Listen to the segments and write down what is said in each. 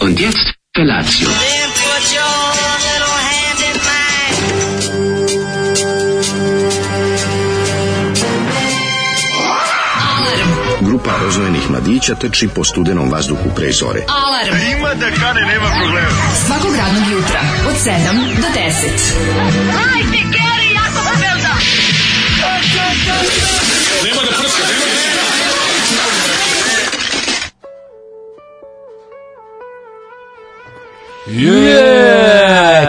Und jetzt Felatio. Then put your little hand in mine. Grupa rozvojenih mladića teči po studenom vazduhu pre zore. Alarm. Ima da kane, nema problema. Svakog radnog jutra, od 7 do 10. Yeah!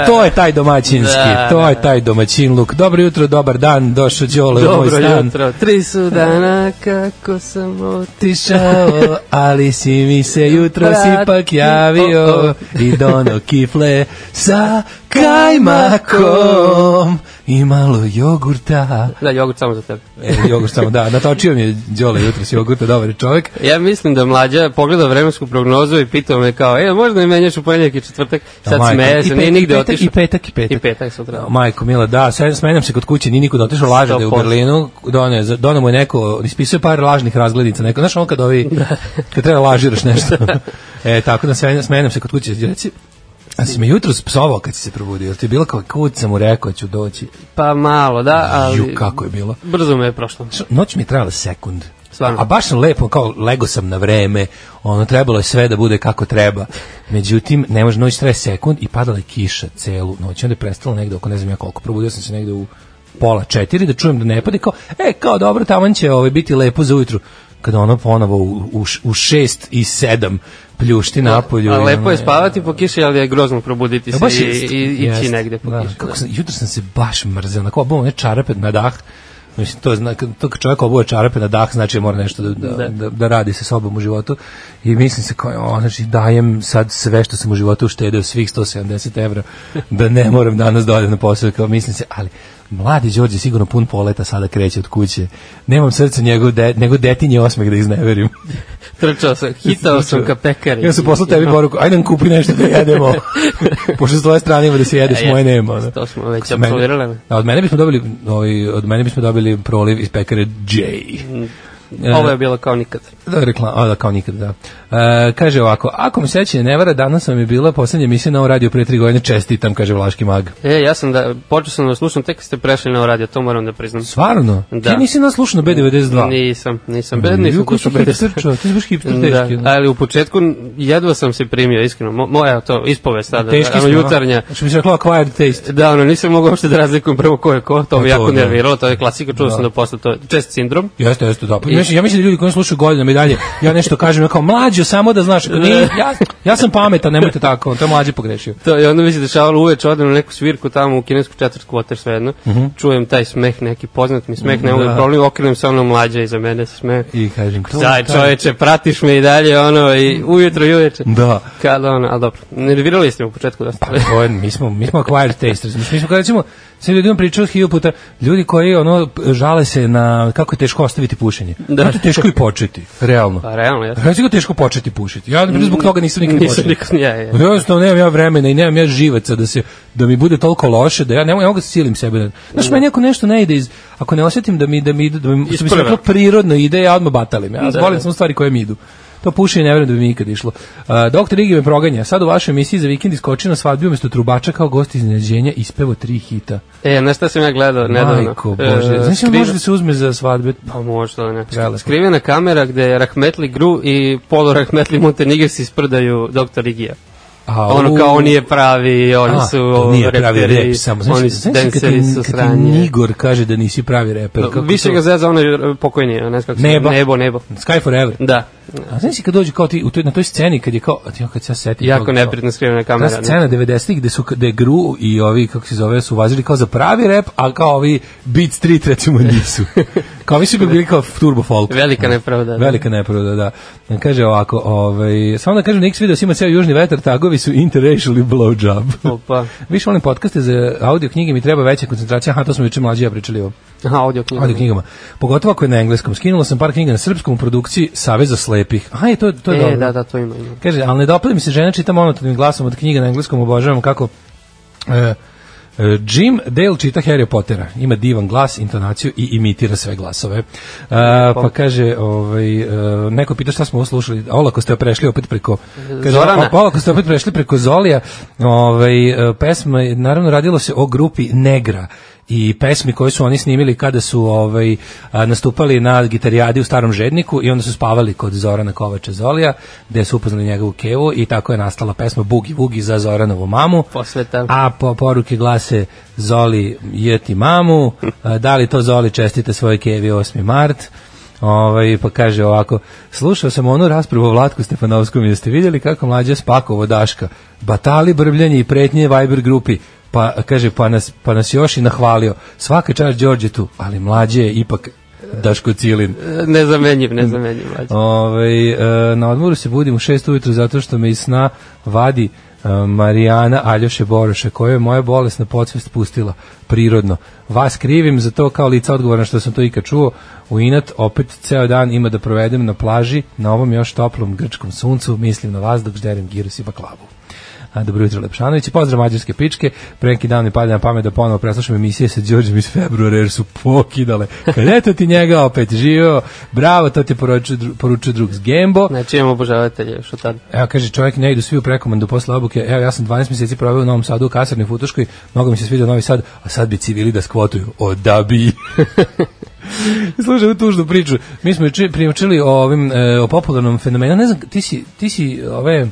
E, To je taj domaćinski, Da, to je taj domaćin luk. Dobro jutro, dobar dan, došao Đole u moj Dobro stan. jutro. Tri su dana kako sam otišao. Tišao, ali si mi se jutro Brat, ipak javio i dono kifle sa kajmakom i malo jogurta. Da, jogurt samo za tebe. E, jogurt samo, da, natočio mi je Đole jutro s jogurta, dobar je čovjek. Ja mislim da mlađa pogleda vremensku prognozu i pitao me kao, e, možda mi menjaš u ponedjeljak i četvrtak? Sad Da, majko, smeje i se, pet- nije i nigde petak, otišao. i petak, i petak. I petak sutra. O, Majko Mila, da, sad smenjam se kod kuće, nije niko otišao, laže da je u 100%. Berlinu, donio, je- donio mu je neko, ispisuje par lažnih razglednica, neko, znaš ono kad ovi, kad treba lažiraš nešto. e, tako da smenjam, smenjam se kod kuće, reci, a si me jutro psovao kad si se probudio, jel ti je bilo kao kud sam mu rekao da ću doći, Pa malo, da, ali... ju kako je bilo. Brzo me je prošlo. Znaš, Noć mi je trajala sekund. Stvarno? A baš sam lepo, kao lego sam na vreme, ono, trebalo je sve da bude kako treba. Međutim, ne može noć traje sekund i padala je kiša celu noć. I Onda je prestala negde oko ne znam ja koliko. Probudio sam se negde u pola četiri da čujem da ne pade. Kao, e, kao dobro, taman će ovaj, biti lepo za ujutru. Kada ono ponovo u, u, š- u šest i sedam pljušti napolju. A i lepo ono, je spavati po kiši, ali je grozno probuditi Ja, se i, i ići jest, negde po da, kiši. Kako sam, jutro sam se baš mrzeo, onako obuo one čarape na dah, Mislim, to, zna, to kad čovjek obuje čarape na dah, znači mora nešto da, da, Da. da, da radi sa sobom u životu. I mislim se, kao, o, znači, dajem sad sve što sam u životu uštedeo, svih 170 evra, da ne moram danas da odem na posao, kao mislim se, ali mladi Đorđe sigurno pun poleta sada kreće od kuće. Nemam srca njegov, de, nego detinje osmeh da izneverim. Trčao sam, hitao sam ka pekari. Ja sam poslao tebi poruku, ajde nam kupi nešto da jedemo. Pošto s tvoje strane ima da se jede, s E, moje jeste, nema. ono. to smo već S mene- apsolvirali. A od mene bismo dobili, ovaj, od mene bismo dobili proliv iz pekare J. E. Ovo je bilo kao nikad. Da, rekla, a, da, kao nikad, da. E, kaže ovako, ako mi sećanje ne vara, danas sam je bila poslednja emisija na ovom radiju pre tri godine, čestitam, kaže Vlaški mag. E, ja sam da, počeo sam da slušam, tek ste prešli na radio, to moram da priznam. Stvarno? Da. Ti nisi nas slušao na B92? Nisam, nisam, be, nisam Ju, ko si slušao BDS. hipster čovek, ti si baš hipster Da, teški, ono. ali u početku jedva sam se primio, iskreno, Mo- moja to ispovest tada, Teški ono smo, da, jutarnja. ono. Što bi se rekla, acquired taste. Da, ono, nisam mogao uopšte da razlikujem prvo ko je ko, to me Pa to, jako da. nerviralo, to je klasika, čuo Da. sam da posle to, čest sindrom. Jeste, jeste, da. Pa, ja, mislim- ja mislim da ljudi koji nas slušaju godinama i dalje, ja nešto kažem, ja kao mlađo, samo da znaš, ako nije, ja, ja sam pametan, nemojte tako, to je mlađi pogrešio. To, I onda mi se dešavalo uveč, odem na neku svirku tamo u kinesku četvrt kvoter, svejedno, čujem taj smeh, neki poznat mi smeh, ne mogu da Mhm. Da. problem, okrenem se ono mlađa iza mene se smeh. I kažem, to Daj taj- čoveče, pratiš me i dalje, ono, i ujutro i uveče. Da. Kada ono, ali dobro, nervirali ste me u početku dosta. Pa to je, mi smo, mi smo acquired taste, razumiješ? Mi smo, kada recimo, sve ljudima pričao hilju puta, ljudi koji, ono, žale se na kako je teško ostaviti pušenje. Da. Da. Zato je teško i početi, realno. Pa realno, ja sam Znači je teško početi pušiti. Ja, na primjer, zbog toga nisam nikad nisam počeo. nikad, ja, ja. Jednostavno nemam ja vremena i nemam ja živaca da se da mi bude toliko loše da ja ne mogu ja mogu da silim sebe. da- Znaš, meni ako nešto ne ide iz ako ne osetim da mi da mi ide da mi, što bi se Isprve. reklo prirodno ide, ja odmah batalim. Ja Da. volim samo stvari koje mi idu. To pušenje ne verujem da bi mi ikad išlo. Uh, doktor Igi me proganja. Sad u vašoj emisiji za vikend iskočio na svadbi umesto trubača kao gost iznenađenja ispevo tri hita. E, na šta sam ja gledao nedavno? Majko, bože. E, Znaš, on skriven- može da se uzme za svadbe? Pa možda ne. Prelepo. Skrivena kamera gde je Rahmetli Gru i polo Rahmetli Montenegir se isprdaju doktor Igija. A, Ono Pa, u- kao on nije pravi, oni A, su ovaj, to nije pravi reperi, rep samo. Znaš, oni su znaš kad danceri ti, su kad ti sranje. Igor kaže da nisi pravi reper. kako Više to- ga zezao onaj pokojni, ne znam kako se- Nebo. nebo, nebo. Sky Forever. Da, A znaš li kad dođe kao ti u toj, na toj sceni kad je kao, a ti ja kad se ja setim. jako toga, neprijatno skrivena kao, Ta kamera. da. ne. scena 90-ih gde su gde Gru i ovi kako se zove su vazili kao za pravi rep, a kao ovi Beat Street recimo nisu. kao mi su bili kao turbo folk. Velika nepravda. da. Velika nepravda, da. Kaže ovako, ovaj, samo da kažem, Nix video ima ceo južni vetar, tagovi su interracially blowjob. Opa. Više volim podcaste za audio knjige, mi treba veća koncentracija, aha, to smo juče mlađi ja pričali ovo Aha, audio knjiga. audio knjigama. Pogotovo ako je na engleskom. Skinula sam par knjiga na srpskom u produkciji Saveza slepih. A je, to, to je e, dobro. da, da, to ima. ima. Kaže, ali ne dopada mi se žena čita monotonim glasom od knjiga na engleskom, obožavam kako e, E, Jim Dale čita Harry Pottera. Ima divan glas, intonaciju i imitira sve glasove. E, pa kaže, ovaj, e, neko pita šta smo ovo slušali. A Olako ste prešli opet preko... Kaže, Zorana. o- Olako ste opet prešli preko Zolija. Ovaj, e, pesma, je- naravno radilo se o grupi Negra i pesmi koje su oni snimili kada su ovaj a, nastupali na gitarijadi u Starom Žedniku i onda su spavali kod Zorana Kovača Zolija gde su upoznali njegovu kevu i tako je nastala pesma Bugi Vugi za Zoranovu mamu Posveta. a po poruke glase Zoli jeti mamu, a, da li to Zoli čestite svoje kevi 8. mart, Ovaj, pa kaže ovako, slušao sam onu raspravu o Vlatku Stefanovskom i jeste vidjeli kako mlađe spakovo Daška, batali, brbljanje i pretnje Viber grupi, pa kaže, pa nas, pa nas još i nahvalio, svaka čast Đorđe tu, ali mlađe je ipak Daško Cilin. Nezamenjiv, nezamenjiv. mlađe. Ovaj e, na odmoru se budim u 6 ujutru zato što me iz sna vadi e, Marijana Aljoše Boroša, koju je moja bolesna podsvest pustila prirodno. Vas krivim za to kao lica odgovorna što sam to ikad čuo. U inat opet ceo dan ima da provedem na plaži, na ovom još toplom grčkom suncu, mislim na vas dok žderim girus i baklavu. A, dobro jutro Lepšanović, pozdrav mađarske pičke, pre neki dan mi pada na pamet da ponovo preslušam emisije sa Đorđem iz februara jer su pokidale. Kad eto ti njega opet živio, bravo, to ti poručuje, dru- poručuje drug s Gembo. Znači imamo obožavatelje još od tada. Evo, kaže, čovjek ne idu svi u prekomandu posle obuke. Evo, ja sam 12 mjeseci proveo u Novom Sadu u kasarni u Futoškoj, mnogo mi se svidio Novi Sad, a sad bi civili da skvotuju. O, da bi. Slušaj, ovu tužnu priču. Mi smo juče priučili o, ovim, e, o popularnom fenomenu. Ne znam, ti si, ti si ove...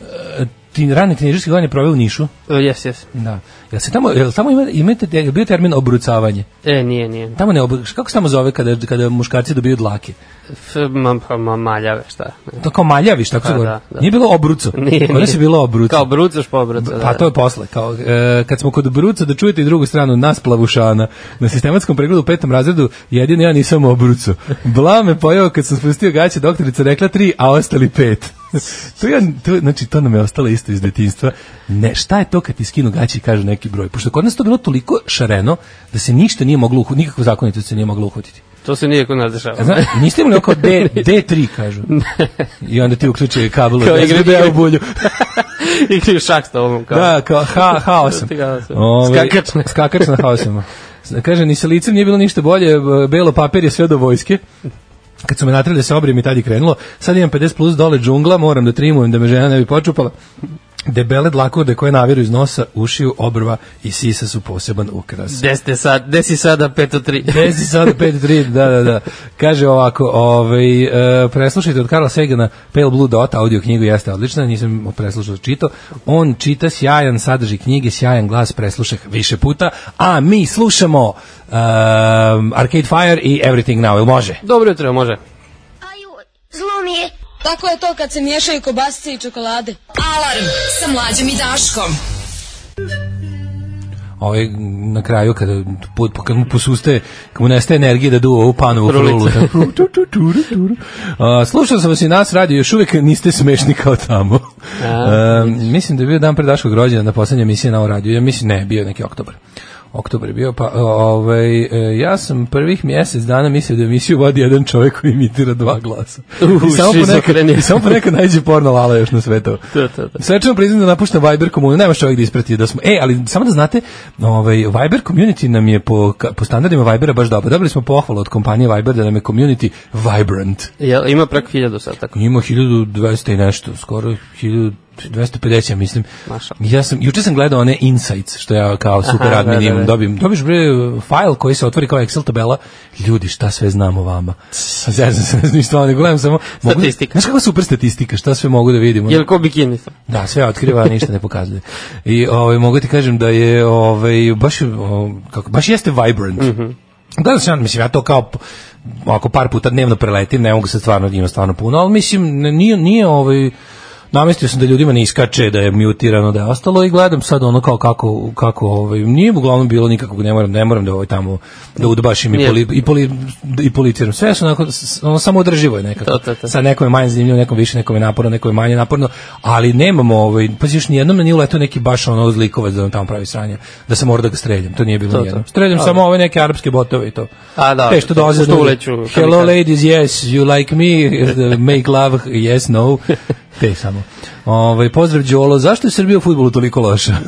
E, ti rane tineđerske godine proveo u Nišu. E, Jes, jes. Da. Jel se tamo, jel tamo ima, imate, jel bio termin obrucavanje? E, nije, nije. Tamo ne obru, kako se tamo zove kada, kada muškarci dobiju dlake? F, ma, pa, ma, maljave, šta? To kao maljaviš, tako se Pa, govori. da, da. Nije bilo obruco. Nije, Kod nas je nije. bilo obruco. Kao brucaš po da, brucu. Pa to je posle, kao, e, kad smo kod Bruca da čujete i drugu stranu nas plavušana. Na sistematskom pregledu u petom razredu jedino ja nisam o Brucu. Bla me pojao kad sam spustio gaće, doktorica rekla tri, a ostali pet. to ja, to, znači, to nam je ostalo isto iz detinstva. Ne, šta je to kad ti skinu gaće i kažu neki broj? Pošto kod nas to bilo toliko šareno da se ništa nije moglo uhvatiti, nikakva zakonitost se nije mogla uhvatiti. To se nije kod nas dešava. Zna, niste imali oko D, D3, kažu. I onda ti uključuje kabel. Kao od igra- SBB u bulju. Igri šak s tobom. Kao. Da, kao ha, haosom. Haosom. Ovaj, Skakač. Skakač na haosima. Kaže, ni sa licem nije bilo ništa bolje, b- belo papir je sve do vojske. Kad su me natrali da se obrijem i tad je krenulo, sad imam 50 plus dole džungla, moram da trimujem da me žena ne bi počupala. Debele dlakurde koje naviru iz nosa, ušiju, obrva i sisa su poseban ukras. Gde ste sad? Gde si sada 5 od 3? Desi sad 5-3, da, da, da. Kaže ovako, ovaj, e, preslušajte od Karla Segana Pale Blue Dot, audio knjigu jeste odlična, nisam preslušao čito. On čita sjajan sadržaj knjige, sjajan glas, preslušah više puta, a mi slušamo um, Arcade Fire i Everything Now, jel može? Dobro jutro, može. Aju, zlo mi je. Tako je to kad se miješaju kobasice i čokolade. Alarm sa mlađom i Daškom. Ovaj, na kraju, kada put, kad mu posuste, kad mu nestaje energije da duva ovu panu u prulu. Frulice. tako, tu, tu, tu, tu, tu. A, Slušao sam vas i nas radio, još uvijek niste smešni kao tamo. A, E, mislim da je bio dan pre Daškog rođena na poslednja emisija na ovom radiju. Ja mislim, ne, bio je neki oktobar. Oktobar je bio, pa o- ovaj, e, ja sam prvih mjesec dana mislio da emisiju vodi jedan čovjek koji imitira dva glasa. U, I samo ponekad, šizofrenija. i samo ponekad najđe porno lala još na svetu. To, to, to. Svečano priznam da napuštam Viber komuniju, nema čovjek da isprati da smo. E, ali samo da znate, ovaj Viber community nam je po ka- po standardima Vibera baš dobro. Dobili smo pohvalu od kompanije Viber da nam je community vibrant. Jel, ima preko 1000 sad tako. Ima 1200 i nešto, skoro 1250, ja mislim. Maša. Ja sam, juče sam gledao one Insights, što ja kao super Aha, admin da, da, imam. da. Dobim, dobiš bre fajl koji se otvori kao Excel tabela. Ljudi, šta sve znam o vama? Zezam se, ne znam ništa, ne gledam samo. mogu- Statistika. Znaš kakva super statistika, šta sve mogu da vidim? ono? Jel ko bikini sam? Da, sve otkriva, a ništa ne pokazuje. I ovaj mogu ti kažem da je ovaj baš o, kako baš jeste vibrant. Mhm. Mm Gledam sam, ja, mislim, ja to kao p- ako par puta dnevno preletim, ne mogu se stvarno, ima stvarno puno, ali mislim, ne- nije, nije ovaj, namestio sam da ljudima ne iskače, da je mutirano, da je ostalo i gledam sad ono kao kako, kako ovaj, nije uglavnom bilo nikakvog, ne moram, ne moram da ovaj tamo, da udbašim i, Nije. poli, i, poli, i politiram. Sve su onako, s- ono samo održivo je nekako. To, to, to. Sad nekom je manje zanimljivo, nekom više, nekom je naporno, nekom je manje naporno, ali nemamo, ovaj, pa još nijednom nije uletao neki baš ono zlikovac da nam tamo pravi sranje, da se mora da ga streljam, to nije bilo To, to. nijednom. Streljam A, samo ove neke arapske botove i to. A, da, Te što to- dolaze što da- uleću, Hello kamikaze." ladies, yes, you like me, make love, yes, no. Te samo. Ovaj pozdrav Đolo, zašto je Srbija u fudbalu toliko loša?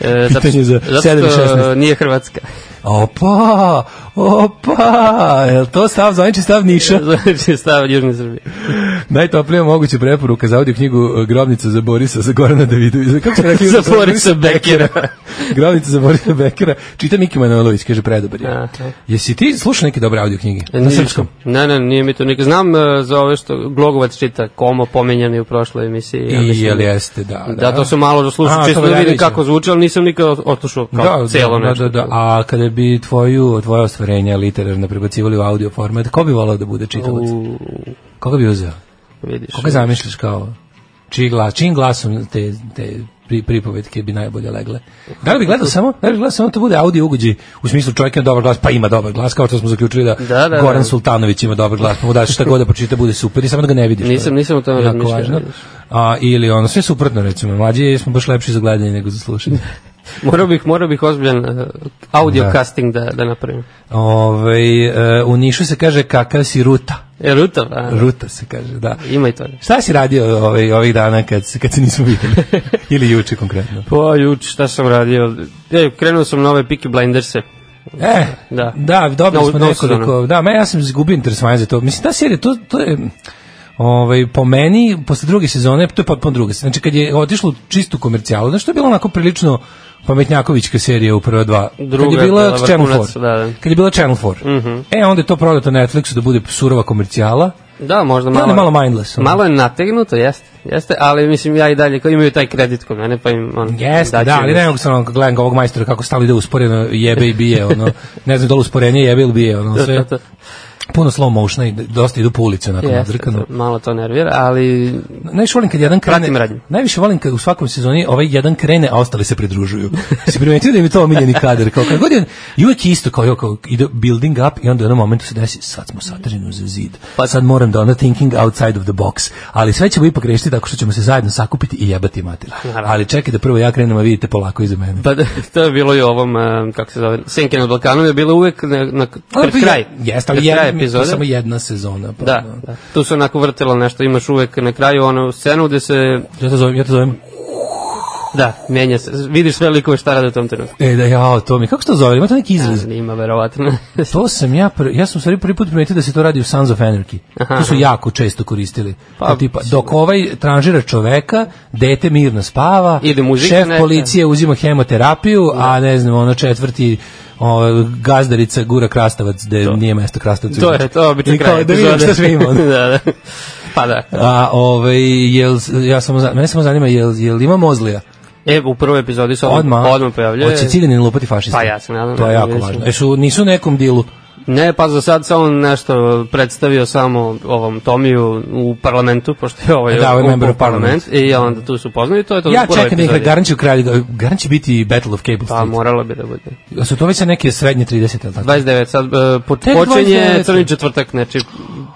E, Pitanje za zato, sedam i zato što šesnaest. nije Hrvatska. Opa! Opa! Jel to stav, zvanični stav Niša? Znači stav Južne Srbije. Najtoplija moguća preporuka za audio knjigu e, Grobnica za Borisa, za Gorana Davidovića. Kako se rekli? Za Borisa Bekera. Grobnica za Borisa Bekera. Čita Miki Manojlović, kaže predobar je. Aha. Jesi ti slušao neke dobre audio knjige? Na Nije- srpskom? Ne, ne, nije mi to nek. Znam e, za ove što Glogovac čita, Komo pomenjan je u prošloj emisiji. ja I, mislim. jel jeste, da. Da, to sam malo A, zaslušao, čisto da vidim Todorovića. kako zvuči, ali nisam nikad otušao kao celo da, nešto. Da, da, A kada bi tvoju, tvoje ostvarenja literarno prebacivali u audio format, ko bi volao da bude čitalac? U, Koga bi uzeo? vidiš. Koga zamišljaš kao čiji glas, čijim glasom te, te pri, pripovetke bi najbolje legle? Da li bi gledao samo, da li bi gledao samo da to bude audio ugođi u smislu čovjek ima dobar glas, pa ima dobar glas, kao što smo zaključili da, Da, da, Goran da. Sultanović ima dobar glas, pa mu daš šta god da pročita bude super i samo da ga ne vidiš. Nisam- To je nisam o tome jako razmišljao, važno. vidiš. A, ili ono, sve suprotno recimo, mlađi smo baš lepši za gledanje nego za slušanje. Morao bih, morao bih ozbiljan e, audio Da. casting da, da napravim. Ove, e, u Nišu se kaže kakav si ruta. E, Rutav, a, Ruta se kaže, da. ima i to. Šta si radio ovaj, ovih dana kad, se- kad se nismo videli? Ili juče konkretno? Pa, juč, šta sam radio? E, krenuo sam na ove Peaky Blinderse. E, da, Da. da dobili Na- smo na nekoliko... usudano. Da, me, ja sam izgubio interesovanje za to. Mislim, ta serija, to, to je... Ovaj, po meni, posle druge sezone, to je potpuno druga. Znači, kad je otišlo u čistu komercijalu, znaš, to je bilo onako prilično pametnjakovićka serija u prva dva. kad Druga je je bila bila Channel vrhunac, 4. da, Mhm. da. Kad je bila Channel 4. E, onda je to prodato Netflixu da bude surova komercijala. Da, možda Malo, malo. malo mindless. ono. Malo je nategnuto, jeste, jeste, ali mislim ja i dalje, koji imaju taj kredit kod mene, pa im on... Jeste, da, ali ne mogu sam ono, gledam ga ovog majstora kako stali ide usporeno jebe i bije, ono, ne znam da li usporenije jebe ili bije, ono, sve, da. puno slow motiona i dosta idu po ulici, onako, Jeste, da. nadrkano. to- malo to nervira, ali Najviše volim kad jedan Pratim krene, radnju. najviše volim kad u svakom sezoni ovaj jedan krene, a ostali se pridružuju. Si primetio da im je to omiljeni kader, kao kad god je, i uvek je isto, kao, jo, kao ide building up i onda u jednom momentu se desi, sad smo sadrženi za zid, pa sad moram da ono thinking outside of the box, ali sve ćemo ipak rešiti tako što ćemo se zajedno sakupiti i jebati mater. Ali čekaj da prvo ja krenem, a vidite polako iza mene. pa da, to je bilo i u ovom, em, kako se zove, Senke na Balkanu je bilo uvek na, na Ali pred pa je- kraj. Jeste, ali pred jedna, kraj epizode. epizode. samo jedna sezona. Pa, Da, ono. da, tu se onako vrtilo nešto, imaš uvek na kraju onu scenu gde se, Ja to zovem, ja to zovem. da, menja se, vidiš sve likove šta rade u tom trenutku. E, da, jao, to mi, kako se to zove, ima to neki izraz. Ima verovatno. To sam ja, pr, ja sam u stvari prvi put primetio da se to radi u Sons of Anarchy. To su jako često koristili. Pa, Pa, tipa, dok ovaj tranžira čoveka, dete mirno spava, Ide muzika šef neka. Da. policije uzima hemoterapiju, a ne znam, ono četvrti o, gazdarica gura krastavac, da nije mesto krastavcu. to je, to je obično I kao, kraj. Da vidim epizode. šta sve ima. ono. da, da. Pa da. A ovaj jel ja samo za- mene samo zanima jel jel ima mozlija? E, u prvoj epizodi se odmah, Odma. odmah pojavljuje. Hoće ciganin lupati fašista. Pa ja se nadam To je da jako neće. važno. Jesu nisu u nekom dilu. Ne, pa za sad se on nešto predstavio samo ovom Tomiju u parlamentu, pošto je ovaj Da, ovaj u- u member of parliament. I onda tu su poznali, to je to Ja u prvoj čekam da nekada epizodi. Garan će u kralju, Garan će biti Battle of Cable Pa Street. moralo bi da bude. A su to već sad neke srednje 30 ili tako? 29, sad e, po, Tek počinje 29. crni četvrtak, znači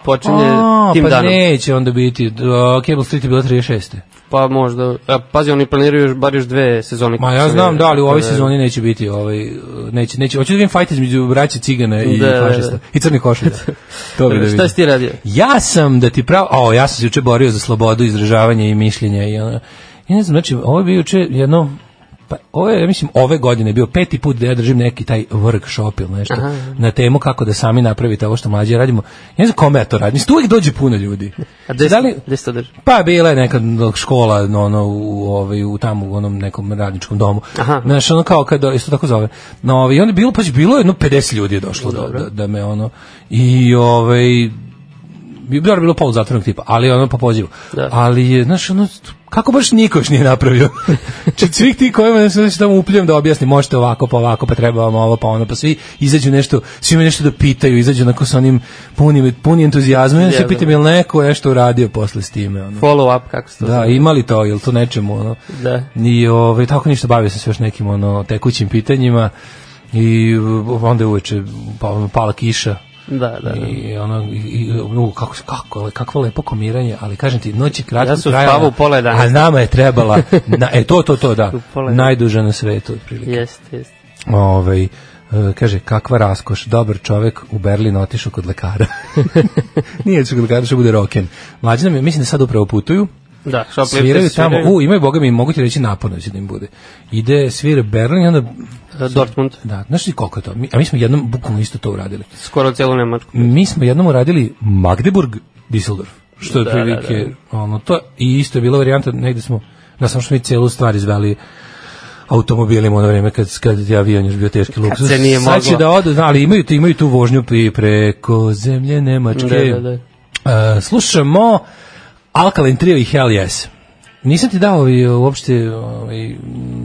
počinje A, tim pa danom. neće onda biti. Da, Cable Street je bilo 36. Pa možda, a, pazi, oni planiraju još, bar još dve sezone. Ma kako ja sam znam, da, ali u ovoj Da, sezoni neće biti, ovaj neće neće. Hoću da vidim fight između braće Cigana i Da, da, da. fašista i crni košulja. to bi da Šta vidim. si ti radio? Ja sam da ti pravo, o, ja sam se juče borio za slobodu izražavanja i mišljenja i ono, ja ne znam, znači, ovo je bio juče jedno, pa, ovo je, ja mislim, ove godine je bio peti put da ja držim neki taj workshop ili nešto na temu kako da sami napravite ovo što mlađe radimo. Ja ne znam kome ja to radim, mislim, tu uvijek dođe puno ljudi. A gde, Da da li- gde si to drži? Pa bila je neka škola no, ono, u, ovaj, u tamo u onom nekom radničkom domu. Aha. Znaš, ono kao kada, isto tako zove. No, ovaj, i onda je bilo, pa bilo je jedno 50 ljudi je došlo da, da, da me ono, i ovaj, bi dobro bilo polu zatvorenog tipa, ali ono po pozivu. Da. Ali je, znaš, ono, kako baš niko još nije napravio. Či svih ti kojima ne znači tamo upljam da objasni, možete ovako, pa ovako, pa treba vam ovo, pa ono, pa svi izađu nešto, svi imaju nešto da pitaju, izađu onako sa onim punim, puni entuzijazma, ja se Jebeno. pitam je li neko nešto uradio posle s time, ono. Follow up, kako se to Da, zove? imali to, jel to nečemu, ono. Da. I ovaj, tako ništa, bavio sam se još nekim ono, tekućim pitanjima i onda je uveče pa, ono, pala kiša, Da, da, da. i ono i, i u, kako kako ovaj, kakvo lepo komiranje, ali kažem ti noć je kratka Ja sam spavao u pola 11. A nama je trebala na, e to to to da. U pola 11. Najduža na svetu otprilike. Jeste, jeste. Ovaj e, E, kaže, kakva raskoš, dobar čovek u Berlin otišao kod lekara. Nije otišao kod lekara, što bude roken. Mlađi nam je, mislim da sad upravo putuju, Da, šop sviraju tamo, u, imaju, boga mi, mogu ti reći naporno će da im bude. Ide, svira Berlin i onda, E, Dortmund, da, znaš ti koliko je to? Mi, a mi smo jednom bukvalno isto to uradili. skoro celu Nemačku. Mi smo jednom uradili Magdeburg, Düsseldorf, što je da, Da, prilike, da, da. ono, to, i isto je bila varijanta, negde smo, na samo što mi celu stvar izveli automobilima ono vreme kad, kad je avion još bio teški luksus. se nije Sad će moglo. da odu, da, ali imaju, tu- imaju tu vožnju pri, preko zemlje Nemačke. Da, da, da. E, slušamo Alkaline Trio i Hell Yes. Nisam ti dao i uopšte, ovaj, m,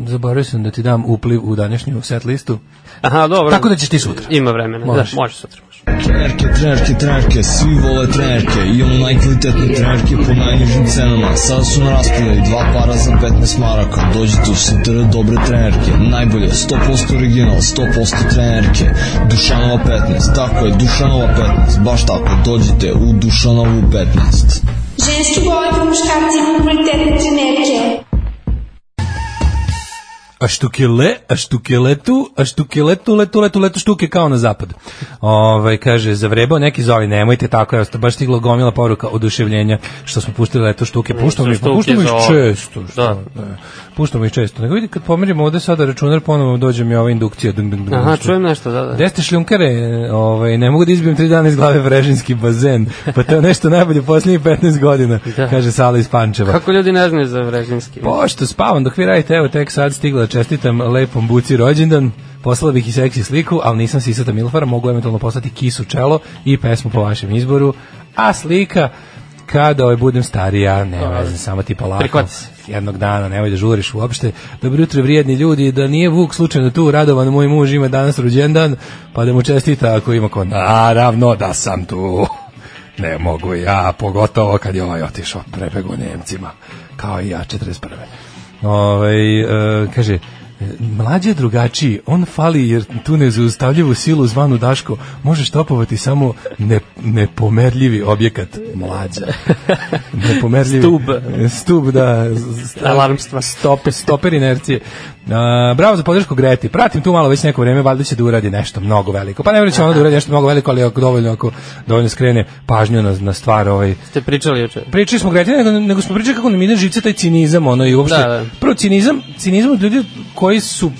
zaboravio sam da ti dam upliv u današnju set listu. Aha, dobro. Tako da ćeš ti sutra. Ima vremena, Možeš. da, može sutra. Može. Trenerke, trenerke, trenerke, svi vole trenerke Imamo najkvalitetne trenerke po najnižim cenama Sada su na raspodaju dva para za 15 maraka Dođite u Sintere dobre trenerke Najbolje, 100% original, 100% trenerke Dušanova 15, tako je, Dušanova 15 Baš tako, dođite u Dušanovu 15 Ženski vole muškarci kvalitetne trenerke. a štukele, a štukeletu, a štukeletu, letu, letu, letu štuke kao na zapad. Ovaj kaže, zavrebao neki zoli, nemojte tako, evo, baš stigla gomila poruka oduševljenja što smo pustili leto štuke, puštamo ih, štuke puštamo ih za ovo. često. Što, da. Da. Ne, puštamo ih često. Nego vidi, kad pomerimo ovde sada računar, ponovo dođe mi ova indukcija. Dung, dung, dung, Aha, što- čujem nešto, da, da. Gde ste šljunkare? Ovaj, ne mogu da izbijem tri dana iz glave vrežinski bazen. Pa to je nešto najbolje poslednjih 15 godina, da. Da. kaže Sala iz Pančeva. Kako ljudi ne znaju za Vrežinski? Pošto spavam dok vi radite, evo tek sad stigla da čestitam lepom buci rođendan, poslala bih i seksi sliku, ali nisam sisata Milfara, mogu eventualno poslati kisu čelo i pesmu po vašem izboru, a slika kada ovaj budem starija, ne veze, samo ti polako. Prihvati se. Jednog dana, nemoj da žuriš uopšte. Dobro jutro, vrijedni ljudi, da nije Vuk slučajno tu, radovan moj muž ima danas rođendan, pa da mu čestita ako ima ko. Naravno da sam tu. Ne mogu ja, pogotovo kad je ovaj otišao prepego Nemcima, kao i ja 41. Ovaj e, kaže, e, mlađe je drugačiji, on fali jer tu nezaustavljivu silu zvanu Daško može štopovati samo ne, nepomerljivi objekat mlađa. Nepomerljivi. Stub. Stub, da. st- Alarmstva. Stop, stoper inercije. A, bravo za podršku Greti. Pratim tu malo već neko vreme, valjda će da uradi nešto mnogo veliko. Pa ne vjerujem da će ona da uradi nešto mnogo veliko, ali ako dovoljno, ako dovoljno skrene pažnju na, na stvar ovaj, Ste pričali juče. pričali smo Greti, nego, nego smo pričali kako nam ide živce taj cinizam, ono i uopšte, da, Da, da. da. prvo cinizam, cinizam od ljudi koji su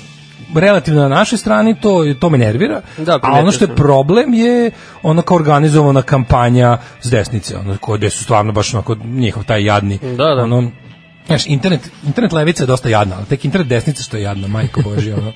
relativno na našoj strani, to, to me nervira, Da, a ono što je primetio sam. problem je ono kao organizovana kampanja s desnice, ono, ko, gde su stvarno baš onako njihov taj jadni, Da, da. ono, znaš, internet, internet levica je dosta jadna, ali tek internet desnica što je jadna, majko božja, ono,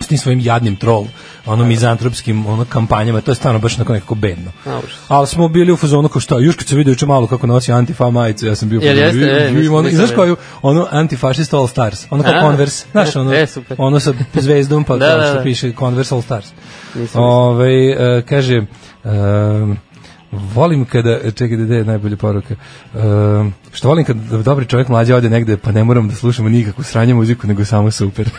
s tim svojim jadnim troll, ono mizantropskim ono kampanjama, to je stvarno baš onako nekako bedno. Dobro. Ali smo bili u fazonu kao šta, još kad se vidio juče malo kako nosi antifa majicu, ja sam bio u Jel fazonu, jeste? E, ju- ju- nisam- ono, i nisam znaš vidio. koju, ono antifašista All Stars, ono kao A. Converse, znaš, ono, E, super. ono sa zvezdom pa Da, kao da, što da. piše Converse All Stars. Nisam Ove, e, kaže, um, volim kada, čekaj da je najbolja poruka, um, što volim kad dobri čovjek mlađe ode negde pa ne moram da slušamo nikakvu sranje muziku, nego samo super.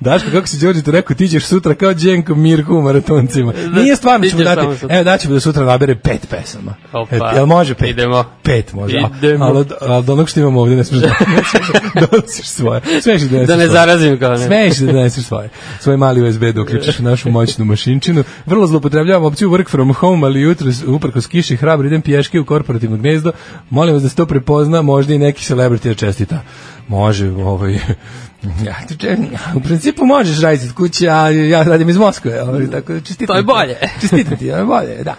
Daško, kako si Đorđe to rekao, ti ćeš sutra kao Đenko Mirko u maratoncima. Nije stvarno Da, ti ćemo ćeš dati, samo sutra. evo daćemo da sutra nabere pet pesama. Opa. Et, jel može pet? Idemo. Pet može. a- Idemo. Ali, od- ali od onog što imamo ovde ne smiješ da donosiš svoje. Smeš da doneseš Da ne svoje. zarazim kao ne. Smeš da doneseš svoje. Svoj mali USB da uključiš u našu moćnu mašinčinu. Vrlo zlopotrebljavam opciju work from home, ali jutro uprkos kiši hrabro idem pješke u korporativno gnezdo. Molim vas da se to prepozna, možda i neki celebrity da čestita. Može, ovaj... Ja, ti če- u principu možeš raditi od kuće, a ja radim iz Moskve, ovaj, tako da čestitam. To je ti. bolje. čestitam ti, to je bolje, da.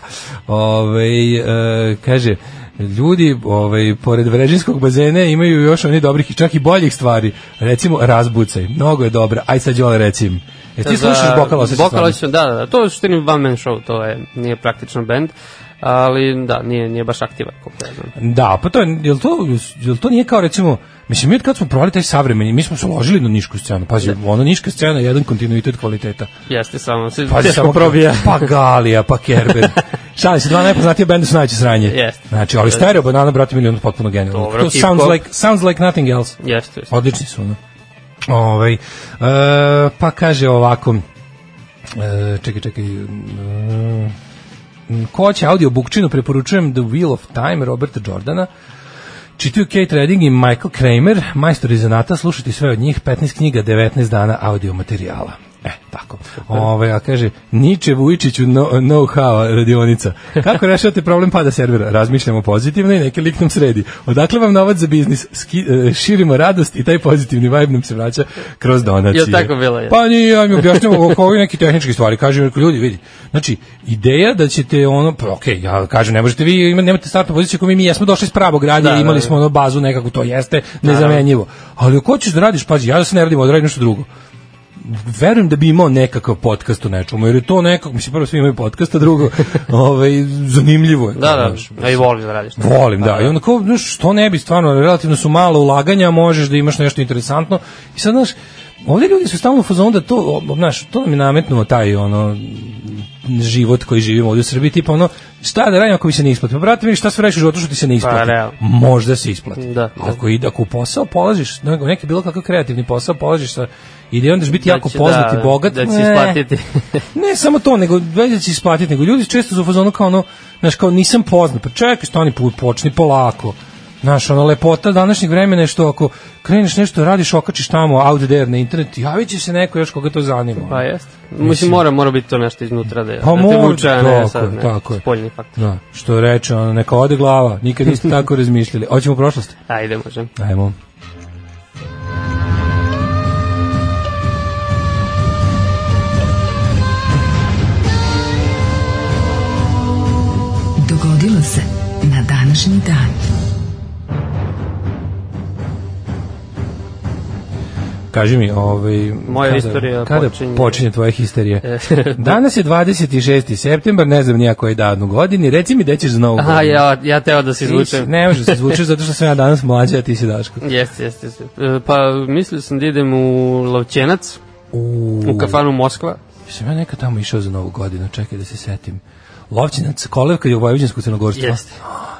Ovaj e, kaže, ljudi ovaj pored vrežinskog bazena imaju još oni dobrih i čak i boljih stvari recimo razbucaj mnogo je dobra aj sad Đole recim e ti slušaš Bokal osjećaj Bokal Bokalo osjećaj, da, da, da. To je u suštini one man show, to je, nije praktično band, ali da, nije, nije baš aktivan, koliko ja znam. da pa to je jel to jel to nije kao recimo mislim mi od kad smo provali taj savremeni mi smo se uložili na nišku scenu pazi ona niška scena je jedan kontinuitet kvaliteta Jeste samo, se Pazi teško probija. Pa Galija, pa Kerber. Šalim se, dva najpoznatije benda su najveće sranje. Jeste. Znači, ali Stereo Banana, brate, milion potpuno genijalno. Dobro, to hip sounds hop. like, sounds like nothing else. Jeste, jeste. Odlični su, ono. Ovaj, e, pa kaže ovako, e, čekaj, čekaj, e, ko će audio bukčinu, preporučujem The Wheel of Time Roberta Jordana, Čitaju Kate Redding i Michael Kramer, majstori zanata, slušati sve od njih, 15 knjiga, 19 dana audio materijala. E, tako. Ove, a kaže, Niče Vujičiću no, know-how radionica. Kako rešavate problem pada servera? Razmišljamo pozitivno i neki lik nam sredi. Odakle vam novac za biznis? Ski, e, širimo radost i taj pozitivni vibe nam se vraća kroz donacije. Jel tako bilo, je? Pa nije, ja mi objašnjam oko ovih neki tehnički stvari. Kažem, ljudi, vidi, znači, ideja da ćete ono, pa, okej, ja kažem, ne možete vi, ima, nemate startnu poziciju ako mi, mi jesmo došli iz pravog radija, da, Da, da, imali da. smo ono bazu nekako, to jeste nezamenjivo. Ali ako hoćeš da radiš, pazi, ja da se ne radim, odradim nešto drugo verujem da bi imao nekakav podcast o nečemu, jer je to nekako, mislim, prvo svi imaju podcast, a drugo, ovaj, zanimljivo je. Da, da, Pa znaš. a i voliš da radiš. Volim, da. I onda kao, znaš, što ne bi, stvarno, relativno su malo ulaganja, možeš da imaš nešto interesantno. I sad, znaš, ovde ljudi su stalno u fazonu da to, o, znaš, to nam je nametnuo taj, ono, život koji živimo ovde u Srbiji, tipa ono, šta da radim ako mi se ne isplati? Pa brate, vidi šta sve rešiš u životu što ti se ne isplati. Pa, realno. Možda se isplati. Da. Ako, ide, ako u posao polaziš, ne- neki bilo kakav kreativni posao polaziš sa idejom da ćeš biti Da jako će- poznat da, i bogat. da će ne. isplatiti. ne samo to, nego već da će isplatiti, nego ljudi često su u fazonu kao ono, znaš, kao nisam poznat, pa čekaj, stani, pu- počni polako. Znaš, ona lepota današnjeg vremena je što ako kreneš nešto, radiš, okačiš tamo out there na internet, javit će se neko još koga to zanima. Pa jeste. Mislim, mora, mora biti to nešto iznutra da, je- Pa da te mora, vuče, a ne tako sad, je, ne, tako je. spoljni faktor. Da, što reče, ono, neka ode glava, nikad niste tako razmišljali. Hoćemo u prošlost? Ajde, možem. Ajmo. Dogodilo se na današnji dan. Kaži mi, ovaj, Moja istorija kada počinje- Da. počinje tvoja histerija? Danas je 26. septembar, ne znam nijako je dan u godini, reci mi gde ćeš za novu godinu. Aha, ja, ja teo da se Ti si- izvučem. Ne može se zvučeš zato što sam ja danas mlađa, a ti si Daško. Jeste, jeste, jeste. E, Pa mislio sam da idem u Lovćenac, u kafanu Moskva. Sam ja nekad tamo išao za novu godinu, čekaj da se setim. Lovćinac, kolevka je u Vojvođansku crnogorstvu. Jeste.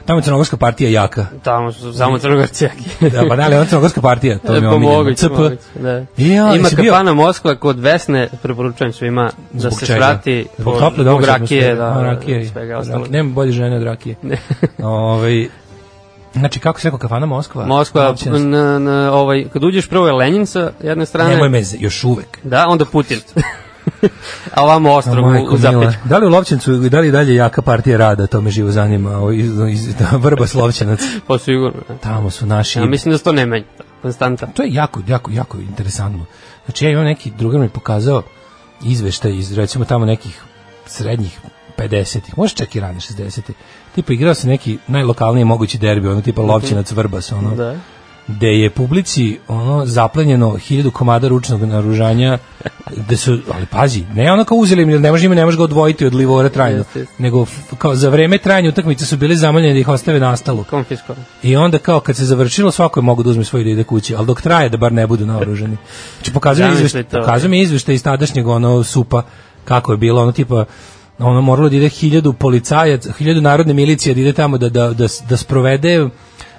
Tamo je crnogorska partija jaka. Tamo su samo crnogorci jaki. Da, pa ne, ali ona je crnogorska partija, to mi je omiljeno. Pomoguće, CP. pomoguće, da. Ja, Ima jesi bio- kafana Moskva kod Vesne, preporučujem svima da Zbog se čega? svrati Zbog po, tople zbog domaće rakije, atmosfere. da, A, da, rakije, Dakle, svega rak- ostalog. Nema bolje žene od rakije. Ovaj Znači, kako se rekao, kafana Moskva? Moskva, Općina- na, na, ovaj, kad uđeš prvo je Lenin sa jedne strane, Nemoj me, z- još uvek. da, onda Putin. A ovamo A, ostrog u, majko u mila. zapećku. Da li u Lovćencu, da li dalje jaka partija rada, to me živo zanima, o, iz, iz, da, vrba Slovćenac. Pa sigurno. da. Tamo su naši. Ja mislim da se to ne menja, konstanta. to je jako, jako, jako interesantno. Znači, ja imam neki, drugar mi je pokazao izveštaj iz, recimo, tamo nekih srednjih 50-ih, možda čak i rane 60-ih. Tipa, igrao se neki najlokalniji mogući derbi, ono, tipa Lovćinac, Vrbas, ono, Mhm. Da. gde je publici ono zaplenjeno 1000 komada ručnog naružanja gde su ali pazi ne ono kao uzeli im jer ne može im ne može ga odvojiti od livora trajno Jeste, jeste. nego f- kao za vreme trajanja utakmice su bili zamoljeni da ih ostave nastalo Konfisko. i onda kao kad se završilo svako je mogao da uzme svoj da ide kući ali dok traje da bar ne budu naoružani znači pokazuje mi Zamisli izveštaj to. pokazuje mi izveštaj iz tadašnjeg ono supa kako je bilo ono tipa ono moralo da ide hiljadu policajac, hiljadu narodne milicije da ide tamo da, da, da, da sprovede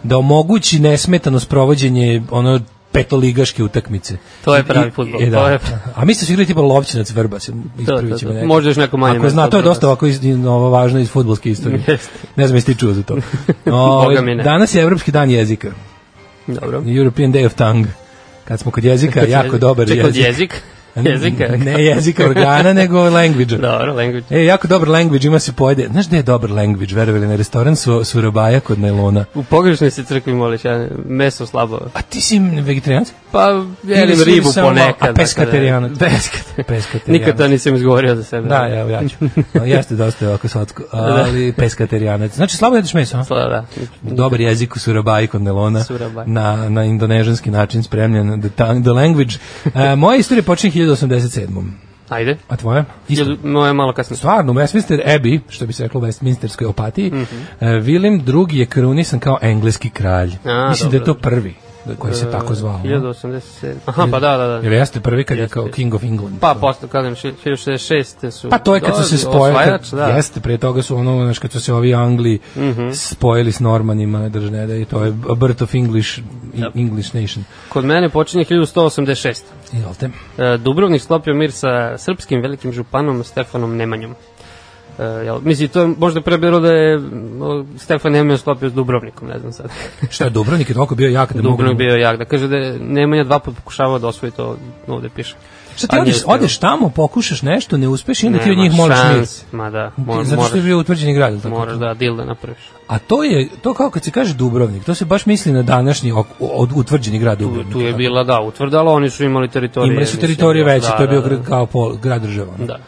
da omogući nesmetano sprovođenje ono petoligaške utakmice. To je pravi I- fudbal, i- to je- A mi se igrali tipa Lovćinac Vrbas, ispravit ćemo to. neko. Možda još neko manje Ako zna, mesto to je od dosta Vrbasa. ovako iz, ovo važno iz fudbalske istorije. Jeste. Ne znam jesi ti čuo za to. Boga mi Ove, ne. danas je Evropski dan jezika. Dobro. European Day of Tongue. Kad smo kod jezika, jako dobar Čekaj, jezik. jezik. Jezika. Da. Ne jezika organa, nego language. Dobro, language. E, jako dobar language, ima se pojede. Znaš gde je dobar language, verovali, na restoran su, su robaja kod najlona. U pogrešnoj se crkvi moliš, ja, ne- meso slabo. A ti si vegetarijanc? Pa, jelim su ribu samo- ponekad. a peskaterijanac? dakle, Peskaterijanac. Peskaterijanac. Nikad to nisam izgovorio za sebe. Da, ja, ja ću. A, Jeste dosta ovako slatko, Da. ali peskaterijanac. Znači, slabo jedeš meso, a? Sla- da. Dobar jezik u Surabaji kod Nelona Surabaji. na, na indonežanski način spremljen the, tongue, the language. E, moja istorija počinje 1087. Ajde. A tvoja? Isto. Jel, moje malo kasno. Stvarno, u Westminster Abbey, što bi se reklo u Westminsterskoj opatiji, mm Mhm. -hmm. William II je krunisan kao engleski kralj. A, Mislim da je dobro. E, to prvi da- koji se tako zvao. 1087. Aha, pa da, da, da. Jer jeste prvi kad je kao jeste. King of England. Pa, posle, kažem, 1066. su... Pa to je kad su se spojili, Osvajač, kad, da. Mhm. jeste, pre toga su ono, znaš, kad su se ovi Angli spojili s Normanima, držne, da i to je a birth of English, English nation. Kod mene počinje 1186. Izvolite. E, Dubrovnik sklopio mir sa srpskim velikim županom Stefanom Nemanjom. E, jel, mislim, to je možda pre bilo da je m, o, Stefan Nemanja sklopio s Dubrovnikom, ne znam sad. Šta je Dubrovnik je toliko bio jak da mogu... Dubrovnik bio jak, da kaže da je Nemanja dva put pokušavao da osvoji to ovde piše. Šta ti A nije odeš, uspeo. odeš tamo, pokušaš nešto, ne uspeš i onda ti od Nema njih moraš mir. šans, Ma da, mor, Mor, Zato što je moraš, bio utvrđeni grad, ili tako? moraš da dil da napraviš. A to je, to kao kad se kaže Dubrovnik, to se baš misli na današnji ok- od- utvrđeni grad Tu, Dubrovnik. tu je tako? bila, da, utvrdala, oni su imali teritorije. Imali su mislim, teritorije da, veće, da, to je bio da, grad kao pol, grad država. ono. Da.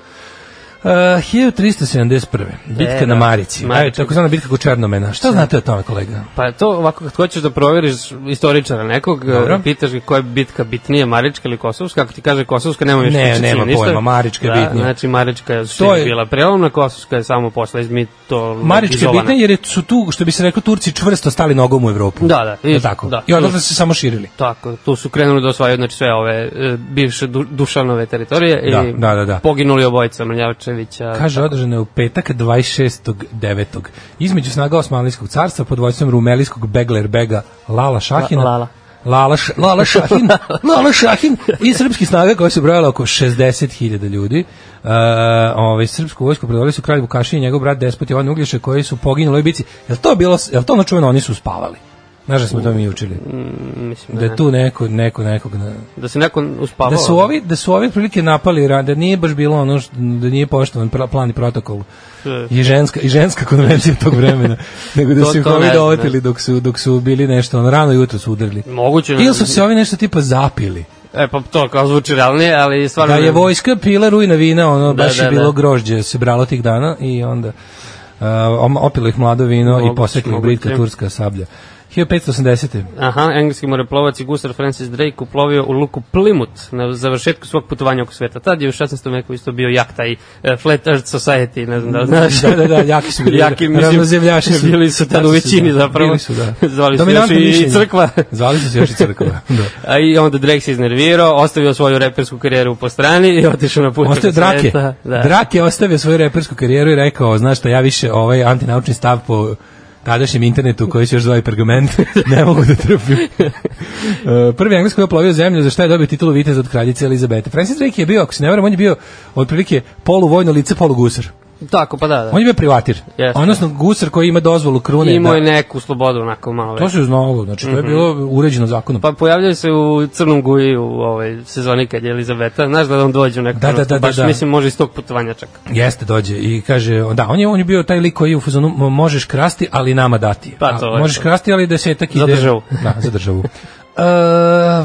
Uh, 1371. Bitka E, na da. Marici. Aj, Marici. Da. tako zvana bitka kod Černomena. Šta znate o tome, kolega? Pa to ovako, kad hoćeš da proveriš istoričara nekog, Dobro. Dobro. pitaš ga koja je bitka bitnija, Marička ili Kosovska, ako ti kaže Kosovska, nema više Ne, priče, nema čini ništa. pojma, Marička je da, bitnija. Znači, Marička je, To je- je bila prelomna, Kosovska je samo posle izmi to Marička je izolana. bitna jer je- su tu, što bi se reklo, Turci čvrsto stali nogom u Evropu. Da, da, Je li i- tako? da. I odatle su se samo širili. Tako, tu su krenuli da osvajaju znači, sve ove e, bivše du, Dušanove teritorije Da, i da, da, da. poginuli obojica Mrljavčevića. Kaže, održano je u petak 26.9. Između snaga Osmanlijskog carstva pod vojstvom rumelijskog Beglerbega Lala Šahina. La- Lala. Lala, Š- Lala Šahin, Lala Šahin i srpskih snaga koje su brojale oko 60.000 ljudi. Uh, ovaj, srpsku vojsku predvodili su kralj Vukašin i njegov brat despot Jovan Uglješa koji su poginuli u ovoj bici. Je to, bilo, je to ono čuveno, oni su spavali? Znaš da smo to mi učili? mislim, Da je tu neko, neko, nekog... Na, da se neko uspavao. da su ovi da su ovi prilike napali ra- da nije baš bilo ono što, da nije poštovan pra- plan i protokol i ženska i ženska konvencija tog vremena nego da To- su ih to ne ovi znam, dovatili dok su dok su bili nešto ono, rano jutro su udarili Moguće. ili su se ovi nešto tipa zapili E, pa to kao zvuči realnije, ali stvarno... da je Pa ne- vojska pila rujna vina ono Da, baš je da, bilo da. grožđe se bralo tih dana i onda uh, om- opilo ih mlado vino i Moguće, posekli ih moguće. britka turska sablja 1580. Aha, engleski moreplovac i gusar Francis Drake uplovio u luku Plymouth na završetku svog putovanja oko sveta. Tad je u 16. veku isto bio jak taj e, Flat Earth Society, ne znam da li znaš. Da, da, da, jaki su bili. Jaki, mislim, Ravnozemljaši su. Bili su tad u većini zapravo. Bili su, da. Zvali su još Dominantno i, mišljenje. i crkva. Zvali su se još i crkva. da. A i onda Drake se iznervirao, ostavio svoju repersku karijeru po strani i otišao na put. Ostavio oko Drake. sveta. Da. Drake je ostavio svoju repersku karijeru i rekao, znaš šta, ja više ovaj antinaučni stav po tadašnjem internetu koji se još zvao i pergament, ne mogu da trpim. E, Prvi Engles koji je oplovio zemlju za šta je dobio titulu viteza od kraljice Elizabete. Francis Drake je bio, ako se ne varam, on je bio otprilike poluvojno lice, polugusar. Tako, pa da, da. On je bio privatir. Jeste. Odnosno gusar koji ima dozvolu krune. Imao da- je neku slobodu, onako malo. To se znalo, znači to je bilo uređeno zakonom. Mhm. Pa pojavljaju se u Crnom Guji u ovaj sezoni kad je Elizabeta, znaš da on dođe u nekom Da, da, trenutku, da, da, baš, da. mislim može iz tog putovanja čak. Jeste, dođe i kaže, da, on je, on je bio taj lik koji je u fazonu, "Mo- možeš krasti, ali nama dati. Pa, to A, je možeš to. krasti, ali desetak ide... Za državu. Da, za državu. Uh,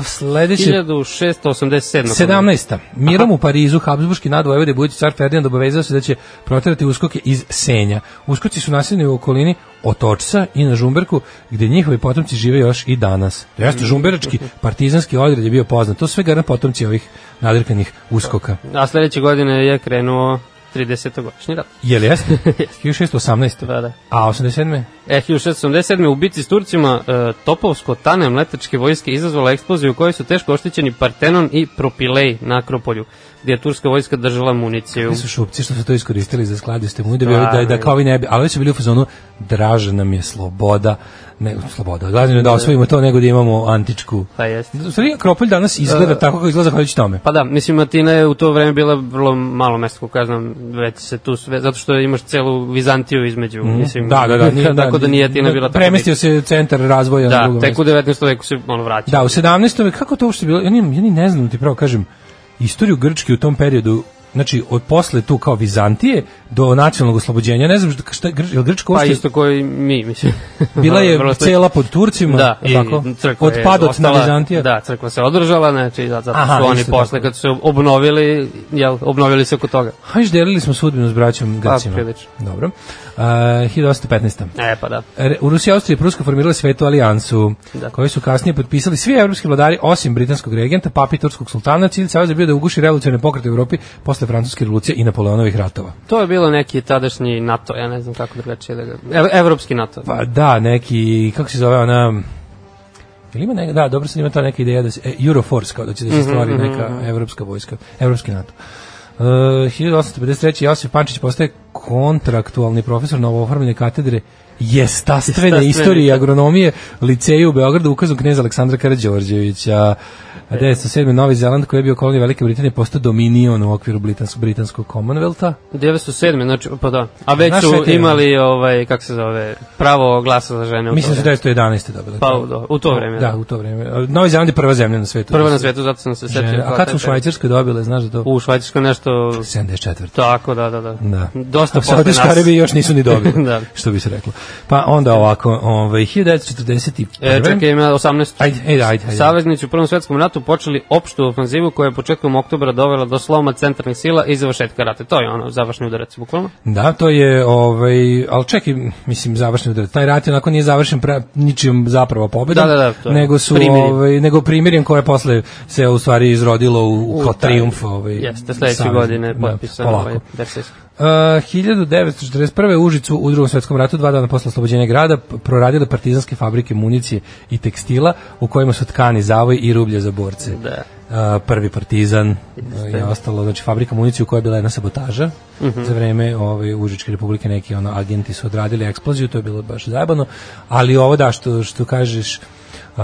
sledeće, 1687. 17. Mirom u Parizu, Habsburški nadvojevode, budući car Ferdinand obavezao se da će proterati uskoke iz Senja. Uskoci su naseljeni u okolini Otočca i na Žumberku, gde njihovi potomci žive još i danas. To Mhm. jeste, žumberački partizanski odred je bio poznat. To su sve garant potomci ovih nadrkanih uskoka. A sledeće godine je krenuo 30-godišnji rat. Jel jeste? 1618. Da, da. A 87. E, 1677. u bici s Turcima e, Topovsko tane mletačke vojske izazvala eksploziju u kojoj su teško oštećeni Partenon i Propilej na Akropolju, gde je turska vojska držala municiju. Ti su šupci što su to iskoristili za skladište mu da bi da, Stvarno. da kao vi ne bi, ali ovi su bili u fazonu draža nam je sloboda, ne sloboda, glavno je da osvojimo to nego da imamo antičku. Pa jeste. U stvari Akropolj danas izgleda tako kako izgleda zahvaljujući tome. Pa da, mislim Atina je u to vreme bila vrlo malo mesto, kako ja znam, već se tu sve, zato što imaš celu Vizantiju između, mm. mislim. Da, da, da, nije, tako da nije Atina bila tako. Premestio se centar razvoja na drugo Da, tek mesto. u 19. veku se ono vraća. Da, u 17. veku, kako to uopšte bilo? Ja ni, ja ni ne znam, ti pravo kažem, istoriju Grčke u tom periodu, znači od posle tu kao Vizantije do nacionalnog oslobođenja, ne znam šta, šta je Grč- je li Grčka Pa uopšte- isto koji mi, mislim. Bila je Vrlo slično. cela pod Turcima, da, je tako? crkva Od je padot na ostala- Vizantija. Da, crkva se održala, znači da, zato Aha, su oni isto posle tako. kad su se obnovili, jel, obnovili se oko toga. Hajde, delili smo sudbinu s braćom Grcima. Pa, prilično. Dobro. Uh, 1815. E, pa da. Re- U Rusiji, Austriji i Pruska formirali svetu alijansu, da. Da. koju su kasnije potpisali svi evropski vladari, osim britanskog regenta, papi turskog sultana, cilj savjeza je bio da uguši revolucione pokrete u Evropi posle francuske revolucije i Napoleonovih ratova. To je bilo neki tadašnji NATO, ja ne znam kako drugačije da ga... Ev, evropski NATO. Pa da, neki, kako se zove ona... Ili ima neka, da, dobro sam ima ta neka ideja da se, e, Euroforce, kao da će da Mhm, se stvari E, neka evropska vojska, evropski NATO. Uh, 1853. Josip Pančić postaje kontraktualni profesor novooformljene katedre jestastvene Jestastvene. istorije i agronomije liceju u Beogradu ukazom knjeza Aleksandra Karađorđevića. A 1907. Novi Zeland, koji je bio kolonija Velike Britanije, postao dominion u okviru Britansko, britanskog Commonwealtha. 1907. znači, pa da. A već Znaš su šta je imali, ovaj, kako se zove, pravo glasa za žene. u Mislim to da su 1911. dobili. Pa, u do- u to vreme, Da, da. u to vreme. A Novi Zeland je prva zemlja na svetu. Prva da na se- svetu, zato sam se žene- setio. A kad su u Švajcarskoj dobile, znaš da to? U Švajcarskoj nešto... 74. Tako, da, da, da. Da. Dosta A posle nas. Saudijski Arabi još nisu ni dobili, Da. što bi se reklo. Pa onda ovako, ovaj, 1941. E, čekaj, ima 18. Ajde, ajde, ajde, ajde. Saveznici u Prvom svetskom ratu počeli opštu ofanzivu koja je početkom oktobra dovela do sloma centralnih sila i završetka rata. To je ono, završni udarac, bukvalno. Da, to je, ovaj, ali čekaj, mislim, završni udar. Taj rat je onako nije završen pra, ničijom zapravo pobedom, Da, da, da, to je nego su, primirje. ovaj, nego primirjem koje posle se u stvari izrodilo u, u, kao taj- triumf. Ovaj, Jeste, sledeće savez. godine je potpisan da, polako. ovaj Versailles. Uh, 1941. u Užicu u drugom svetskom ratu, dva dana posle oslobođenja grada, p- proradile partizanske fabrike municije i tekstila u kojima su tkani zavoj i rublje za borce. Da. Uh, prvi partizan uh, je ostalo, znači fabrika municije u kojoj je bila jedna sabotaža za vreme ove, Užičke republike neki ono, agenti su odradili eksploziju, to je bilo baš zajebano, ali ovo da što, što kažeš Uh,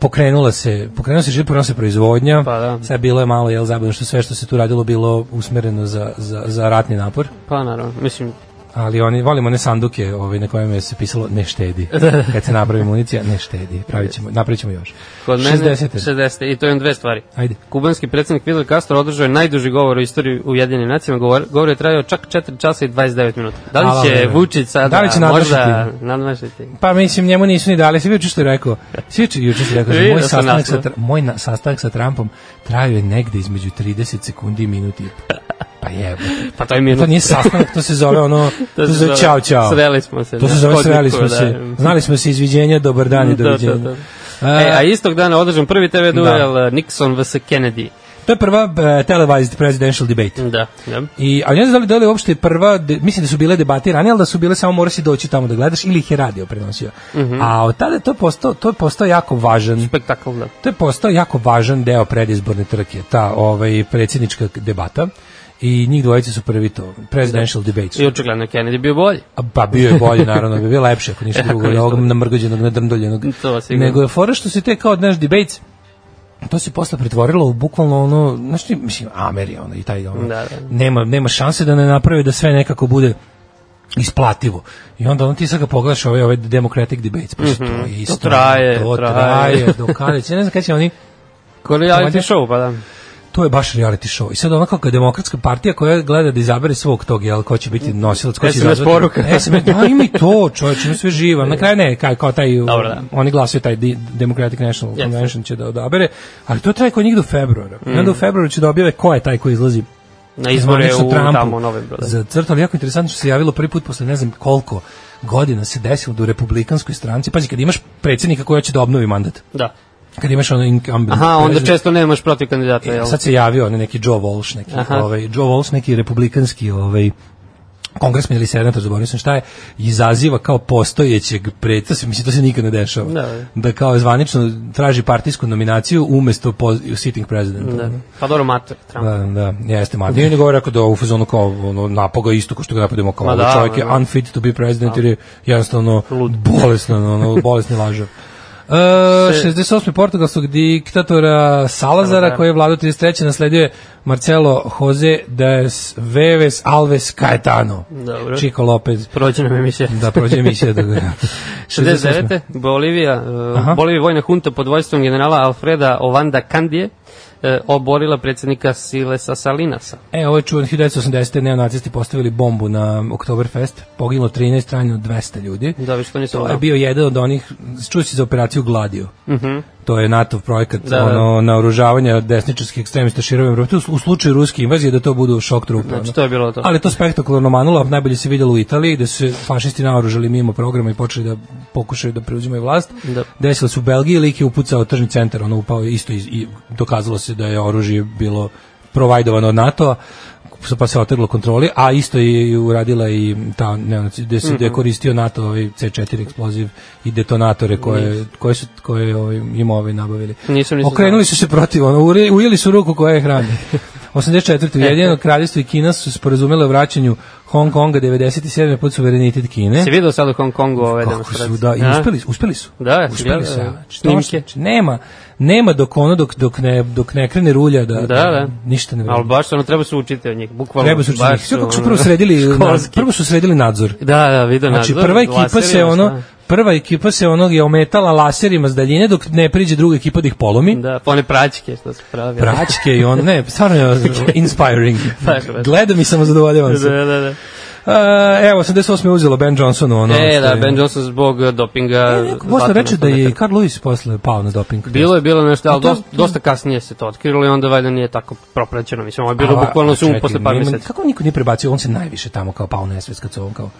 pokrenula se pokrenula se življa, pokrenula se proizvodnja Pa da. sve bilo je malo jel zabavno što sve što se tu radilo bilo usmereno za, za, za ratni napor Pa naravno, mislim, ali oni volimo one sanduke ovaj na kojima je se pisalo ne štedi kad se napravi municija ne štedi pravićemo napravićemo još kod mene 60 60. I to imam dve stvari. ajde Kubanski predsednik Fidel Castro održao je najduži govor u istoriji Ujedinjenih nacija. Govor, govor je trajao čak 4 časa i 29 minuta. Da li Ala, će vreme. Vučić sada Da li će možda nadmašiti? nadmašiti? Pa mislim njemu nisu ni dali, sve juče što je rekao. Sve juče što je rekao, Vidio moj sam sastanak sa naslov. Tr- moj na, sastanak sa Trumpom trajao je negde između 30 sekundi i minut i po. Pa jebote. Pa to je mirno. To nije sastanak, to se zove ono, to se zove čao čao. Sreli smo se. To se na zove hodniku, sreli smo da. se. Znali smo se izviđenja, dobar dan i Da, da, doviđenja. da. A, E, a istog dana održan prvi TV duel da. Nixon vs. Kennedy. To je prva e, televised presidential debate. Da, da. I, ali ne znam da li, da li je uopšte prva, de, mislim da su bile debate ranije, ali da su bile samo mora si doći tamo da gledaš ili ih je radio prenosio. Mhm. A od tada je to postao, to je postao jako važan Spektakl, da. To je postao jako važan deo predizborne trke, ta ovaj, predsjednička debata i njih dvojice su prvi to, presidential debate. Da. I očigledno je Kennedy bio bolji. A, Pa bio je bolje, naravno, bi bio lepše, ako ništa drugo, od ništa ovog drugo. namrgođenog, nadrmdoljenog. To sigurno. Nego je fora što se te kao, znaš, debates, to se posle pretvorilo u bukvalno ono, znaš ti, mislim, Ameri, ono, i taj, ono, Da, da. Nema, nema šanse da ne naprave da sve nekako bude isplativo. I onda ono ti sad ga pogledaš ove, ove Democratic Debates, pa što je isto. ono, Mhm. traje, to traje. traje, do kada će, ne znam kada će oni, Ko reality valjda- show, pa da. to je baš reality show. I sad ona kao demokratska partija koja gleda da izabere svog tog, jel, ko će Mm. biti nosilac, ko će SMS izazvati- poruka. SMS, da, ima i to, čovječ, ima sve živa. Na kraju ne, kao, kao taj, Dobro, da. oni glasaju taj D- Democratic National Jeste. Convention će da odabere, ali to traje kod njih do februara. I onda u februaru će da objave ko je taj ko izlazi Mm. Na izbore zvanično u Trumpu tamo u novembru. Da. Za crto, ali jako interesantno što se javilo prvi put posle ne znam koliko godina se desilo da u republikanskoj stranci, pazi, kad imaš predsjednika koji hoće da obnovi mandat, da. kad imaš ono incumbent. Aha, onda president- često nemaš protiv kandidata, E, jel? sad se javio onaj neki Joe Walsh, neki Aha. ovaj Joe Walsh neki republikanski ovaj kongresmen ili senator, zaboravio sam šta je, izaziva kao postojećeg preta, mislim to se nikad ne dešava, Da. da kao zvanično traži partijsku nominaciju umesto poz, sitting presidenta. Da. Pa dobro, mater, Trump. Da, da, jeste Martin. Nije govore rekao da u fazonu kao ono, napaga isto ko što ga napadimo kao Ma ovo. da, čovjek je ma da. unfit to be president jer je jednostavno bolesno, ono, bolesni lažav. E, 68. portugalskog diktatora Salazara, koji je vladao 33. nasledio je Marcelo Jose de Veves Alves Caetano. Dobro. Chico Lopez. Prođe nam emisija. Da, prođe emisija da ga... 69. Bolivija, eh, Aha. Bolivija vojna hunta pod vojstvom generala Alfreda Ovanda Kandije eh, oborila predsjednika Silesa Salinasa. E, ovo je čuvan 1980. neonacisti postavili bombu na Oktoberfest, poginulo 13, trajno 200 ljudi. Da, vi što nisam To je znao. bio jedan od onih, čuo si za operaciju Gladio. To je NATO projekat Da, da, da. ono, naoružavanja desničarskih ekstremista širom Evrope. U, u slučaju ruske invazije da to budu šok trupe. Znači, ono. to je bilo to. Ali to spektakularno manulo, najbolje se vidjelo u Italiji, gde su se fašisti naoružali mimo programa i počeli da pokušaju da preuzimaju vlast. Da. Desilo se u Belgiji, lik je upucao tržni centar, ono upao je isto iz, i dokazalo se da je oružje bilo provajdovano od NATO-a pa se otrglo kontroli, a isto je i uradila i ta neonaci, gde se gde Mhm. je koristio NATO ovaj C4 eksploziv i detonatore koje, koje su koje ovaj, im ovaj nabavili. Nisam, nisam Okrenuli su se protiv, ono, uri- E, ujeli su ruku koja je hrani. 84. Ujedinjeno kraljevstvo i Kina su se sporazumele o vraćanju Hong Konga 97. pod suverenitet Kine. Si video sad u Hong Kongu ove Kako demonstracije? su, da, i A? uspeli, uspeli su. Da, uspeli ja, su. ja, a, snimke. što- znači, nema, nema dok ono, dok, dok, ne, dok ne krene rulja da, Da, da. ništa ne Ali vredi. baš ono, treba se učiti od njih, bukvalno. Treba su baš učiniti. Sve kako su ono, prvo sredili, školski. prvo su sredili nadzor. Da, da, video Znači, nadzor, prva ekipa se laserima, ono, šta? prva ekipa se onog je ometala laserima s daljine dok ne priđe druga ekipa da ih polomi. Da, pa one praćke što se pravi. Praćke i on, ne, stvarno je inspiring. Baš, baš. Gledam i samozadovoljavam se. Da, da, da. Uh, evo, 88. je uzelo Ben Johnsonu ono. e, što da, je- Ben Johnson zbog eh, dopinga. E, neko Bosna vatreno reče da je i metara. Carl Lewis posle pao na doping. Bilo je, bilo je nešto, ali to- dosta, dosta kasnije se to otkrilo i onda valjda nije tako propraćeno. Mislim, ovo je bilo bukvalno sum pa čekaj, posle par nema- meseci. Kako niko nije prebacio, on se najviše tamo kao pao nesvest kad su on kao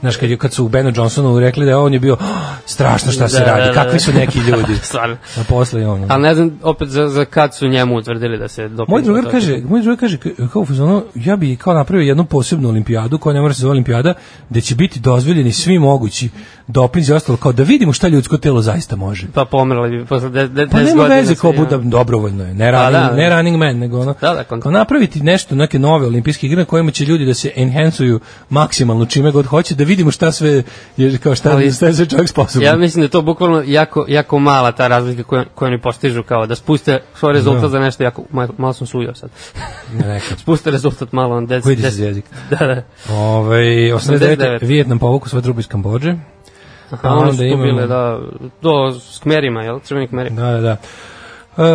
Znaš, kad, je- kad su Benu Johnsonu rekli da je on je bio "Oh, strašno šta se Da, radi, da, da. kakvi su neki ljudi. Stvarno. A posle i ono. A ne znam, opet za, za kad su njemu utvrdili da se dopinga. Moj drugar otkrilo. kaže, moj drugar kaže k- kao u fazonu, ja bi kao napravio jednu posebnu olimpijadu koja ne mora da se zove olimpijada, gde će biti dozvoljeni svi mogući dopinzi i ostalo, kao da vidimo šta ljudsko telo zaista može. Pa pomrla bi posle 10 godina. Pa nema veze svi, ko ono. bude dobrovoljno je, ne Pa running, da. ne running man, nego ono, Da, da, kontra- kao napraviti nešto, neke nove olimpijske igre na kojima će ljudi da se enhancuju maksimalno čime god hoće, da vidimo šta sve je, kao šta, Ali- šta je sve čovjek sposoban. Ja mislim da je to bukvalno jako, jako mala ta razlika koju, koju oni postižu, kao da spuste svoj rezultat za nešto jako, malo, malo sam sujao sad. Ne, neka. spuste rezultat malo, on Vidi se 10, za jezik. Da, da. Ove, 89. 89. Vijetnam povuku svoje trupe iz Kambođe. Pa onda onda su tu imamo- bile, da, do, s kmerima, jel? Crveni kmeri. Da, da, da.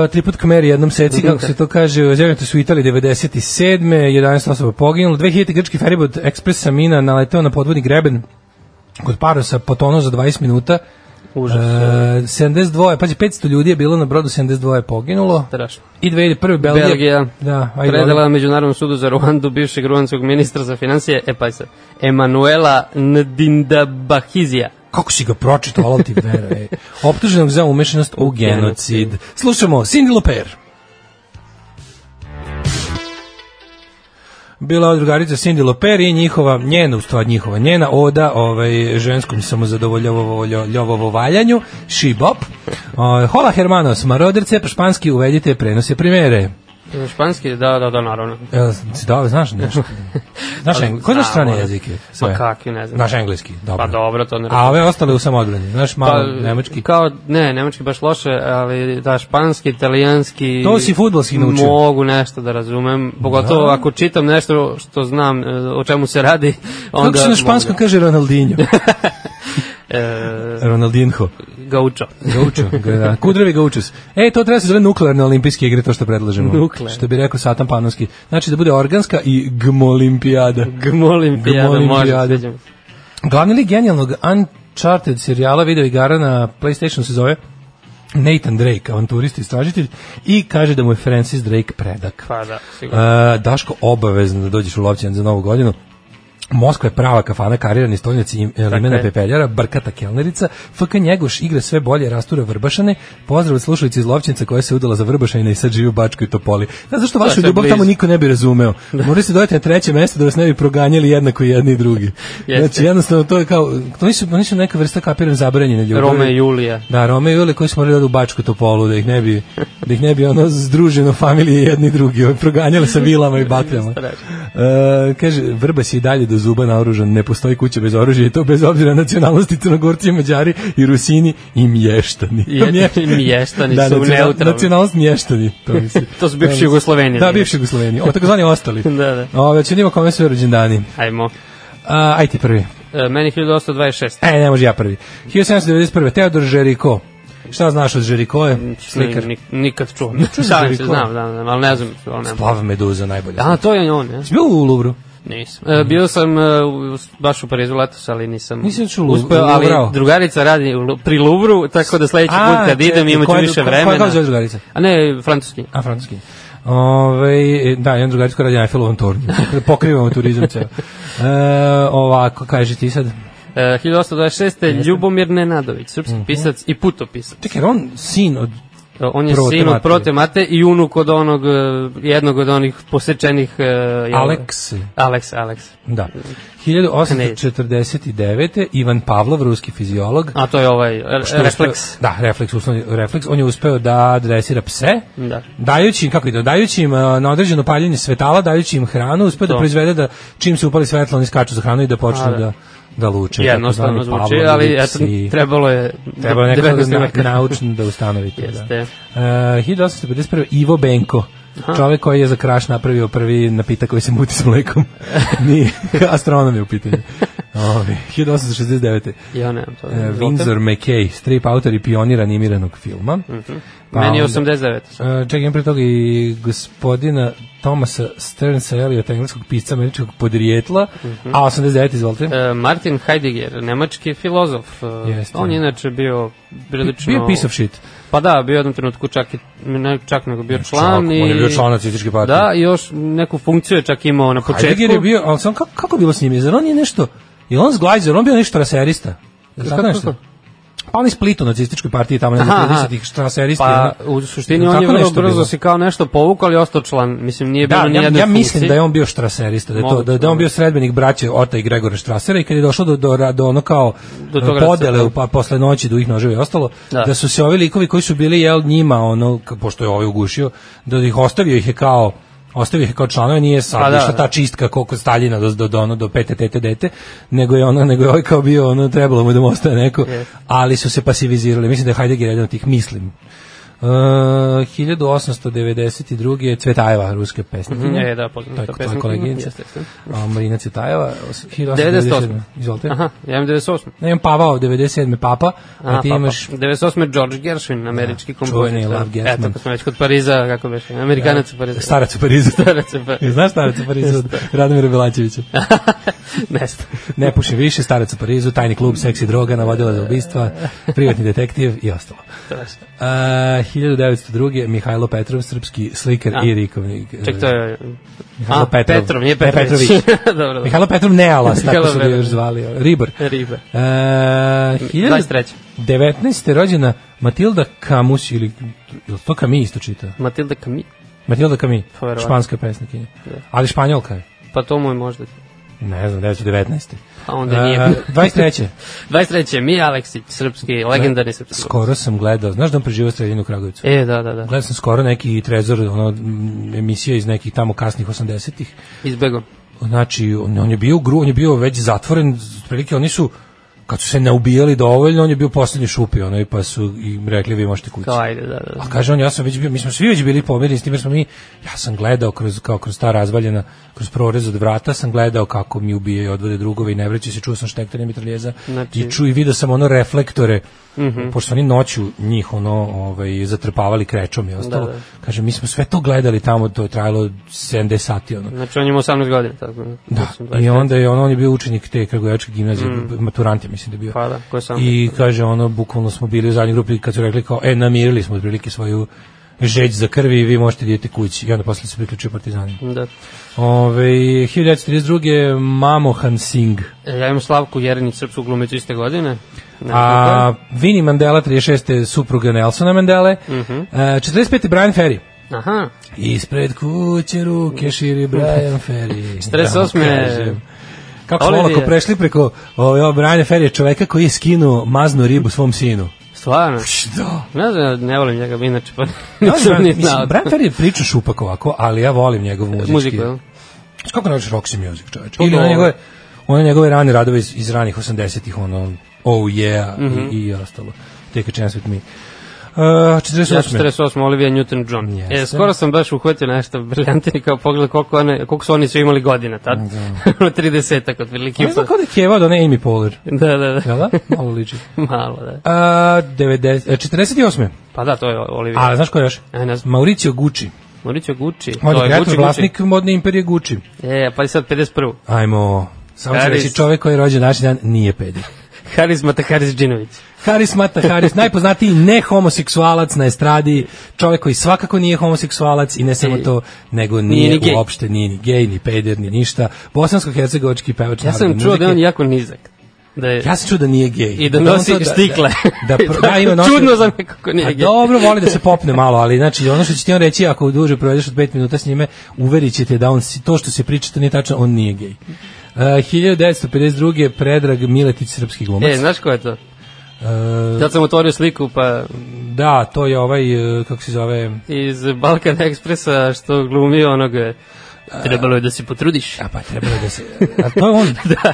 Uh, tri put kmeri jednom seci, kako se to kaže, zemljate su u Italiji 97. 11 osoba poginulo. 2000. grčki feribod Ekspres Samina naleteo na podvodni greben kod Parosa, potonuo za 20 minuta. Užas. E, 72, pađe, 500 ljudi je bilo na brodu, 72 je poginulo. Strašno. I 2001. Belgija. Belgija. Da, ajde. Predala Međunarodnom sudu za Ruandu bivšeg ruanskog ministra za financije, e pa sad, Emanuela Ndindabahizija. Kako si ga pročitao, ali ti vera, ej. Optuženog za umešanost u genocid. Slušamo Cindy Loper. Bila je drugarica Cindy Loper i njihova, njena, u stvari njihova, njena oda ovaj, ženskom samozadovoljovovo valjanju, She Bop. O, Ovaj, Hola Hermanos, maroderce, po španski uvedite prenose primere. Španski, da, da, da, naravno. Jel, si da, znaš nešto? Znaš, engleski, ko znaš znam, strane ono. jezike? Ma kakvi, ne znam. Znaš engleski, dobro. Pa dobro, to ne A ove ostale u samodbrani, znaš, malo nemački. Pa, Kao, ne, nemački baš loše, ali da, španski, italijanski... To si fudbalski naučio. Mogu nešto da razumem, pogotovo Da. ako čitam nešto što znam e, o čemu se radi, onda... Kako se na španskom mogu kaže Ronaldinho? da- E, Ronaldinho. gaučo. Gaučo, da, kudrevi gaučus. E, to treba se zove nuklearne olimpijske igre, to što predlažemo. Nuklearne. Što bi rekao Satan Panovski. Znači da bude organska i gmolimpijada. Gmolim pijada, može, Gmolimpijada. sviđa mi se. Glavni lik genijalnog Uncharted serijala video igara na Playstationu se zove Nathan Drake, avanturist i istražitelj, i kaže da mu je Francis Drake predak. Pa da, sigurno. E, Daško, obavezno da dođeš u Lovćan za novu godinu. Moskva je prava kafana, karirani stoljac i e, limena je. pepeljara, brkata kelnerica, FK Njegoš igra sve bolje, rastura Vrbašane, pozdrav od slušalici iz Lovćenca koja se udala za Vrbašanina i sad živi u Bačkoj Topoli. Znaš zašto vašu sve ljubav blizu. tamo niko ne bi razumeo? Morali ste dojeti na treće mesto da vas ne bi proganjali jednako i jedni i drugi. Jeste. Znači jednostavno to je kao, to nisu, oni su neka vrsta kapiram zabranjene ljubavi. Rome i Julija. Da, Rome i Jule koji smo morali da u Bačku Topolu, da ih ne bi, da ih ne bi ono združeno familije jedni i drugi, ovaj, proganjali sa vilama i bakljama. E, kaže, Vrbas je i dalje do zuba naoružan, ne postoji kuća bez oružja i to bez obzira na nacionalnosti Crnogorci, Mađari i Rusini i Mještani. Da, I jedni mještani su neutralni. Nacionalnost Mještani, to mislim. To su bivši Jugosloveni, Da, ali. bivši Jugosloveni, o takozvani ostali. Da, da. Ove, činimo kome su rođendani. Ajmo. A, aj ti prvi. E, meni 1826. E, ne može ja prvi. 1791. Teodor Žeriko. Šta znaš od Žerikoje? Slikar. Ni, nikad čuo. Šalim se, Željko? znam, znam, znam, ali ne znam. ali ne znam. Plava meduza najbolje. A, to je on, ja? Si bio u Luvru? Nisam. E, bio sam e, u- baš u Parizu letos, ali nisam Nisi još da u Lu- uspeo, ali Luvrao? drugarica radi u, Lu- pri Luvru, tako da sledeći A, put kad idem čekaj, imaću koja- više koja- vremena. koja zove drugarica? A ne, francuski. A, francuski. Ove, da, jedan drugaric koji radi na Eiffelovom tornju. Da Pokrivamo turizam ceo. E, ovako, kaži ti sad. E, Mhm. 1826. Ljubomir Nenadović, srpski pisac i putopisac. E, Čekaj, on sin od On je Prote sin od Mateje. prote mate i unuk od onog, eh, jednog od onih posečenih... eh, jel- Aleks. Alex, Alex. Da. 1849. Ivan Pavlov, ruski fiziolog. A to je ovaj re- što je uspeo- refleks. da, refleks, uslovni refleks. On je uspeo da dresira pse, Da. dajući im, kako ide, dajući im e, na određeno paljenje svetala, dajući im hranu, uspeo da To. proizvede da čim se upali svetlo, oni skaču za hranu i da počnu A, da. da da luče. Jednostavno Takozvani zvuči, Pavlovi ali eto, psi. trebalo je... Treba do- nekako 19. na, veka. naučno da ustanovite. Da. Jeste. Uh, 1851. Ivo Benko. Čovek koji je za kraš napravio prvi napitak koji se muti s mlekom. Nije, astronom je u pitanju. Ovi, 1869. Ja nemam to. Uh, Izvolite. Windsor McKay, strip autor i pionir animiranog filma. Mhm. Pa Meni je onda- 89. Uh, čekaj, imam pre toga i gospodina Thomasa Stearnsa Eliota, engleskog pisca američkog podrijetla, a 89, izvolite. Mhm. E, Martin Heidegger, nemački filozof. e, Jeste. da. On je inače bio prilično... Bio piece of shit. Pa da, bio u jednom trenutku čak, i, ne čak nego bio član Član, i... on je bio član nacističke partije. Da, i još neku funkciju je čak imao na početku. Heidegger je bio, ali sam kako, kako je bilo s njim? Jer on je nešto, je on zglajzer, on bio nešto raserista. Jel tako Kako- nešto? Pa on je splitu nacističkoj partiji tamo, ne znam, Aha, aha. 30-ih štraseristi. Pa, u suštini on je vrlo brzo se kao nešto povukao, ali je ostao član. Mislim, nije bilo Da, ni ja, jedne ja mislim funkcije. da je on bio štraserista, da je, to, Moguće, da, da je on bio sredbenik braće Ota i Gregora Štrasera i kad je došlo do, do, do ono kao Do toga podele rascrta. u, pa, posle noći do ih noževa i ostalo, da. Da. da su se ovi likovi koji su bili jel, njima, ono, k- pošto je ovaj ugušio, da ih ostavio ih je kao ostavio ih je kao članove, nije sad Pa da, išla da. ta čistka koliko Staljina do, do, do, ono, do pete tete dete, nego je ono, nego je ovaj kao bio, ono, trebalo mu da mu ostaje neko, Yes. ali su se pasivizirali. Mislim da je Heidegger jedan od tih, mislim. Uh, 1892. je Cvetajeva, ruska pesnikinja. E, da, poznam. To je- to je koleginica. Jeste, jeste. A, Marina Cvetajeva, 1897. 98. Izvolite. Aha, ja imam 98. Ne, imam Pavao, 97. Papa, a, Aha, ti pa, imaš... Da, Pa. 98. je George Gershwin, američki kompozitor. čuveni Da. Love Gershman. Eto, kad smo već kod Pariza, kako beše, Amerikanac u Parizu. Starac u Parizu. Starac u Parizu. Znaš Starac u Parizu od Radomira Belačevića? ne znam. Ne puši više, Starac u Parizu, tajni klub, seksi droga, navodila za ubistva, privatni detektiv i ostalo. Uh, 1902. Mihajlo Petrov, srpski slikar i rikovnik. Ček, to je... Mihajlo A, Petrov. Petrov, nije Ne, Petrović. dobro, dobro. Mihajlo Petrov Nealas, tako Mihajlo E, su ga Petrov. još zvali. Ribor. Ribe. Uh, 1919. 23. rođena Matilda Camus ili je li to Camus isto čita? Matilda Kami. Matilda Camus, Pa, verovatno. španska pesnikinja. Ali španjolka je. Pa to mu je možda. Ne znam, 1919. Pa onda nije. Uh, 23. 23. Mi Aleksić, srpski, legendarni srpski. Skoro sam gledao, znaš da on preživao streljinu u Kragovicu? E, da, da, da. Gledao sam skoro neki trezor, ono, m, emisija iz nekih tamo kasnih 80-ih. Izbegom. Znači, on, on je bio u gru, on je bio već zatvoren, otprilike oni su, kad su se ne ubijali dovoljno, on je bio poslednji šupi, ono, i pa su im rekli, vi možete kući. Kao, ajde, da, da. A kaže on, ja sam već bio, mi smo svi već bili pomireni s tim, jer smo mi, ja sam gledao kroz, kao kroz ta razvaljena, kroz prorez od vrata, sam gledao kako mi ubijaju i odvode drugove i ne vraćaju se, čuo sam štektanje mitraljeza Znači- Mhm. i ču i video sam ono reflektore, pošto su oni noću njih ono, ovaj, zatrpavali krečom i ostalo. Da, da. Kaže, mi smo sve to gledali tamo, to je trajalo 70 sati, ono. Znači, on ima 18 godina, tako. Da, Mislim, i 23. onda je on, on je bio učenik te Kragujevačke gimnazije, maturant je mislim da je bio. Pa da, ko je sam. I kaže ono, bukvalno smo bili u zadnjoj grupi kad su rekli kao, e, namirili smo otprilike svoju žeć za krvi i vi možete da idete kući. I onda posle se priključio partizanima. Da. Ove, 1932. Mamohan Singh. E, Ja imam Slavku Jerinić, srpsku glumicu iste godine. Ne, Mhm. A Vini Mandela, 36. supruga Nelsona Mandele. Mm -hmm. 45. Brian Ferry. Aha, Ispred kuće ruke širi Brian Ferry. Kako 48. kažem. Kako smo Olivije. olako prešli preko ove, ove Brian Ferry je čoveka koji je skinuo maznu ribu svom sinu. stvarno. Što? Ne znam, ne volim njega, inače, pa Ja nisam volim ni Brian, znao. mislim, Brian Ferry je priča šupak ovako, ali ja volim njegov muzički. Muziku, jel? Znaš Kako naučiš Roxy Music, čoveč? Pa Ili one dobro. njegove, one njegove rane radove iz, iz ranih 80-ih, ono, Oh Yeah mm Mhm. -hmm. i, i ostalo. Take a chance with me. Uh, 48. Ja 48. Olivia Newton-John. Jeste. E, skoro sam baš uhvatio nešto briljantini kao pogled koliko, one, koliko su oni sve imali godina tad. Da. 30 tako otprilike. Ne znam kao da je kjevao da one Amy Poehler. Da, da, da. Jel da? Malo liči. Malo, da. Uh, 90, e, 48. Pa da, to je Olivia. A, znaš ko je još? E, ne znam. Mauricio Gucci. Mauricio Gucci. On To je je kreator, Gucci, vlasnik modne imperije Gucci. Gucci. E, pa je sad 51. Ajmo, samo ću Harris. reći čovek koji je rođen naši dan nije pedi. Haris Matakaris Džinović. Haris Mata Haris, najpoznatiji nehomoseksualac na estradi, čovjek koji svakako nije homoseksualac i ne samo Ej. to, nego Nije nije, ni gej. uopšte, nije ni gej, ni peder, ni ništa. Bosansko-hercegovački pevač Ja sam narodne čuo da je on muzike. jako nizak. Da je, Ja se čuo da nije gej. I da je on nosi to štikle. Da, da, da, da ima nosi, Čudno za nekako nije A gej. Dobro, voli da se popne malo, ali znači ono što će ti on reći, ako duže provedeš od 5 minuta s njime, uverit će te da on, si- to što se priča, to nije tačno, on nije gej. Uh, 1952. Predrag Miletić, srpski glumac. E, znaš ko je to? Uh, Sad sam otvorio sliku pa da, to je ovaj, uh, kako se zove... iz Balkan Ekspresa što glumi onog e, trebalo je da se potrudiš. A pa trebalo je da se... A to je on, Da,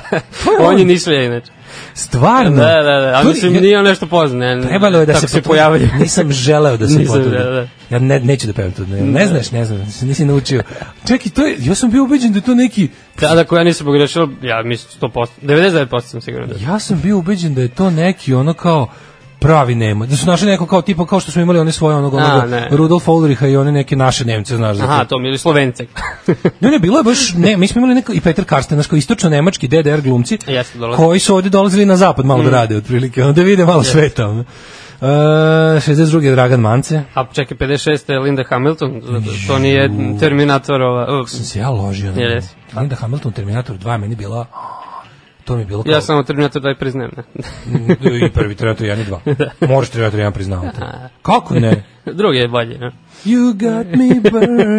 on. on je nišlija inače. stvarno. Da, da, da, a To je- mislim nije on nešto poznan. ne, Trebalo je da tako se se potrudi. pojavlja. Nisam želeo da se Nisam potrudi. želeo, da. Ja ne, neću da pevam to. Ne, ne znaš, ne znaš, nisi naučio. Čekaj, to je, ja sam bio ubeđen da je to neki Tada koja nisam pogrešila, ja mislim 100%, 99% sam siguran da je. Ja sam bio ubeđen da je to neki ono kao pravi Nemac. Da su našli neko kao tipa kao što smo imali one svoje onog, A, onog ne. Rudolf Ulricha i one neke naše Nemce, znaš. za Aha, to. to mi je Slovence. Ne, ne, bilo je baš, ne, mi smo imali neko, i Peter Karsten, znaš, kao istočno-nemački DDR glumci, Jeste, Mm. dolaze. koji su ovde dolazili na zapad malo da rade, otprilike, ono, da vide malo sveta. Ono. E, 62. Dragan Mance. A čekaj, 56. je Linda Hamilton, zato to nije Terminatorova. uh, Sam se ja ložio. na Jel nju. jesi? Linda Hamilton, Terminator 2, meni bila... To mi je bilo kao... Ja samo Terminator daj priznajem. ne. I prvi Terminator 1 i Da. da 2. Moraš Terminator 1 priznavati. Kako ne? Drugi je bolji, ne? You got me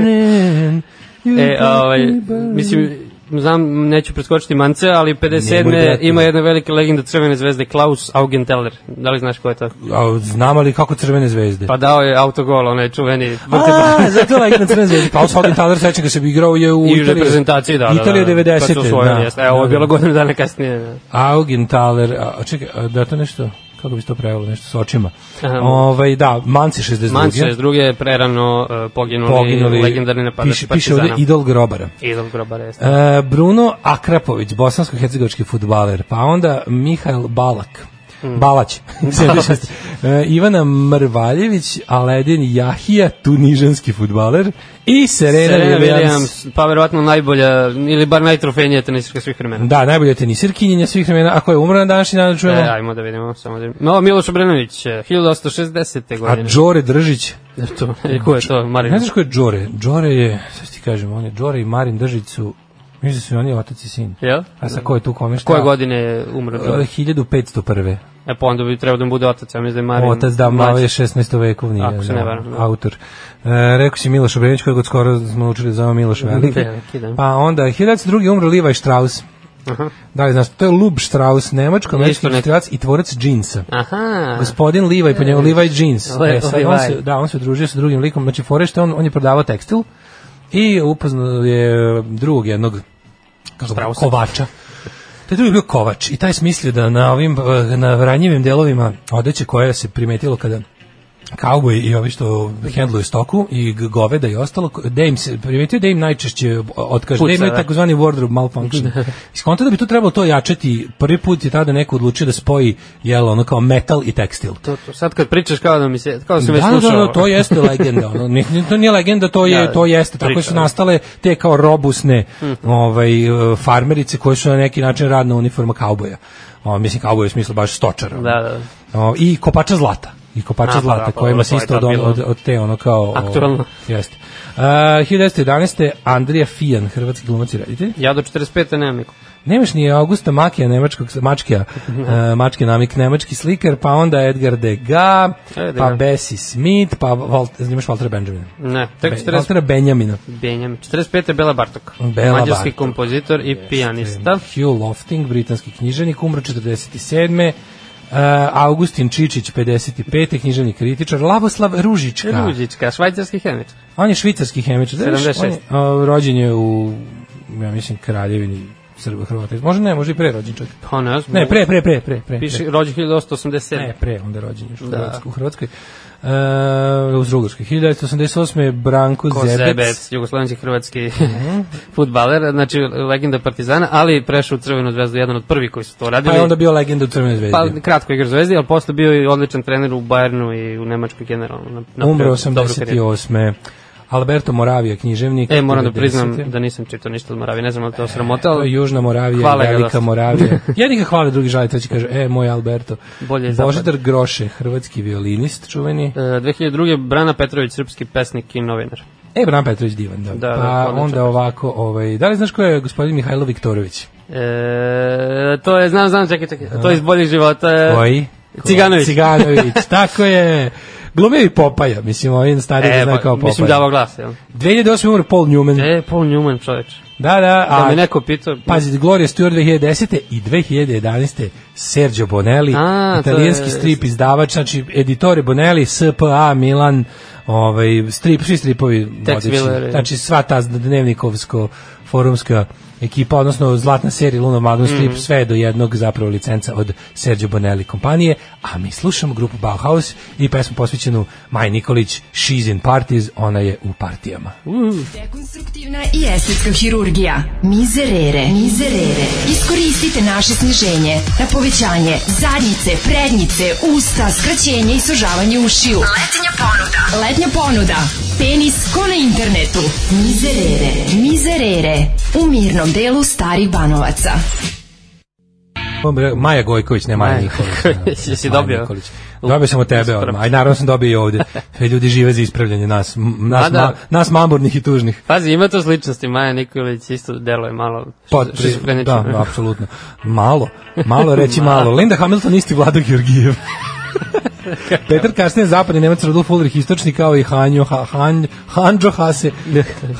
burning. You E, got ovaj, me burning. mislim, znam, neću preskočiti mance, ali Nemoj 57. brati. ima jedna velika legenda crvene zvezde, Klaus Augenteller. Da li znaš ko je to? A, znam ali kako crvene zvezde? Pa dao je autogol, onaj čuveni. A, zato like na crvene zvezde. Pa Osvaldo Tadar sećam ga se bi igrao je u I u Italiji. reprezentaciji, da, da, da. Italija Da, da, Kad su 90. osvojili, jeste. Evo, ovo je bilo godinu dana kasnije. da. Augenthaler, a, a čekaj, a, da je to nešto, kako bi se to prevelo, nešto s očima. Aha. Ovaj, da, Manci 62. Mance 62. je prerano e, poginuli, poginuli, legendarni napadač piše, piše ovde Partizana. idol grobara. Idol grobara, jeste. E, Bruno Akrapović, bosansko-hercegovički futbaler, pa onda Mihajl Balak, Hmm. Balać, 76. E, Ivana Mrvaljević, Aledin Jahija, tunižanski futbaler i Serena, Serena Williams. Williams, pa verovatno najbolja, ili bar najtrofejnija tenisirka svih vremena. Da, najbolja tenisirkinjenja svih vremena, a koja je umrla na današnji dan, da E, čujemo. ajmo da vidimo, samo da No, Miloš Obrenović, e, 1860. a godine. Džore Držić, to, E, ko je to, Marin? ne znaš ko je Džore? Džore je, sad ti kažem, on je Džore i Marin Držić su, mislim da su i oni otac i sin. Jel? A da. sa ko je tu kome šta? Koje godine je umro? E, 1501. E pa onda bi trebao da mu bude otac, ja mislim da je Marin. Otac da malo mlađi. je 16. vekovni Ako se da, ne varam, da. autor. E, rekao si Miloš Obrenović kojeg od skoro smo učili da zove Miloš Veliki. Veliki, da. Pa onda 1902. umro Levi Strauss. Aha. Da li znaš, to je Lub Strauss, nemačko američki Isto neki. industrialac i tvorac džinsa. Aha. Gospodin Levi, po njemu Levi jeans. Le- E, sad on se, Levi. da, on se družio sa drugim likom, znači forešte, on, on je prodavao tekstil i upoznao je drugog jednog kako ga- Straussa. kovača. Taj drugi je bio kovač i taj je smislio da na ovim eh, na ranjivim delovima odeće koja se primetilo kada kauboj i ovi što hendluju stoku i g- goveda i ostalo, ko- da im se primetio da im najčešće otkaže, da Puca, imaju da. takozvani wardrobe malfunction. Iskonto da bi tu trebalo to jačati, prvi put je tada neko odlučio da spoji jel, ono kao metal i tekstil. To, to, sad kad pričaš kao da mi se, kao da sam već Da, da, slušao. da, to jeste legenda. Ono, ni- ni- to nije legenda, to je Da, to jeste. Tako priča, su da. Hm. nastale te kao robusne ovaj e, farmerice koje su na neki način radna uniforma kauboja. O, mislim kauboja u smislu baš stočara. ono. Da, O, I kopača zlata. I kopača A, pa zlata, da, pa kojima dobro, se to je isto tad od, ono- bilo. od, od te ono kao... o, Aktualno. Jeste. Uh, 1911. Andrija Fijan, hrvatski glumac i reditelj. Ja do 45. nemam nikog. Nemaš ni Augusta Makija, nemačkog mačkija, e, mački namik, nemački slikar, pa onda Edgar Degas, E, pa Degas. Bessie Smith, pa Val, imaš Waltera Benjamina. Ne, tek Be, 40, Waltera Benjamina. Benjamin. 45. Bela Bartok. Bela Mađarski Bartok. kompozitor i pijanista. Hugh Lofting, britanski književnik, umro 47. Uh, Augustin Čičić, 55. književni kritičar, Lavoslav Ružička. Ružička, švajcarski hemičar. On je švicarski hemičar. znaš, 76. On je, a, rođen je u, ja mislim, kraljevini Srba, Hrvata. Možda ne, možda i pre rođen čak. Pa ne, znam. Ne, pre, pre, pre, pre. pre Piše, rođen 1887. Ne, pre, onda je rođen još u Da. Hrvatskoj. U Hrvatskoj. E, uz Rugarskoj. 1988. je Branko Ko Zebec. Zebec, jugoslovenski hrvatski futbaler, znači legenda Partizana, ali prešao u Crvenu zvezdu, jedan od prvih koji su to Pa radili. je onda bio legenda u Crvenoj zvezdi. Pa kratko igra u Zvezdi, ali posle bio i odličan trener u Bayernu i u Nemačkoj generalno. Na, na Umro dobru karijeru. 88. Alberto Moravija, književnik. E, moram da priznam 90.. da nisam čitao ništa od Moravi, ne znam da ali to sramota, To je ali Južna Moravija, Hvala ga Velika dosta. Moravija. Jedni ga hvale, drugi žali, treći kaže, e, moj Alberto. Bolje je zapad. Božidar Groše, hrvatski violinist, čuveni. e, 2002. Brana Petrović, srpski pesnik i novinar. E, Bran Petrović divan, da. Da, da, pa odličan. onda ovako, ovaj, da li znaš ko je gospodin Mihajlo Viktorović? E, to je, znam, znam, čekaj, čekaj, to je iz boljih života. e, je- Koji? Ciganović. Ciganović, tako je. Glumio i Popaja, mislim, ovaj stari e, E, zna pa, kao Popaja. mislim davao glas, jel? 2008. umro Paul Newman. E, Paul Newman, čoveč. da, da, Da a me neko pitao. Pazi, Gloria Stewart 2010. i 2011. Sergio Bonelli, A, to italijanski je- strip izdavač, znači editore Bonelli, SPA, Milan, ovaj, strip, svi stripovi Tex odlični. Willer. Znači sva ta dnevnikovsko forumska ekipa, odnosno zlatna serija Luna Magnum strip, Mhm. sve do jednog zapravo licenca od Sergio Bonelli kompanije, a mi slušamo grupu Bauhaus i pesmu posvećenu Maji Nikolić, She's in Parties, ona je u partijama. Dekonstruktivna i estetska hirurgija. Mizerere. Mizerere. Iskoristite naše sniženje na povećanje zadnjice, prednjice, usta, skraćenje i sužavanje ušiju. Letnja ponuda. Letnja ponuda. Penis ko na internetu. Mizerere. Mizerere. U mirnom delu starih banovaca. Maja Gojković, ne Maja Maja Nikolić. da, Gojković, jesi dobio? Nikolić. Dobio sam od tebe odmah, a i naravno da sam dobio i ovde. Sve ljudi žive za ispravljanje nas, m- nas, A da. ma, nas mamburnih i tužnih. Pazi, ima to sličnosti, Maja Nikolić isto deluje malo Pa, š- šizofrenično. da, da, apsolutno. Malo, malo reći malo. Linda Hamilton isti Vlado Georgijev. Petar kasnije zapadni Nemac Rudolf Ulrich istočni kao i Hanjo, ha, Han, Hanđo Hase,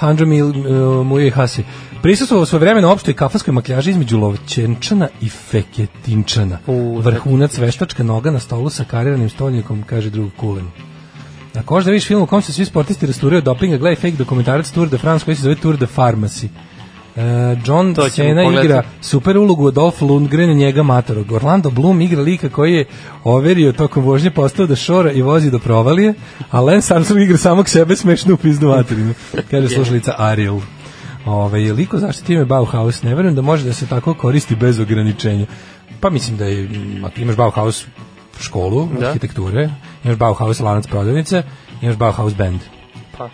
Hanđo Mil, uh, Muje Hase. Prisustvovao svoje vremena opštoj kafanskoj makljaži između Lovćenčana i Feketinčana. U, Vrhunac veštačka noga na stolu sa kariranim stolnikom, kaže drug Kulen. Ako možda vidiš film u kom se svi sportisti rasturaju od dopinga, gledaj fake dokumentarac Tour de France koji se zove Tour de Pharmacy. Uh, John To ćemo Cena pogledati. igra super ulogu od Dolph Lundgren i njega matorog. Orlando Bloom igra lika koji je overio tokom vožnje postao da šora i vozi do provalije, a Lance Armstrong igra samog sebe smešnu u pizdu materinu. Kaže slušalica Ariel. Ove, je liko zaštiti ime Bauhaus? Ne verujem da može da se tako koristi bez ograničenja. Pa mislim da je, m, ako imaš Bauhaus školu Da. arhitekture, imaš Bauhaus lanac prodavnice, imaš Bauhaus band. Pa,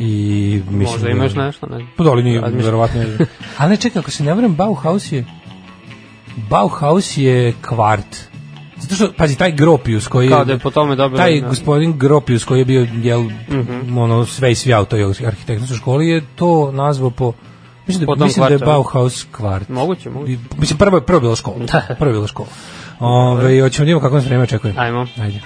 I mislim možda da- imaš nešto, ne? Pa da, ali nije, Razmišljam. verovatno je. Ali ne, čekaj, ako se ne varam, Bauhaus je... Bauhaus je kvart. Zato što, pazi, taj Gropius koji... Kao da je po tome dobila... Taj da. Mhm. gospodin Gropius koji je bio jel, ono, sve i svija u toj arhitektonskoj školi je to nazvao po... Mislim Po da, tom mislim da je kvartu, ne? Bauhaus kvart. Moguće, moguće. I- Mislim, prvo, je- prvo je bila škola. Prvo je bila škola. Ove, hoćemo da vidimo kako nas vreme očekuje. Ajmo. E, Ajde.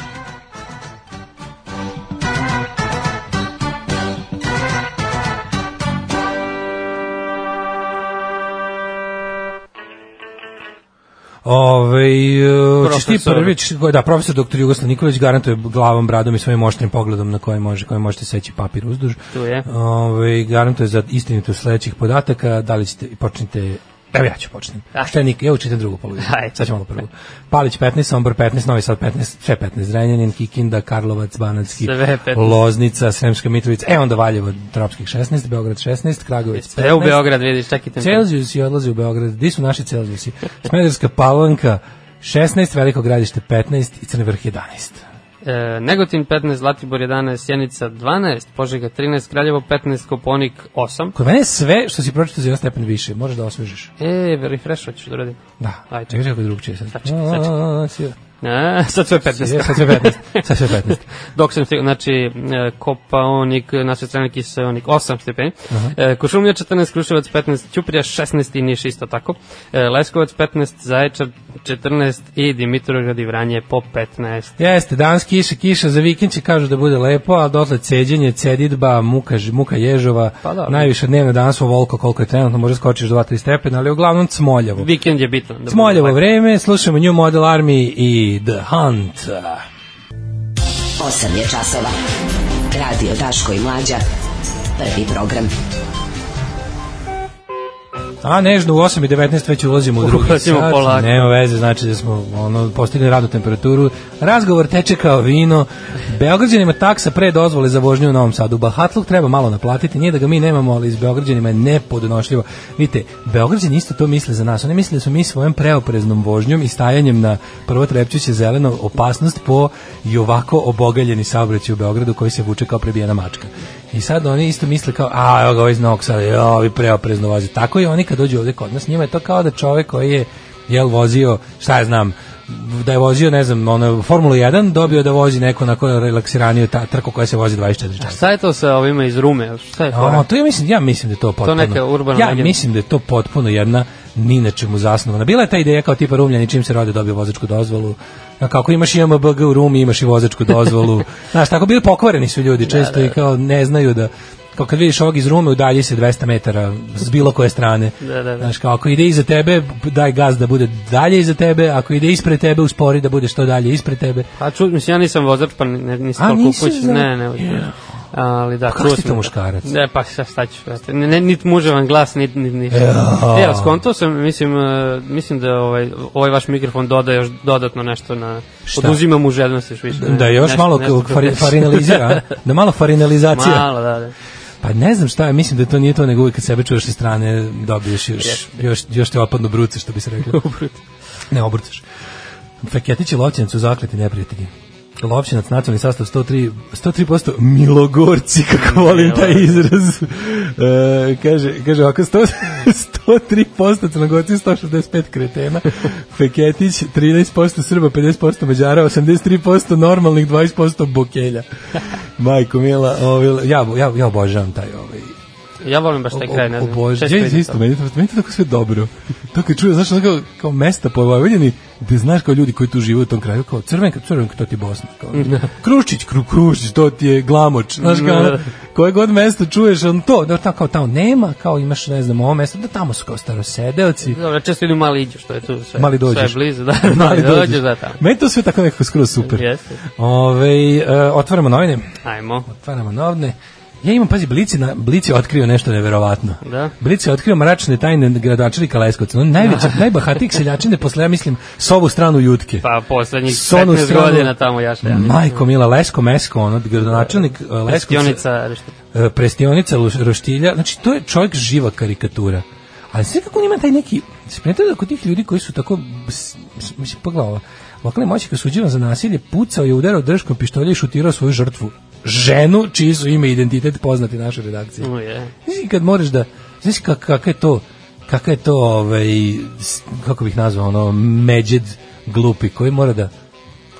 Ove, e, ćeš ti Profesor. prvi, ćeš- da, profesor dr. Jugoslav Nikolić garantuje glavom, bradom i svojim moštrim pogledom na koji može, koji možete seći papir uzduž. Tu je. Ove, garantuje za istinitu sledećih podataka, da li ćete, počnite Evo ja ću počnem. Ah. Šta je Nik, ja učitam drugu polovicu. Ajde. Sad ćemo malo prvu. Palić 15, Sombor 15, Novi Sad 15, sve 15, Renjanin, Kikinda, Karlovac, Banatski, Sve 15. Loznica, Sremska Mitrovica, e onda Valjevo, Tropskih 16, Beograd 16, Kragovic 15. Sve u Beograd vidiš, čak i temperatura. Celzijus i odlazi u Beograd. Gde su naši Celzijusi? Smederska palanka 16, Veliko gradište 15 i Crni vrh 11. E, Negotin 15, Zlatibor 11, Sjenica 12, Požega 13, Kraljevo 15, Koponik 8. Kod mene je sve što si pročito za jedan stepen više. Možeš da osvežiš. E, refresh hoćeš da uradim. Da. Ajde, čekaj. čekaj, čekaj, drug će sad. Sad čekaj, sad čekaj. A, si- A, E, sad sve je, 15. Sad sve 15. Sad sve 15. Dok sam stigao, znači e, Kopaonik, na sve strane Kiseonik 8 stepeni, e, Košumlija 14, Kruševac 15, Ćuprija 16 i Niš isto tako, e, Leskovac 15, Zaječar 14 i Dimitrovgrad i Vranje po 15. Jeste, danas kiša, kiša za vikend će kažu da bude lepo, a dotle ceđenje, cedidba, muka, ž- muka ježova, Pa da. najviše dnevno danas ovoliko koliko je trenutno, može skočiš do 2-3 stepena, ali uglavnom cmoljavo. Vikend je bitan. Da bude Cmoljevo lepo. vreme, slušamo New Model Army i The Hunt. 8 je časova. Radio Daško i Mlađa. Prvi program. A nežno u 8 i 19 već ulazimo u drugi Ulazimo sat. polako. Nema veze, znači da smo ono, postigli radnu temperaturu. Razgovor teče kao vino. Beograđanima taksa pre dozvole za vožnju u Novom Sadu. Bahatluk treba malo naplatiti. Nije da ga mi nemamo, ali s Beograđanima je nepodnošljivo. Vidite, Beograđani isto to misle za nas. Oni misle da su mi svojom preopreznom vožnjom i stajanjem na prvo trepćuće zeleno opasnost po i ovako obogaljeni saobraćaj u Beogradu koji se vuče kao prebijena mačka. I sad oni isto misle kao, a, evo ga ovaj iz Novog Sada, jo, ovi preoprezno voze. Tako i oni kad dođu ovde kod nas, njima je to kao da čovek koji je, jel, vozio, šta ja znam, da je vozio, ne znam, ono, Formulu 1, dobio da vozi neko onako relaksiraniju ta, trku koja se vozi 24 časa. Šta je to sa ovima iz Rume? Šta je fora? A, to ja mislim, ja mislim da je to potpuno. neka urbana ja legenda. mislim da je to potpuno jedna ni na čemu zasnovana. Bila je ta ideja kao tipa Rumljani čim se rode dobio vozačku dozvolu. A kako imaš i MBG u Rumi, imaš i vozačku dozvolu. Znaš, tako bili pokvareni su Da, ljudi često i kao ne znaju da kao kad vidiš ovog iz Rume udalji se 200 metara s bilo koje strane. Da, da, da. Znaš, kao ako ide iza tebe, daj gaz da bude dalje iza tebe, ako ide ispred tebe, uspori da bude što dalje ispred tebe. A ču, mislim, ja nisam vozač, pa ne, nisam A, toliko nisi upućen. za- Pa Ne, ne, yeah. Ali da, kako čuo si to sam- muškarac? Ne, pa šta, šta ću, brate. ne, ne, nit muževan glas, nit, nit, ništa. Jao. E, ali skonto sam, mislim, e, mislim da ovaj, ovaj vaš mikrofon doda još dodatno nešto na, Šta? oduzima mu željnost još više. Da još Nešto- malo nešto kao fari, kako- farinalizira, a? da malo farinalizacija. Malo, da, da. Pa ne znam šta, je, mislim da to nije to, nego uvijek kad sebe čuješ sa strane dobiješ još, još, još te opadno bruce, što bi se reklo. ne, obrutaš. Feketić i Lovćinac u zakleti neprijatelji. Lovćinac, nacionalni sastav 103, 103% Milogorci, kako volim taj izraz. E, kaže, kaže ovako, 100, 103% Crnogorci, 165 kretena, Feketić, 13% Srba, 50% Mađara, 83% normalnih, 20% Bokelja. Majko Mila, ovaj, ja, ja, ja obožavam taj ovaj, Ja volim baš taj kraj, ne znam. Obož... često Ja idem isto, tamo. meni, to- meni to tako sve dobro. To kad čuje, znaš, ono kao, kao mesta po Vojvodini, gde znaš kao ljudi koji tu žive u tom kraju, kao crvenka, crvenka, to ti je Bosna. Kao, kruščić, kru, kruščić, to ti je glamoč. Znaš, kao, Da, ono, koje god mesto čuješ, on to, da, ta, kao tamo nema, kao imaš, ne znam, ovo mesto, da tamo su kao starosedeoci. Dobro, često idu mali iđu, što je tu sve. Mali dođeš. Sve je blizu, da. Mali dođeš. da, tamo. Meni to sve tako nekako skroz super. Jeste. Ove, otvaramo novine. Ajmo. Otvaramo novine. Ja imam, pazi, Blic je, na, Blic je otkrio nešto neverovatno. Da. Blic je otkrio mračne tajne gradačelika Leskovca. On najveći, najbahatijih seljačine posle, ja mislim, s ovu stranu Jutke. Da. Pa poslednjih S onu 15 stranu- godina tamo jašta. Ja. mislim. Pa, Majko Mila, Lesko, Mesko, ono, gradonačelnik e, Leskovca, Pestionica, nešto. e, prestionica Luš- Roštilja, znači to je čovjek živa karikatura. Ali sve kako on ima taj neki, se primetio da kod tih ljudi koji su tako, s- s- mislim, pa poglava, lokalni moćnik osuđivan za nasilje, pucao je udarao držkom pištolja i šutirao svoju žrtvu. Ženu, čiji su ime i identitet poznati našoj redakciji. No, je. Mislim, kad moraš da, znaš kak, kak je to, kak je to, ovaj, s- kako bih nazvao, ono, međed glupi koji mora da,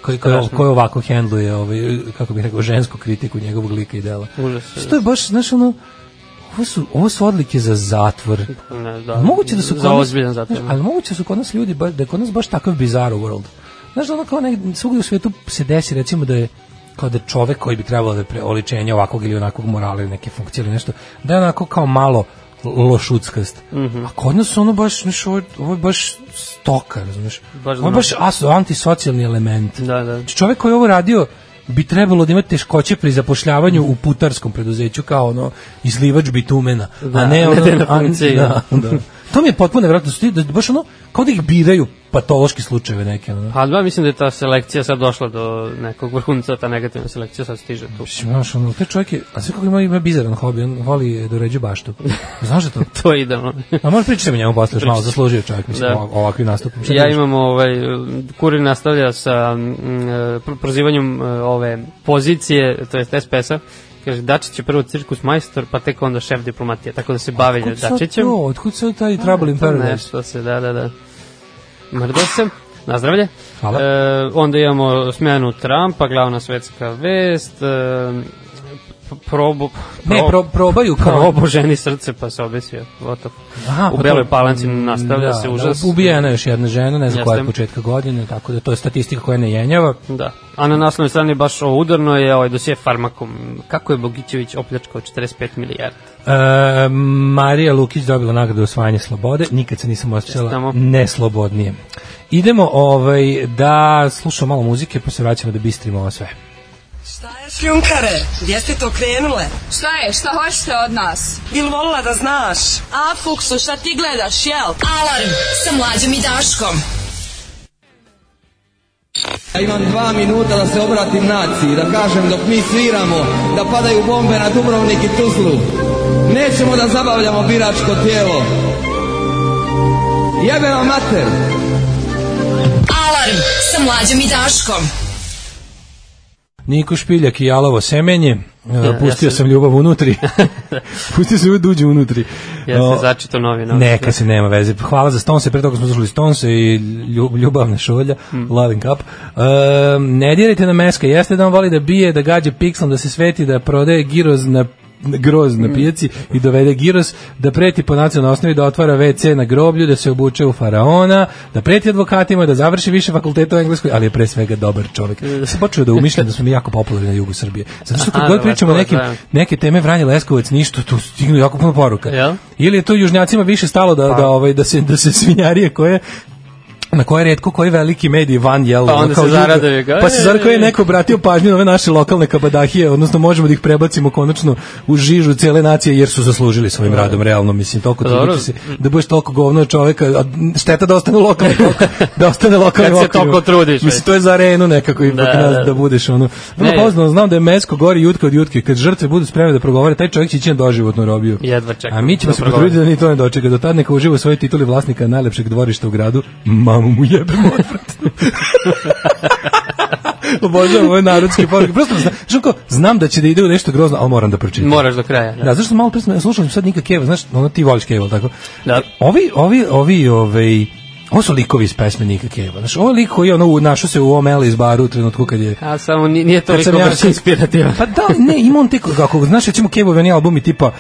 koji, koji, Strašno. koji ovako hendluje, ovaj, kako bih rekao, žensku kritiku njegovog lika i dela. Užas je. Što je baš, znaš, ono, ovo su, ovo su odlike za zatvor. Ne, da. Da, moguće da su za ozbiljan zato. znaš, ali moguće da su kod nas ljudi, ba, da je kod nas baš takav bizarro world. Znaš, ono kao nek, svugde u svijetu se desi, recimo da je kao da čovek koji bi trebalo da je preoličenje ovakvog ili onakvog morala ili neke funkcije ili nešto, da je onako kao malo lošuckast. Mm Mhm. -hmm. A kod nas ono baš, znaš, ovo, je- ovo je baš stoka, razumiješ? Baš ovo je baš aso, antisocijalni element. Da, da. Znači, čovek koji je ovo radio bi trebalo da ima teškoće pri zapošljavanju u putarskom preduzeću kao ono izlivač bitumena, a ne ono ne Da. na a- funkciji. da, da. To mi je potpuno nevjerojatno da su ti da baš ono kao da ih biraju patološki slučajeve neke ono. Pa da, mislim da je ta selekcija sad došla do nekog vrhunca, ta negativna selekcija sad stiže tu. Mislim, Znaš, ono, te čovjek je, a sve kako ima, ima bizaran hobi, on voli da uređuje baštu. Znaš da to? To je idealno. A možeš pričati o njemu posle, još malo zaslužio čovjek, mislim, Da. da. ovakvi nastup. ja imam ovaj Kurir nastavlja sa mm, e, pro- prozivanjem e, ove pozicije, to jest SPS-a. Kaže Dačić je prvo cirkus majstor, pa tek onda šef diplomatije. Tako da se bavi Dačićem. To, otkud sad taj Trouble in To Paradise? Nešto se, da, da, da. Mrdo se, nazdravlje. Hvala. E, onda imamo smjenu Trumpa, glavna svetska vest, e, p- probu... Ne, pro, probaju kao... Probo ženi srce pa se obesio. Gotovo. Aha, u pa Beloj to- Palanci nastavlja da, se užas. Da, ubijena je još jedna žena, ne znam koja je Jeste. početka godine, tako da to je statistika koja ne jenjava. Da. A na naslovnoj strani baš ovo udarno je ovaj dosije Farmakom. Kako je Bogićević opljačkao 45 milijardi? E, Marija Lukić dobila nagradu osvajanja slobode, nikad se nisam osjećala Čestitamo. neslobodnije. Idemo ovaj, da slušamo malo muzike, pa se vraćamo da bistrimo ovo sve. Šta je šljunkare? Gdje ste to krenule? Šta je? Šta hoćete od nas? Bil volila da znaš? A, Fuksu, šta ti gledaš, jel? Alarm sa mlađom i Daškom. Ja imam dva minuta da se obratim naciji, da kažem dok mi sviramo, da padaju bombe na Dubrovnik i Tuzlu. Nećemo da zabavljamo biračko tijelo. Jebe vam mater! Alarm sa mlađom i Daškom. Niko Špiljak i Jalovo semenje, E, pustio ja sam... sam- ljubav unutri. pustio sam ljubav da uđe unutri. Ja O, sam začito novina. Neka se nema veze. Hvala za Stonse, pre toga smo slušali Stonse i lju- Ljubavne šolja, Loving Cup. Um, ne dirajte na meska, jeste da on voli da bije, da gađa pikslom, da se sveti, da prodaje giroz na groz na pijaci i dovede giros, da preti po nacionalnoj osnovi da otvara WC na groblju, da se obuče u faraona, da preti advokatima, da završi više fakulteta u Engleskoj, ali je pre svega dobar čovjek. Sam počeo da umišljam da smo mi jako popularni na jugu Srbije. Zato što kad Aha, god da, pričamo o Leskovac, nekim, neke teme Vranje Leskovac, ništa, tu stignu jako puno poruka. Jel? Pa. Ili je to južnjacima više stalo da, da, ovaj, da, se, da se svinjarije koje na koje redko koji veliki mediji van jel Pa ono, onda kao se ljudi- zaraduju, kao, pa se e, zar e, je e. neko obratio pažnju na ove naše lokalne kabadahije odnosno možemo da ih prebacimo konačno u žižu cele nacije jer su zaslužili svojim radom realno mislim toliko Pa. Dobro. truditi se da budeš toliko govno čoveka a šteta da ostane lokalni da ostane lokalni Kad se toliko trudiš, mislim to je za arenu nekako ipak Da, da, nas, da. da. budeš ono vrlo Ne. poznano znam da je mesko gori jutka od jutke kad žrtve budu spremne da progovore taj čovjek će ići na doživotnu robiju Jedva čekam a mi ćemo da se progovori. potruditi da ni to ne dočeka do tad neka uživa u svojoj tituli vlasnika najlepšeg dvorišta u gradu mamu mu jebemo odvratno Obožavam ove narodske poruke. Prosto znam, Žuko, znam da će da ide u nešto grozno, ali moram da pročitam. Moraš do kraja. Da. Da, zašto sam malo pre sam- slušao sam sad Nika Keva, znaš, ono ti voliš Keva, jel tako? Da. Ovi, ovi, ovi, ovaj, ovo su likovi iz pesme Nika Keva. Znaš, ovo je lik koji je ono, u- našao se u OML iz baru u trenutku kad je A samo ni- nije Kad toliko sam ja- baš inspirativan. pa da, ali ne, ima on tek, kako, znaš, recimo Kevovi oni albumi tipa,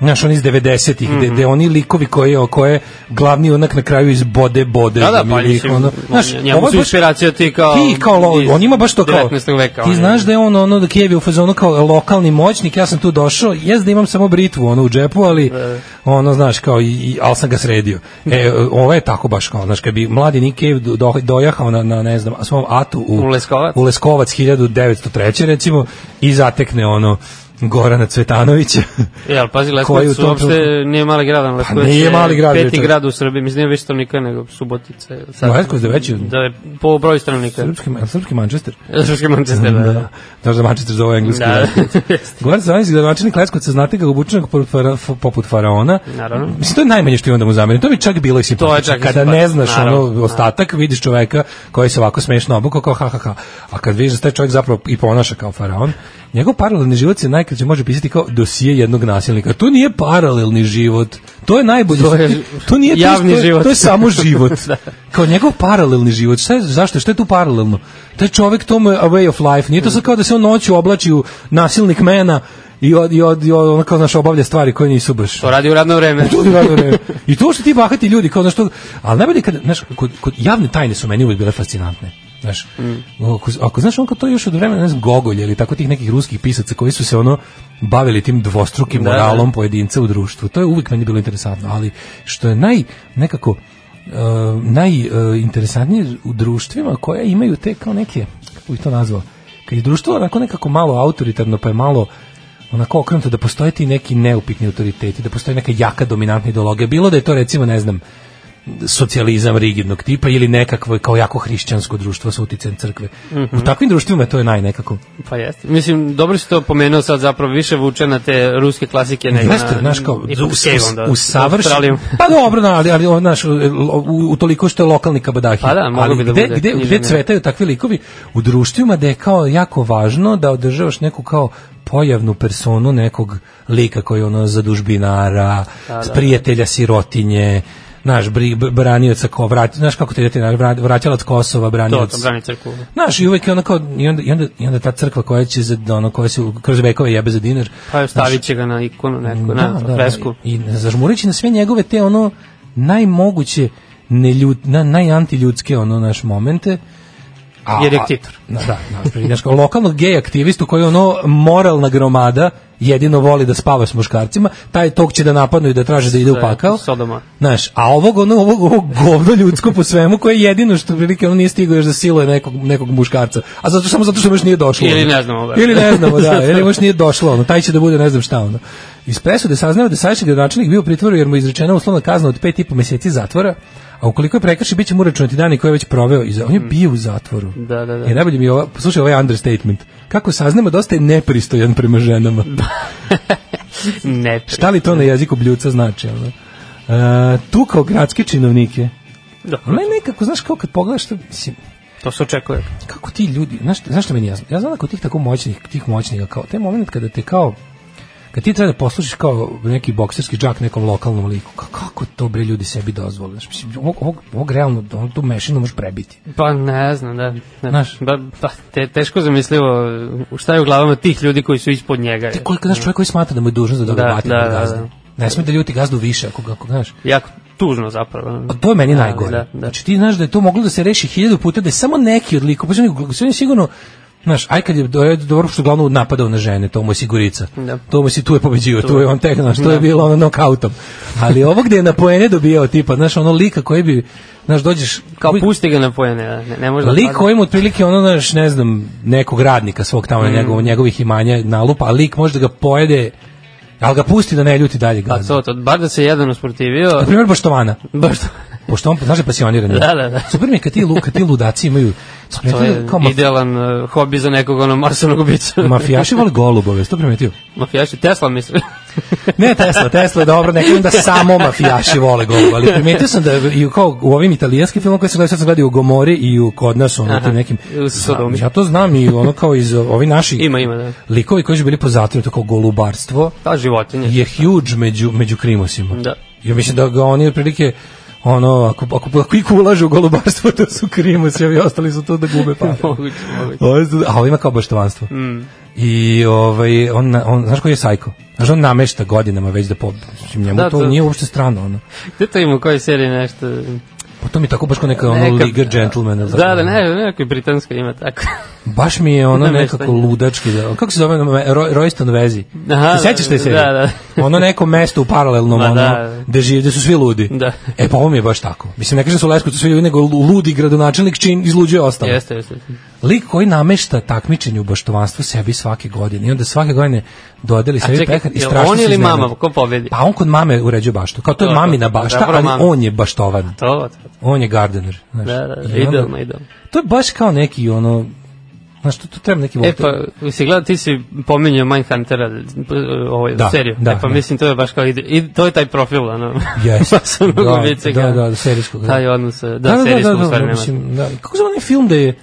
znaš, oni iz 90-ih, gde, Mhm. gde oni likovi koje, koje glavni onak na kraju iz bode, bode. Da, da, znam, pa ili ih, mislim, ono, znaš, njemu ovo je su baš- inspiracija ti kao... ti kao lo, Pa, iz on ima baš to kao 19. veka. ti ono. znaš da je on ono da Kijev je u fazonu kao lokalni moćnik ja sam tu došao jes da imam samo britvu ono u džepu ali Da. ono znaš kao i, i al sam ga sredio e ovo je tako baš kao znaš kad bi mladi Nick Cave do, do- dojahao na, na ne znam svom atu u, U Leskovac. u Leskovac 1903 recimo i zatekne ono Gorana Cvetanovića Jel, E, pazi, koji u Leskovac tom Pa uopšte nije mali grad, ali Leskovac nije je mali grad, peti večer. grad u Srbiji, mislim, nije više stanovnika nego Subotica. Sad, Leskovac je veći od- Da je po broju stanovnika. srpski, srpski Manchester Srpski Manchester, da. da. da. Znaš da Manchester zove engleski Da. da. Goran Savanić, gradonačelnik Leskovca, znate ga obučenog poput, fara, f- poput faraona. Naravno. Mislim, to je najmanje što imam da mu zamerim. To bi čak bilo i To je simpatično. čak i Kada ne simpatično, znaš naravno, ono ostatak, vidiš čoveka koji se ovako smešno obukao kao ha ha ha. A kad vidiš da se taj čovek zapravo i ponaša kao faraon, njegov paralelni život se najkraće može pisati kao dosije jednog nasilnika. To nije paralelni život. To je najbolji. To To, je- nije to- javni to je- život. To je samo život. Kao njegov paralelni život. Šta je, zašto? Šta je tu paralelno? Taj čovek to mu je a way of life. Nije to sad kao da se on noću oblači u nasilnik mena i od, i od, i od ono kao, znaš, obavlja stvari koje nisu baš. To radi u radno vreme. To je radno vreme. I to što ti bahati ljudi, kao, znaš, to, ali najbolje je kad, znaš, kod, kod javne tajne su meni uvijek bile fascinantne. Znaš, Mm. ako, ako, znaš, on kao to još od vremena, ne znam, Gogolj ili tako tih nekih ruskih pisaca koji su se ono bavili tim dvostrukim Da, da. moralom pojedinca u društvu. To je uvijek meni bilo interesantno, ali što je naj, nekako, e, najinteresantnije u društvima koja imaju te kao neke, kako bih to nazvao, kad je društvo onako nekako malo autoritarno, pa je malo onako okrenuto da postoje ti neki neupitni autoriteti, da postoji neka jaka dominantna ideologija, bilo da je to recimo, ne znam, socijalizam rigidnog tipa ili nekakvo kao jako hrišćansko društvo sa uticajem crkve. U takvim društvima to je naj nekako. Pa jeste. Mislim, dobro si to pomenuo sad zapravo, više vuče na te ruske klasike nego Jeste, na... znaš kao u, ipak s Caveom, da, u, u savršen- Australijom. Pa dobro, da, ali, ali o, znaš, u, u, u toliko što je lokalni kabadahi. Pa da, moglo ali bi da gde, bude gde, gde književni. cvetaju takvi likovi? U društvima da je kao jako važno da održavaš neku kao pojavnu personu nekog lika koji je ono zadužbinara, da, prijatelja sirotinje, naš branioca ko vrati, znaš kako da te idete, vraćalac Kosova, To, branioc. to brani crkvu. Znaš, i uvek je ona kao, i onda, i onda, i onda ta crkva koja će za, ono, koja se u- kroz vekove jebe za dinar. Pa znaš, stavit će ga na ikonu Da, neku, na fresku. i, i zažmurići na sve njegove te ono najmoguće neljud, na, najantiljudske ono naš momente. A, Jer je ktitor. Na, da, na, pri- znaš, kao lokalnog gej aktivistu koji je ono moralna gromada jedino voli da spava s muškarcima, taj tog će da napadnu i da traže da ide u je pakao. Sodoma. Znaš, a ovog, ono, ovog, ovog govno ljudsko po svemu koje je jedino što prilike ono nije stigao još da siluje nekog, nekog muškarca. A zato, samo zato što mu još nije došlo. Ili ono. ne znamo, da. Ili ne znamo, da. Ili mu još nije došlo. Ono, taj će da bude ne znam šta. Ono. Iz presude saznao da sajši gradonačelnik bio u pritvoru jer mu je izrečena uslovna kazna od pet i po meseci zatvora, a ukoliko je prekrši, bit će mu uračunati dani koje je već proveo. Iza... On je bio u zatvoru. Da, da, da. I najbolje mi je ova, slušaj, ovaj understatement. Kako saznamo, dosta je nepristojan prema ženama. Ne. Šta li to na jeziku bljuca znači? Ono? E, tu kao gradske činovnike. Dobro. Ali Pa nekako, znaš, kao kad pogledaš, to, mislim, To se očekuje. kako ti ljudi, znaš, znaš što meni jasno? Ja znam da kod tih tako moćnih, tih moćnika, kao, taj moment kada te kao, kad ti treba da poslušiš kao neki bokserski džak nekom lokalnom liku, kao, kako kako to bre ljudi sebi dozvole? Znaš, mislim, ovog, ovog, ovog realno, ovog tu mešinu možeš prebiti. Pa ne znam, da. Ne, Znaš? ba, pa, te, teško zamislivo šta je u glavama tih ljudi koji su ispod njega. Te koliko, znaš, čovjek koji smatra da mu je dužnost da dobije Da, da, vatru da, da, da, gazdu. Ne sme da ljuti gazdu više, ako, ga- ako znaš. Jako tužno zapravo. Pa to je meni Da, najgore. da, da. Znači ti znaš da je to moglo da se reši hiljadu puta, da je samo neki od likova, pa nego sve je sigurno Znaš, aj kad je do- dobro što je uglavnom napadao na žene, to mu je sigurica. Da. To mu si tu je pobeđio, tu je on tek, znaš, to je bilo ono nokautom. Ali ovo gde je na poene dobijao tipa, znaš, ono lika koji bi, znaš, dođeš... Kao koji- pusti ga na pojene, da, ne, ne može da Lik padne. kojim otprilike ono naš ne znam nekog radnika svog tamo mm. njegov, njegovih imanja nalupa, a lik može da ga pojede ali ga pusti da ne ljuti dalje Pa gazda. to, to, bar da se jedan usprotivio, Na primjer Boštovana. baš to. Pošto on, znaš da je pasioniran. Da, da, da. Super mi je kad ti, lu- kad ti ludaci imaju... Pa To je kao maf- idealan uh, hobi za nekog ono masovnog ubića. Mafijaši vole golubove, što primetio? Mafijaši, Tesla mislim. Ne Tesla, Tesla je dobro, ne kažem da samo mafijaši vole golubove, ali primetio sam da i u, kao, u ovim italijanskim filmom koje sam gledao, sad sam gledao i u Gomori i u kod nas, ono, tim nekim... u Sodomi. Ja to znam i ono kao iz ovi naši... Ima, ima, da. Pa, Likovi koji su bili po zatvoru, to kao golubarstvo, Ta životinja. je huge među, među krimosima. Da. Ja mislim da ga oni otprilike ono, ako, ako, ako iko ulaže u golubarstvo, to su krimosi, ovi ostali su to da gube pare. Moguće, moguće. Ovo je- A ovo ima kao baštovanstvo. Mm. I ovaj, on, na- on, znaš koji je sajko? Znaš, on namešta godinama već da po... Mislim, njemu Da, to, to- nije uopšte strano, ono. Gde to ima u kojoj seriji nešto? Pa to mi je tako baš kao neka, ono, Neka- liga džentlmena. ili Da, tako da, ono. ne, nekoj britanskoj ima tako. Baš mi je ono Nameštanje. nekako ludački. Da, kako se zove? ono, Ro, Royston Vezi. Aha, Ti sećaš te serije? da, da. ono neko mesto u paralelnom, Ma ono, da. gde, žive, gde su svi ludi. Da. E, pa ovo mi je baš tako. Mislim, ne kažem da su u Leskovcu svi ljudi, nego ludi gradonačelnik čin izluđuje ostalo. jeste, jeste. Lik koji namešta takmičenje u baštovanstvu sebi svake godine i onda svake godine dodeli A sebi čekaj, pehar i jel strašno on se ili iznenadi. mama, ko pobedi? Pa on kod mame uređuje baštu. Kao to je To, to, mamina to, bašta, zapravo ali mama. on je baštovan. To, to, On je gardener. Znaš. da, da, da, I onda- idealno, idealno. To je baš kao neki ono... Znaš, to, to treba neki E volter. pa, si gledao, ti si pominjao Mindhuntera, ovaj, Da, seriju. da, e pa da. mislim, to je baš kao, ide, i, to je taj profil, ono. Jeste. Masovnog Da, ubice, da, kao. da, serijskog, da. Taj odnos, da, da, serijskog, u stvari, nema. mislim, da. Kako se zove onaj film da je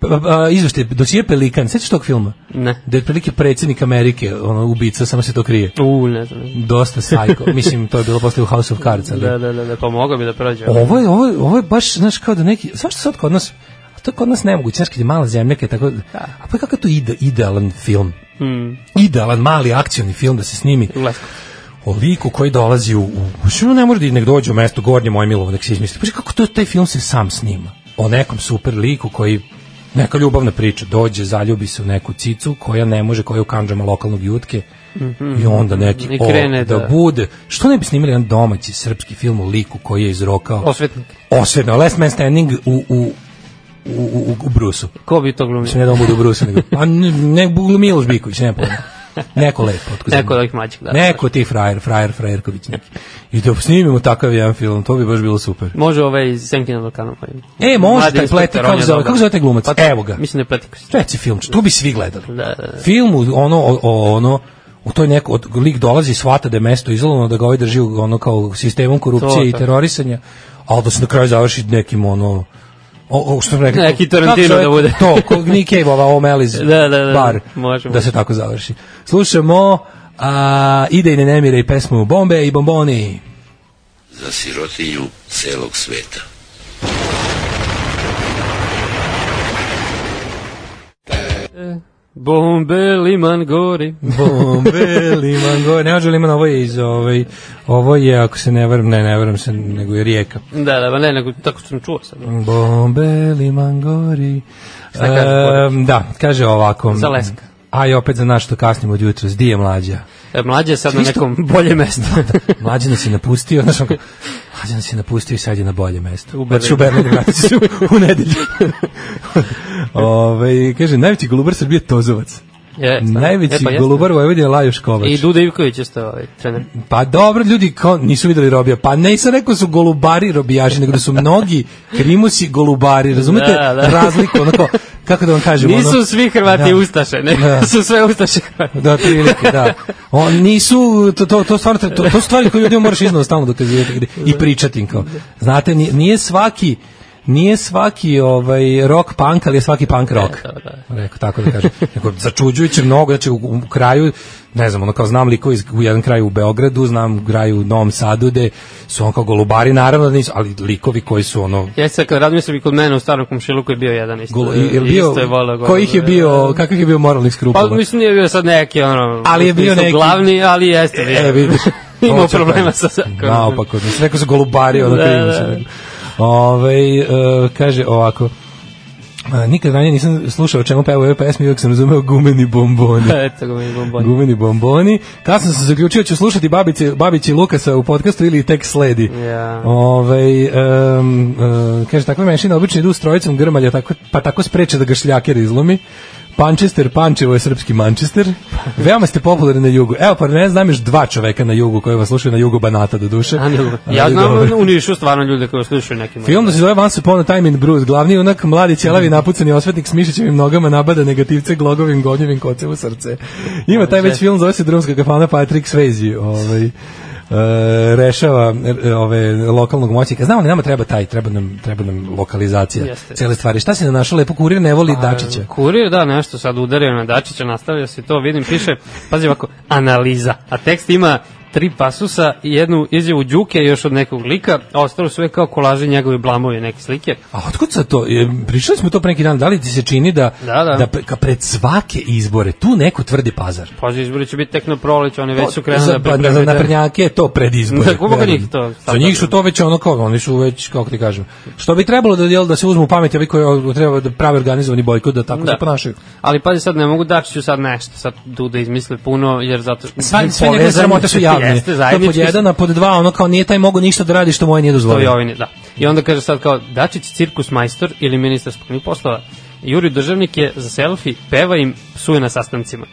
pa, pa, pa, izvešte, dosije Pelikan, sećaš tog filma? Ne. Da je prilike predsjednik Amerike, ono, ubica, samo se to krije. U, ne znam. ne znam. Dosta sajko. Mislim, to je bilo posle u House of Cards, ali... Da, da, da, da, pomogao bi da prođe. Ovo je, ovo, je, ovo je baš, znaš, kao da neki... Zašto sad kod nas... a To je kod nas nemoguće, znaš, kad je mala zemlja, kad je tako... A pa kakav to ide, idealan film? Mm, Idealan, mali, akcioni film da se snimi u Leskovcu. o liku koji dolazi u... u što ne može da nek dođe u mesto Gornje Mojmilovo, nek se izmisli. Pa znaš, kako to, taj film se sam snima? O nekom super liku koji neka ljubavna priča, dođe, zaljubi se u neku cicu koja ne može, koja je u kanđama lokalnog jutke i onda neki Mhm. I o, krene da, da- bude. Što ne bi snimili jedan domaći srpski film o liku koji je izrokao Osvetnik. osvetno, Last Man Standing u, u, u, u, u Brusu. Ko bi to glumio? Mislim, ne da on bude u Brusu, nego, a ne, ne Buglu Miloš Biković, ne pojma. Neko lepo. otkud Neko znam. od ovih mlađih, da. Neko ti frajer, frajer, frajerković neki. I da snimimo takav jedan film, to bi baš bilo super. Može ovaj iz Senkina Vulkana. Pa E, može Mladi taj pleti, inspektor, kako on je zove- dobar. kako zove taj glumac? Pa to- Evo ga. Mislim da je Pletikos. Reci film, to bi svi gledali. Da, da, da. Film, u- ono, o, o, ono, u toj neko, od, lik dolazi, shvata da je mesto izolovano, da ga ovaj drži u, ono kao sistemom korupcije To, i to. terorisanja, ali da se na kraju završi nekim ono, o, o, što sam rekao, Neki kako se Tarantino zove? da bude. to, kog Nick Cave, ova O'Malley's Da, da, da, bar, može, da se može. tako završi. Slušamo a, Ide i ne nemire i pesmu Bombe i bomboni. Za sirotinju celog sveta. Bombe, liman, gori. Bombe, liman, gore. Ne može liman, ovo je iz ovaj, ovo je, ako se ne varam, ne, ne varam se, nego je rijeka. Da, da, ba ne, nego tako sam čuo sad. Bombe, liman gori. Šta kaže Ehm, da, kaže ovako. Za Leska. A i opet za nas što kasnimo od jutra, di je mlađa. E, mlađe je sad na Isto- nekom bolje mestu. Mlađa nas je napustio, znaš, on kao, mlađa nas je napustio i sad je na bolje mesto. U Berlinu. Znači, u Berlinu vratit će se u, u nedelju. Ove, kaže, najveći golubar Srbije je Tozovac. Je, stvarno. Najveći E, pa jeste. golubar Vojvodine je Lajoš Kovač. I Duda Ivković je stao ovaj trener. Pa dobro, ljudi kao, nisu videli robija. Pa ne, sam rekao su golubari robijaši, nego da su mnogi krimusi golubari, razumete Da, da. razliku, ono kao, kako da vam kažem, ono... Nisu svi Hrvati Da. ustaše, ne? Da. su sve ustaše Hrvati. Da, prilike, da. On, nisu, to, to, to, stvarno, treba- to, to su stvari koje ljudima moraš iznova stalno dokazivati i pričati im kao. Znate, ni- nije svaki nije svaki ovaj rock punk, ali je svaki punk E, rock. Rekao tako da kažem. Rekao, začuđujuće mnogo, znači u, u kraju ne znam, ono kao znam liko iz u jedan kraj u Beogradu, znam kraj u Novom Sadu gde su on kao golubari, naravno da nisu, ali likovi koji su ono Ja sad kad razmislim i kod mene u starom komšiluku je bio jedan isto. Golo, i- jel i bio, E, isto je da, volao golo. kojih je bio, kakvih je bio znači? moralnih Pa skrupula? mislim nije bio sad neki ono, Ali je bio nisam neki- glavni, ali jeste. bio. E, vidiš. Imao Ovo ću problema kažem. sa zakonom. Naopako, mislim, rekao su golubari, ono Da, krivo da. se rekao. Ovaj, e, kaže ovako, a, nikad ranije nisam slušao o čemu pevaju ove pesme, uvijek sam razumeo gumeni bomboni. Eto ga mi bombon. Gumeni bomboni. Kasno sam se zaključio, ću slušati babice, babići Lukasa u podcastu ili tek sledi. Ja. Ovaj em, em, kaže, takva menšina obično idu s trojicom grmalja, tako, pa tako spreče da ga šljaker izlomi. Pančester, Pančevo je srpski Manchester. Veoma ste popularni na jugu. Evo, pa ne znam još dva čoveka na jugu koji vas slušaju na jugu Banata do duše. A, dobro. Ja Ali znam dobro. u Nišu stvarno ljude koji slušaju neki. moj- Film da se zove Once Upon a Time in Bruce. Glavni junak, mladi ćelavi Mhm. napucani osvetnik s mišićevim nogama nabada negativce glogovim govnjevim kocem u srce. Ima taj već film, zove se Drumska kafana Patrick Swayze. Ovaj, e, rešava e, ove lokalnog moćnika. Znamo li nama treba taj, treba nam, treba nam lokalizacija Jeste. Pa, cele stvari. Šta si na našo lepo kurir ne voli Dačića? Kurir, da, nešto sad udario na Dačića, nastavlja se to, vidim, piše, pazi ovako, analiza. A tekst ima tri pasusa, i jednu izjavu Đuke i još od nekog lika, a ostalo su sve kao kolaži njegove blamovi neke slike. A otkud sad to? E, Pričali smo to pre neki dan. Da li ti se čini da, Da, da. pre- ka- pred svake izbore tu neko tvrdi pazar? Pazi, izbori će biti tek na proleću, oni već su za, krenuli da pa, pripremaju. za da- naprednjake je to pred izbore. Da, koliko verujem. njih to? Za njih su to već ono kao, oni su već, kako ti kažem, što bi trebalo da, jel, da se uzmu u pamet, ovi koji o- treba da prave organizovani bojkot, da tako Da. se ponašaju. Ali pazi sad, ne mogu Dačiću sad nešto, sad Duda izmisli puno, jer zato... Sva, sve povezani- njegove sramote su javne. Jeste, to pod zajednički su. jedan, a pod dva, ono kao nije taj mogu ništa da radi što moje nije To je dozvoljeno. ovine, da. I onda kaže sad kao, Dačić cirkus majstor ili ministar spoljnih poslova. Juri Državnik je za selfie, peva im, psuje na sastancima.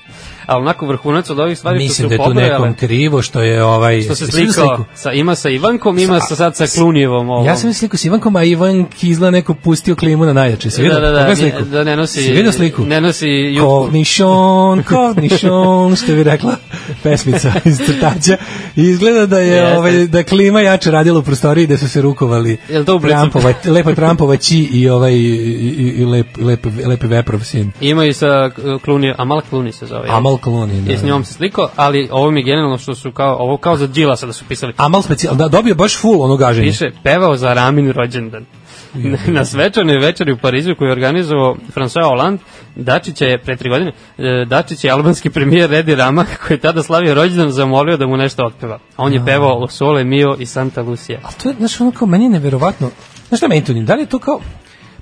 Ali onako vrhunac od ovih stvari Mislim što da su je tu pobrojale, nekom krivo što je ovaj... što se Jesi vidio slikao, sliku? sa, ima sa Ivankom, ima sa, sad sa Klunijevom ovom. Ja sam sliku s Ivankom, a Ivan Kizla neko pustio klimu na najjače. Si vidio? da, da, da, Pogledaj ne, sliku? da ne nosi, Si vidio sliku? ne nosi jutku. Kornišon, kornišon, što bi rekla pesmica iz crtaća. I izgleda da je Jeste. ovaj, da klima jače radila u prostoriji gde su se rukovali Jel to u blicu? Trumpova, lepa Trumpova ći i ovaj i, i, i lep, lep, lepi veprov sin. Ima i sa eh, Klunije, Amal Kluni se zove. jel? Amal Clooney. Da. I s njom se slikao, ali ovo mi je generalno što su kao, ovo kao za Đilasa da su pisali. Amal specijal, da, dobio baš full ono gaženje. Piše, pevao za Ramin rođendan. Na svečanoj večeri u Parizu koju je organizovao François Hollande, Dačić je, pre tri godine, e, Dačić je albanski premijer Redi Rama, koji je tada slavio rođendan, zamolio da mu nešto otpeva. A on je pevao O Sole Mio i Santa Lucia. Ali to je, znaš, ono kao, meni je neverovatno. Znaš šta meni to nije? Da li je to kao,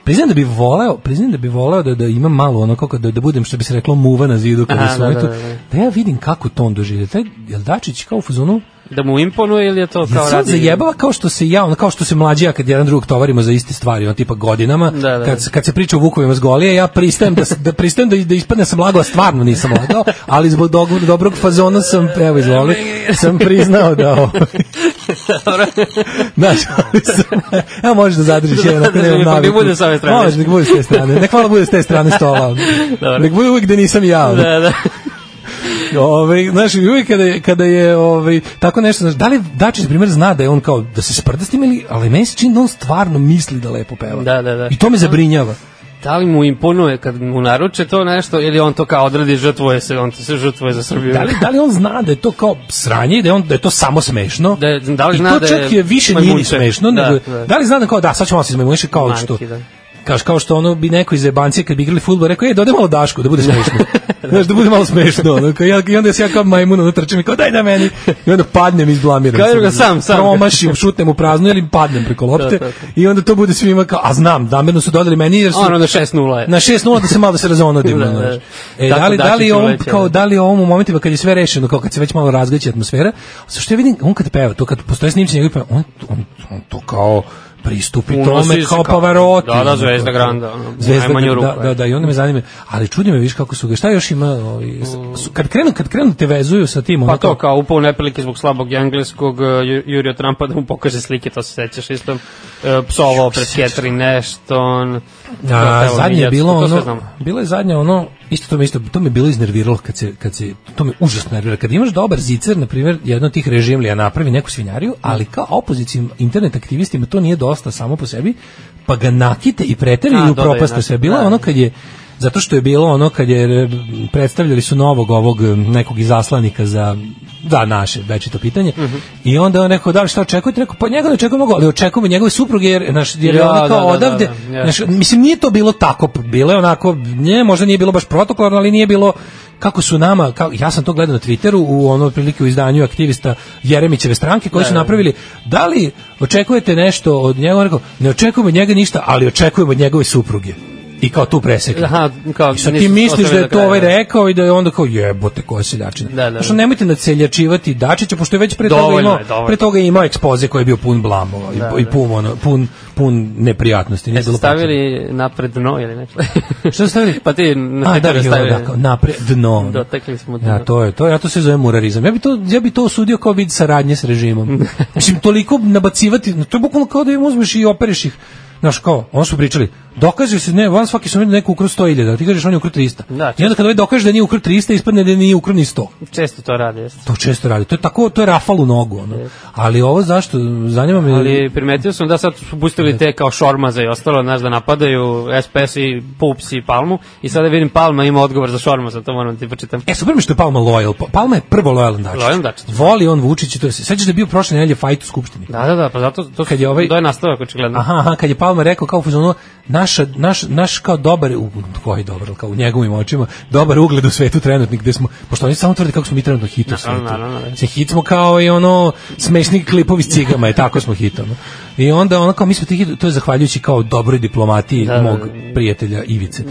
priznam da bi voleo, priznam da bi voleo da, da imam malo ono kao kad- da, da budem što bi se reklo muva na zidu kada Aha, su da, oni da, to, da, da. da ja vidim kako to on doživlja. Taj jel Dačić kao u fazonu Da mu imponuje ili je to Jel kao se on radi... zajebava kao što se ja, ono, kao što se mlađi ja kad jedan drugog tovarimo za iste stvari, on tipa godinama, Da, da. kad, se- kad se priča o Vukovima s Golije, ja pristajem da, s- da pristajem da, da ispadne sam lagao, a stvarno nisam lagao, ali zbog dog- dobrog fazona sam, evo izvoli, sam priznao da ovo. Znaš, ali sam- evo možeš da zadržiš jedan, ako Da, da, nemam pa nek naviku. bude s ove strane. Može, nek bude s te strane, nek malo bude s te strane stola. Dobro. Nek bude uvijek gde nisam ja. ono. Da, da. Ove, Ovaj, znaš, i uvijek kada je, kada je ove, tako nešto, znaš, da li Dačić, na primjer, zna da je on kao, da se sprda s tim ili, ali meni se čini da on stvarno misli da lepo peva. Da, da, da. I to me zabrinjava. Da li mu imponuje kad mu naruče to nešto ili on to kao odradi žrtvuje se, on se žrtvuje za Srbiju. Da li, da li on zna da je to kao sranje i da je, on, da je to samo smešno? Da je- da li I zna to da čak je je više nije ni majmunče? smešno, Da, nego, da. da, li zna da kao, da, sad ćemo se izmajmuniši kao Manki, što, da. Kaš, kao što ono bi neko iz jebancije kad bi igrali fudbal rekao, ej, dodaj malo dašku, da bude smešno. Znaš, da bude malo smešno. Ono, kao, ja, I onda se ja kao majmun ono, trčim i kao, daj da meni. I onda padnem i izblamiram. Kao se, ga sam, ono, sam Da, ga. Promašim, šutnem u prazno ili padnem preko lopte. To, to, to. I onda to bude svima kao, a znam, namerno su dodali meni jer su... Ono na 6-0 je. Na 6:0 da se malo da se razonodim. Da, da. znaš. E, Tako da li, da li Dačiću ovom, leće, kao, da. da li ovom u momentima kad je sve rešeno, kao kad se već malo razgaće atmosfera, sa što ja vidim, on kad peva, to kad postoje snimci njegovih peva, on, on, on to kao pristupi Unosi tome se kao kao- Pavarotti. Da, da, ono, Zvezda kao- Granda, ono, Zvezda najmanju Granda, ruku, Da, da, je. da, i onda me zanima, ali čudi me, viš kako su ga, šta još ima, ovi, s- su, kad krenu, kad krenu da te vezuju sa tim, ono, Pa to kao upao u neprilike zbog slabog engleskog, e, Ju- Jurija Trumpa da mu pokaže slike, to se sećaš isto. E, Psovao pred Catherine Ashton. A, Da, zadnje je bilo To sve ono, znamo. bilo je zadnje ono, isto to mi isto, to mi je bilo iznerviralo kad se, kad se, to me užasno nervira. Kad imaš dobar zicer, na primjer, jedno od tih režimlija napravi neku svinjariju, ali kao opozicijim internet aktivistima to nije do, dosta samo po sebi, pa ga nakite i pretere A, i dobro je, upropaste znači, sve. Bilo je da. ono kad je zato što je bilo ono kad je e, predstavljali su novog ovog e, nekog izaslanika za da naše večito pitanje Mhm. i onda on rekao da li šta očekujete rekao pa njega ne očekujemo mnogo ali očekujemo njegove supruge jer naš jer je Ja, ona kao da, da, odavde da, da, ja. znaš, mislim nije to bilo tako bilo je onako nje možda nije bilo baš protokolarno ali nije bilo kako su nama, kao, ja sam to gledao na Twitteru u ono prilike u izdanju aktivista Jeremićeve stranke koji su napravili da li očekujete nešto od njega on je rekao, ne očekujemo od njega ništa ali očekujemo od njegove supruge i kao tu presekli Aha, kao, I sad ti nisu misliš da ostavili je do to kraja, ovaj da. rekao i da je onda kao jebote koja seljačina. Da, da, da. Znaš, nemojte naceljačivati Dačića, pošto je već pre toga Dovoljno imao, je, dovoljno. pre toga je imao ekspoze koji je bio pun blamova i, i pun, ono, pun, pun neprijatnosti. Nije Jeste bilo potrebe. E, stavili napred dno ili nešto? Šta su stavili? pa ti A, na da, Twitteru da, stavili. Da, da, kao napre, dno. Dotakli smo dno. Ja, to je, to, ja to se zove murarizam. Ja bi to, ja bi to osudio kao vid saradnje s režimom. Mislim, toliko nabacivati, no, to je bukvalno kao da im uzmeš i opereš ih. Znaš, kao, ono su pričali, dokaže se, ne, van svaki su vidio neko ukru 100.000, ti kažeš on je ukru 300. Da, I onda kad ovaj dokaže da nije ukru 300, ispadne da nije ukru ni 100. Često to radi, jeste. To često radi. To je tako, to je rafal u nogu. Ono. Ali ovo zašto, zanima me... Ali primetio sam da sad su pustili te kao šormaze i ostalo, znaš, da napadaju SPS i Pups i Palmu i sada vidim Palma ima odgovor za šormaza, to moram da ti počitam. E, super mi je što je Palma loyal. Pa- Palma je prvo lojalan Dačić. Lojalan Dačić. Voli on Vučić i to se. Sećaš da je bio prošle nedelje fajt u Skupštini? Da, da, da, pa zato to, Kad je ovaj- to je nastavak očigledno. Aha, aha, kad je Palma rekao kao u fazonu naša naš naš kao dobar u koji dobar kao u njegovim očima, dobar ugled u svetu trenutnik gde smo pošto oni samo tvrde kako smo mi trenutno hit u svetu. naravno, naravno. Se hit smo kao i ono smešni klipovi s cigama, je tako smo hit ono. I onda ono kao mi smo ti hit, to je zahvaljujući kao dobroj diplomatiji Da, da, mog da. prijatelja Ivice.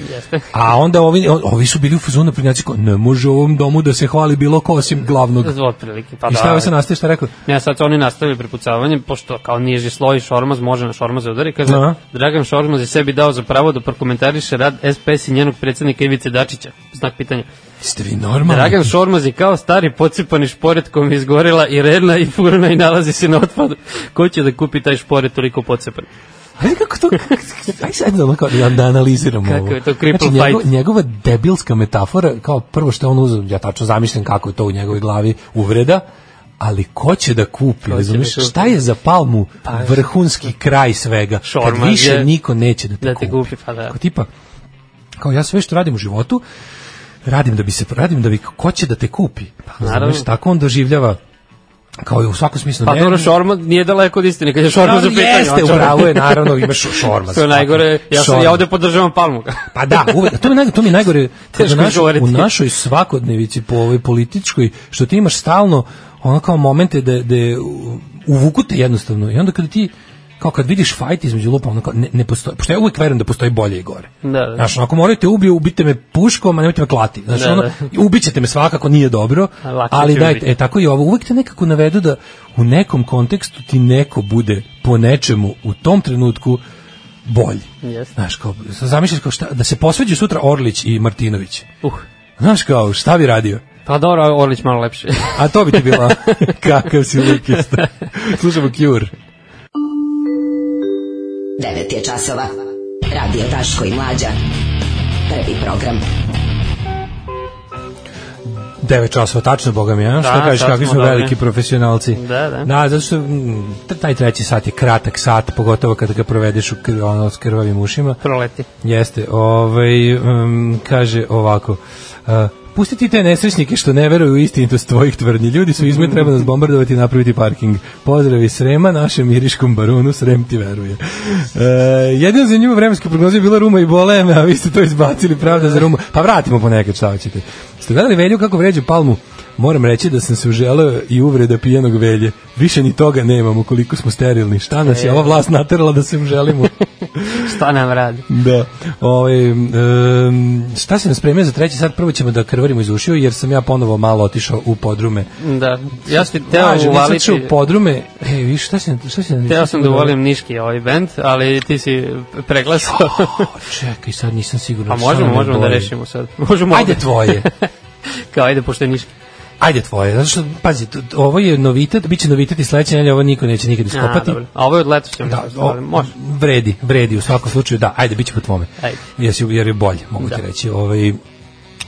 A onda ovi ovi su bili u fazonu prinjaci kao ne može u ovom domu da se hvali bilo ko osim glavnog. Zvo otprilike, pa I šta da. je se nastaje šta je rekao? Ne, sad su oni nastavili prepucavanje, pošto kao niži sloj Šormaz može na Šormaza udari, kaže, Aha. Dragan Šormaz je sebi dao za pravo da prokomentariše rad SPS i njenog predsjednika Ivice Dačića. Znak pitanja. Ste vi normalni? Dragan Šormaz je kao stari pocipani šporet kom je izgorela i redna i furna i nalazi se na otpadu. Ko će da kupi taj šporet toliko pocipan? Ajde kako to, ajde sad da, onako da, da analiziramo Kako ovo. je to cripple znači, fight? njegova debilska metafora, kao prvo što je on uzeo, ja tačno zamišljam kako je to u njegovoj glavi uvreda, ali ko će da kupi, da razumiješ, kupi? Pa, šta je za palmu vrhunski kraj svega, kad Šormaz više je- niko neće da te da kupi. te kupi, pa da. Kao tipa, kao ja sve što radim u životu, radim da bi se, radim da bi, ko će da te kupi? Pa, naravno. tako on doživljava kao i u svakom smislu. Pa ne- dobro, Šormaz nije daleko od istine, kad je Šormaz Naravno, u pitanju. jeste, u pravu je, naravno, imaš šormaz. To je najgore, ja, sam, Šormaz. ja ovde podržavam Palmu. Pa da, uvek, to mi je naj- to mi je najgore kada Teško naš, izgovoriti. u našoj svakodnevici po ovoj političkoj što ti imaš stalno ono kao momente da da je u- uvuku te jednostavno i onda kada ti kao kad vidiš fajt između lupa, ono kao ne, ne postoji, pošto ja uvek verujem da postoji bolje i gore. Da, da. Znaš, ako morate te ubiju, ubite me puškom, a nemojte me klati. Znaš, Da, ono, da. ubićete me svakako, nije dobro, A lakše ali će dajte, ubiti. e, tako i ovo, uvek te nekako navedu da u nekom kontekstu ti neko bude po nečemu u tom trenutku bolji. Jeste. Znaš, kao, zamišljaš kao šta, da se posveđu sutra Orlić i Martinović. Uh, Znaš kao, šta bi radio? pa dobro, Orlić malo lepše. A to bi ti bila kakav si lukista. Slušamo Cure. 9 je časova. Radio Daško i Mlađa. Prvi program. 9 časova, tačno, boga mi, a? Šta Da, kažeš, sad kakvi smo smo dobri. veliki profesionalci. Da, da. Da, zato što mm, taj treći sat je kratak sat, pogotovo kada ga provedeš u kr, ono, s krvavim ušima. Proleti. Jeste, ovaj, um, kaže ovako, uh, pustiti te nesrećnike što ne veruju u istinitost tvojih tvrdnji. Ljudi su izme, treba nas bombardovati i napraviti parking. Pozdrav iz Srema, našem miriškom baronu, Srem ti veruje. Uh, jedina za njima vremenska prognoza je bila Ruma i Boleme, a vi ste to izbacili, pravda za Rumu. Pa vratimo ponekad, šta hoćete. Ste gledali Velju kako vređu palmu? Moram reći da sam se uželeo i uvreda pijanog velje. Više ni toga nemamo koliko smo sterilni. Šta nas je ova vlast naterala da se uželimo? Šta nam radi? Da. Ovaj em, šta se nas spremio za treći sat? Prvo ćemo da krvarimo iz ušiju jer sam ja ponovo malo otišao u podrume. Da, ja sam ti teo Lažem, nisam čuo uvaliti... podrume. E, vi šta se šta se Teo sam da uvalim Niški ovaj bend, ali ti si preglasao. O, čekaj, sad nisam siguran. A šta možemo, nam je možemo da bolje. rešimo sad. Možemo Ajde ovde. tvoje. Kao, ajde, pošto je Niški. Ajde tvoje. Zato što pazi, t- ovo je novitet, biće novitet i sledeće nedelje ovo niko neće nikad A, iskopati. dobro. A ovo je od letošnje. Da, Da, o, može. vredi, vredi u svakom slučaju, da, ajde, bit će po tvome. Ajde. Jer, si- jer je bolje, mogu ti Da. reći. Ovaj,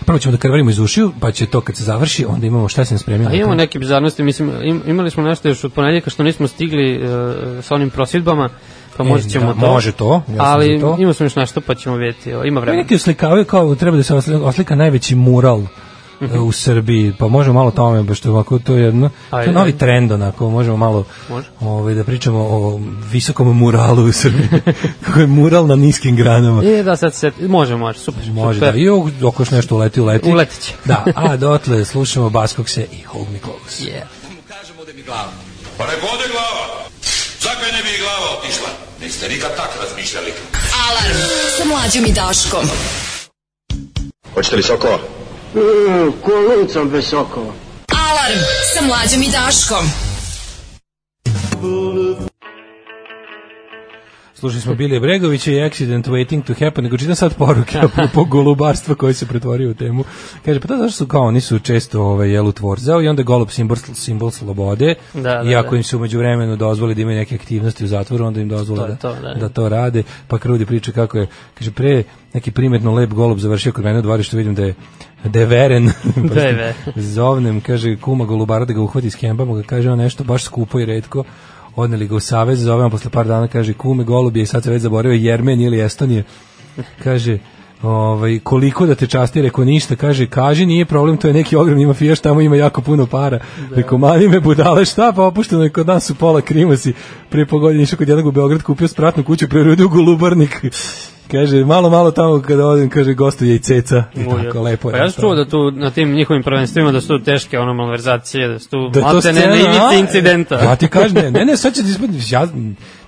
prvo ćemo da krvarimo iz ušiju, pa će to kad se završi, onda imamo šta se nam spremio. A imamo neke bizarnosti, mislim, im, imali smo nešto još od ponedjeljka što nismo stigli e, sa onim prosvjedbama, pa možda E, ćemo da, to. može to, ja sam ali za to. imao sam još nešto, pa ćemo vidjeti. evo, Ima Ima vremena. neki uslikavaju kao treba da se osli- oslika najveći mural e, u Srbiji, pa možemo malo o tome, baš to je ovako, to je jedno, to je Ajde, novi ajde. trend, onako, možemo malo Može. ovaj, da pričamo o visokom muralu u Srbiji, kako je mural na niskim granama. E, da, sad se, može, može, super. Može super. da, i ok- ako još nešto uleti, uleti. Uletit će. da, a dotle slušamo Baskokse i Hold Me Close. Yeah. Pa nek ode glava. Zakaj ne bi i glava otišla? Niste nikad tak razmišljali. Alarm sa mlađom i Daškom. Hoćete li sokova? Kolucom bez sokova. Alarm sa mlađom i Daškom. Slušali smo Bilija Bregovića i Accident Waiting to Happen, nego čitam sad poruke po golubarstva koje se pretvorio u temu. Kaže, pa da, zašto su kao, oni su često ovaj, jelu tvorzao i onda golub simbol, simbol slobode, Da, da, i ako da. im se umeđu vremenu dozvoli da imaju neke aktivnosti u zatvoru, onda im dozvole To da, je to, da. da to rade, pa Krudi priča kako je, kaže, pre neki primetno lep golub završio kod mene u dvorištu, vidim da je da je veren. Da je veren. Zovnem, kaže, kuma golubara da ga uhvati s kembama, ga kaže on nešto baš skupo i redko. Odneli ga u savez, zovemo posle par dana, kaže, kume golub je i sad se već zaboravio Jermen ili Estonije. Kaže, ovaj, koliko da te časti, reko ništa, kaže, kaže, nije problem, to je neki ogromni mafijaš, tamo ima jako puno para. Da. Reko, mani me budale, šta, pa opušteno je kod nas su pola krimosi. Prije po godini išao kod jednog u Beograd, kupio spratnu kuću, prerodio u Golubarnik. Kaže, malo, malo tamo kada odim, kaže, gostuje i ceca. I Uje. tako, lepo je. pa ja sam nastalo. čuo da tu na tim njihovim prvenstvima da su tu teške ono malverzacije, da su tu da je to maltene scena, na a? ivici incidenta. Ja ti kažem, ne, ne, ne, sad će ti ispadniti, ja,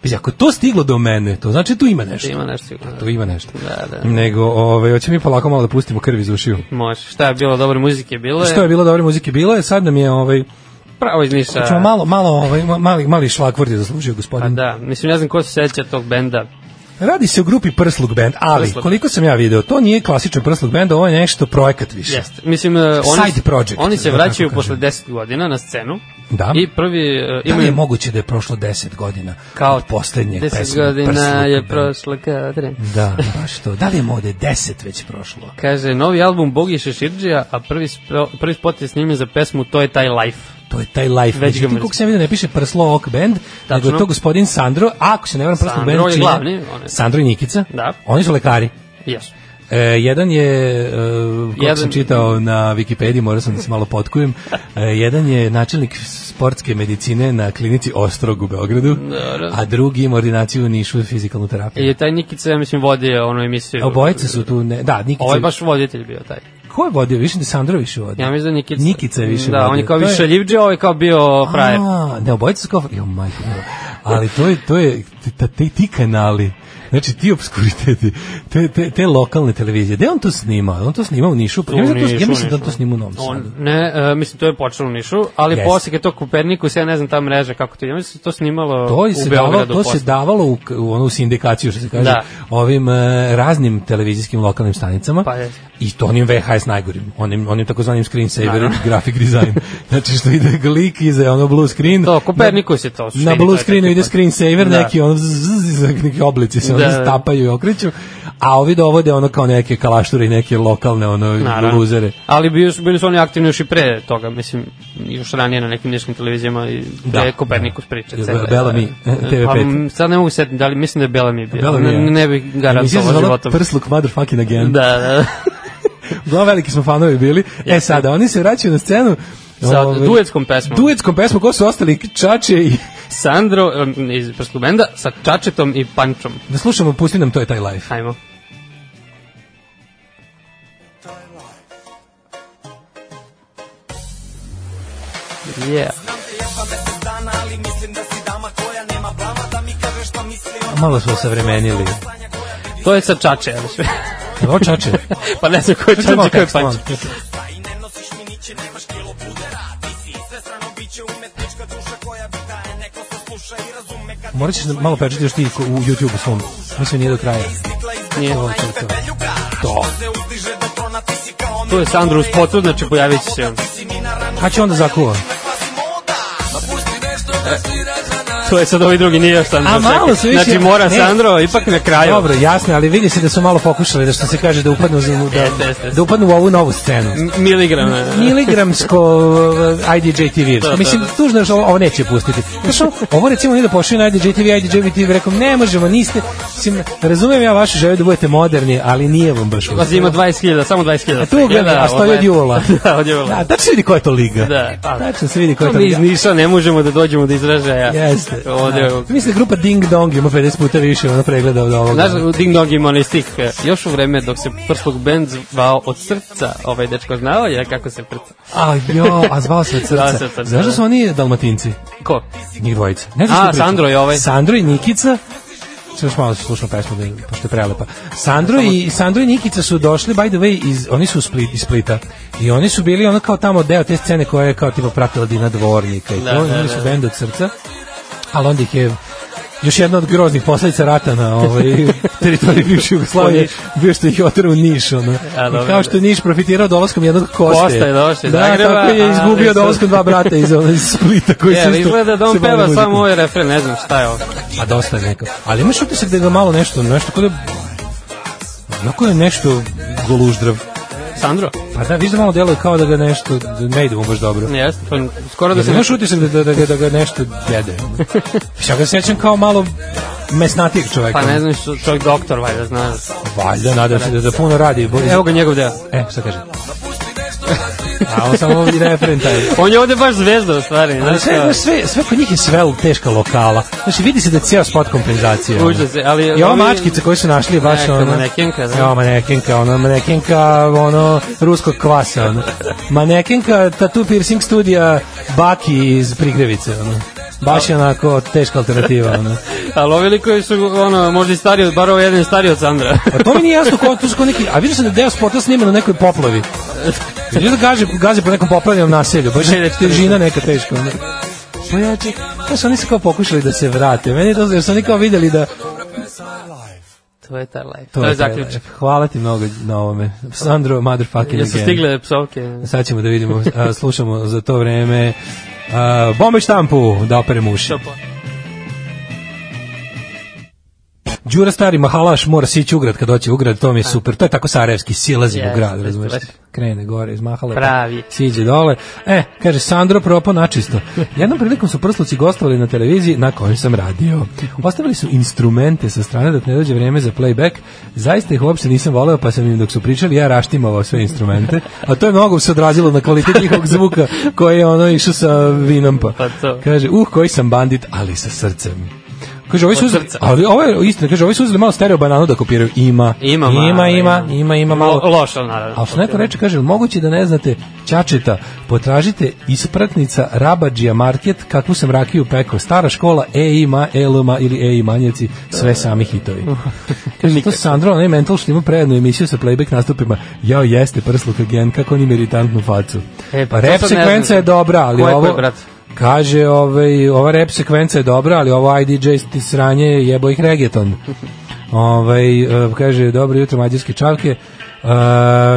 mislim, ako je to stiglo do mene, to znači tu ima nešto. Da Ima nešto sigurno. Tu ima nešto. Da, da. Nego, ove, hoće mi polako malo da pustimo krv iz ušiju. Može. Šta je bilo, dobre muzike bilo je. Da. Što je bilo dobre muzike, bilo je, sad nam je, ovaj, Pravo iz Niša. ćemo malo, malo, ovaj, ma- mali, mali šlakvrt je zaslužio Pa gospodin. da, mislim, ne znam ko se seća tog benda. Radi se o grupi Prslug Band, ali Prslug. koliko sam ja video, to nije klasičan Prslug Band, ovo je nešto projekat više. Jeste. Mislim, eh, oni, Side project, oni se da vraćaju tako posle kažem. 10 godina na scenu. Da. I prvi eh, Da li je imaju moguće da je prošlo 10 godina Kao od poslednje 10 pesme godina Prslug je Band? prošlo kao tren. Da, baš to. Da li je mode 10 već prošlo? Kaže, novi album Bogi Šeširđija, a prvi, spro, prvi spot je snimljen za pesmu To je taj life. To je taj life. Već ga Međutim, mrzim. koliko sam vidio, ne piše Prslo Ok Band, Tačno. nego je to gospodin Sandro, a ako se ne varam Prslo Sandro Band je čine- glavni, on je- Sandro i Nikica. Da. Oni su lekari. Jesu. E, jedan je, e, kako Jedan- sam čitao na Wikipediji, morao sam da se malo potkujem, e, jedan je načelnik sportske medicine na klinici Ostrog u Beogradu, a drugi ima ordinaciju u Nišu fizikalnu I terapiju. je E, taj Nikica, ja mislim, vodio onu emisiju. Obojice su tu, ne, da, Nikica... Ovo je Ovaj baš voditelj bio taj. Ko je vodio? Više ne Sandro više vodio. Ja mislim da Nikica... Nikica je više Da, vodio. on je kao To više ljivđe, ovo je kao bio frajer. A, ne, obojica su kao... Jo, majko, mila. Ali to je, to je, ti, ti, ti kanali, znači ti obskuriteti, te, te, te lokalne televizije, gde on to snima? On to snima u Nišu? Tu ja mislim, da to- Nišu, ja mislim da on Nišu. to snima u Novom Sadu. On, ne, e, mislim, to je počelo u Nišu, ali Jeste. posle kad je to Kopernikus, ja ne znam ta mreža kako to je. Ja mislim da se to snimalo To je u se davalo, Beogradu to se da- posle. davalo u, u onu sindikaciju što se kaže, Da. ovim e, raznim televizijskim lokalnim stanicama. Pa je. I to onim VHS najgorim, onim onim takozvanim screensaver Naravno. graphic design. Znači što ide lik iza ono blue screen. To, Kopernikus je to. u na suštini, to blue je screenu taj ide tip. screensaver Da. neki ono zzz, zzz, zzz, neki oblici se Da, ono da. stapaju i okreću a ovi dovode ono kao neke kalašture i neke lokalne ono Naravno. luzere Ali bili su, bili su oni aktivni još i pre toga, mislim, još ranije na nekim niškim televizijama i da, Da. je Kopernikus priča. Be- cele. Bellamy, Pa, TV5. m, sad ne mogu setiti, da li mislim da je Bellamy bio. Bellamy, ne, ja. ne bih Emisija se garantovao zvala životom. Prsluk motherfucking again Da, da, da. Uglavnom, veliki smo fanovi bili e sada oni se vraćaju na scenu Sa ovaj, duetskom pesmom. duetskom pesmom ko su ostali Čače i Sandro em, iz Prskog benda sa Čačetom i Pančom. da slušamo pusti nam to je taj live Hajmo. Yeah. malo smo savremenili To je sa Čače, ja mislim. ovo Čače pa ne znam ko je Čače, Čače ko je Pančo. Morat ćeš da malo pečati još ti ko- u YouTube-u svom. Mislim, nije do kraja. Nije. To, to, to. to. Tu je Sandro u spotu, znači pojavit će se on. Kad će onda zakuva? to je sad ovaj drugi nije Sandro. A malo su više... Znači mora ne, Sandro, ipak na kraju. Dobro, jasno, ali vidi se da su malo pokušali da što se kaže da upadnu, u- da, E, da upadnu u ovu novu scenu. M- Miligram. ne. miligramsko uh, IDJ TV. da. Mislim, tužno je što ovo ovo neće pustiti. Znaš, ovo- ovo recimo nije da pošli na IDJ TV, IDJ TV, rekom, ne možemo, niste, mislim, razumijem ja vašu želju da budete moderni, ali nije vam baš Pazi, ima 20.000, samo 20.000. A E, tu gleda, a stoji od jula. da, od jula. Da, tačno se vidi koja je to liga. Da, pa. Tačno se vidi koja je To to mi iz liga. Niša ne možemo da dođemo do izražaja. Jeste. Ovde, Da. Mislim, grupa Ding Dong ima 50 puta više ono pregleda od ovoga. Znaš, u Ding Dong ima onaj stih, e, još u vreme dok se prslog band zvao od srca, ovaj dečko znao je kako se prca. A jo, a zvao se od Zvao srca. se od srca, Znaš da su oni dalmatinci? Ko? Njih dvojica. Ne znaš A, što pričam? Sandro i ovaj. Sandro i Nikica. Sad još malo slušam pesmu, da, je- pošto je prelepa. Sandro i, Sandro i Nikica su došli, by the way, iz, oni su u Split, iz Splita. I oni su bili ono kao tamo deo te scene koja je kao tipa pratila Dina Dvornika. I to, Da, da, oni su da. bend od srca. Ali onda ih je Još jedna od groznih posledica rata na ovaj teritoriji bivše Jugoslavije bio što ih je oterao u Niš. Ono. A, I dobro, kao što je Niš profitirao dolaskom jednog Koste. Kosta je došao iz da, Zagreba, tako je a izgubio ovi su- dolaskom dva brata iz, ono, iz Splita koji Je, su isto izgleda se da on bavili peva muzikom. samo ovaj refren, ne znam šta je ovo. Pa dosta je neka. Ali imaš utisak da ga malo nešto, nešto kod je... Onako je nešto goluždrav. Sandro? Pa da, viš da malo deluje kao da ga nešto, da ne ide mu baš dobro. Ne, jeste, pa skoro da Jer se... imaš utisak da, da, da, ga, da ga nešto jede. Ja ga sećam kao malo mesnatijeg čoveka. Pa ne znam što čovjek doktor, valjda zna. Valjda, nadam se da, da puno radi. Boris. Evo ga njegov deo. E, šta kaže? A on samo ovdje referen taj. On je ovde baš zvezda u stvari. Ali znaš sve, šta? znaš, sve, sve kod njih je svel teška lokala. Znači, vidi se da je cijel spot kompenzacija. Užas je, ali I ova ovi- mačkica koju su našli je baš Neka ona... manekenka, da. Jo, manekenka, ono, manekenka, ono, ruskog kvasa, ono. Manekenka, tattoo piercing studija Baki iz Prigrevice, ono. Baš je onako teška alternativa, ono. Ali ovi likovi su, ono, možda i stariji, od- bar ovo jedan je stariji od Sandra. A to mi nije jasno ko, tu su ko neki, a vidio sam da je deo spota sniman na nekoj poplavi. Ljudi da gaže, gaze po nekom poplavljenom naselju, baš je težina neka teška. Onda. Pa ja ček, pa su oni se kao pokušali da se vrate. Meni je to, jer su oni kao videli da... to je taj life. To, je taj zaključak. life. Hvala ti mnogo na ovome. Sandro, motherfucking Jesu again. stigle psovke? Sad ćemo da vidimo, a, slušamo za to vreme a, bombe štampu da operemo uši. Što pa? Đura stari mahalaš mora sići u grad kad doći u grad, to mi je super. To je tako sarajevski silazim u Jeste, grad, jeste, razumeš? baš. Krene gore iz mahale, Pravi. pa siđe dole. E, kaže Sandro propo načisto. Jednom prilikom su prsluci gostovali na televiziji na kojoj sam radio. Ostavili su instrumente sa strane dok ne dođe vreme za playback. Zaista ih uopšte nisam voleo, pa sam im dok su pričali ja raštimovao sve instrumente. A to je mnogo se odrazilo na kvalitet njihovog zvuka koji je ono išao sa vinompa. Pa to. Kaže, uh, koji sam bandit, ali sa srcem. Kaže, ovi su Od uzeli, srca. ali ovo je istina, kaže, ovi su uzeli malo stereo bananu da kopiraju. Ima, Ima, ima, malo, ima, ima, ima, malo. Lo, loš, ali naravno. A što neko reče, kaže, "Jel moguće da ne znate Ćačeta, potražite ispratnica Rabadžija Market, kakvu sam rakiju pekao, stara škola, E ima, Eloma ili E i manjeci, sve sami hitovi. Kaže, to Sandro, onaj mental što ima prejednu emisiju sa playback nastupima, jao jeste prsluk again, kako on ima iritantnu facu. E, pa to rap sad ne znam. sekvenca je dobra, ali Ko je, ko ovo... je, brat? Kaže, ovaj, ova rap sekvenca je dobra, ali ovo IDJ ti sranje jebo ih reggaeton. Ovaj, e, kaže, dobro jutro mađarske čavke. Uh,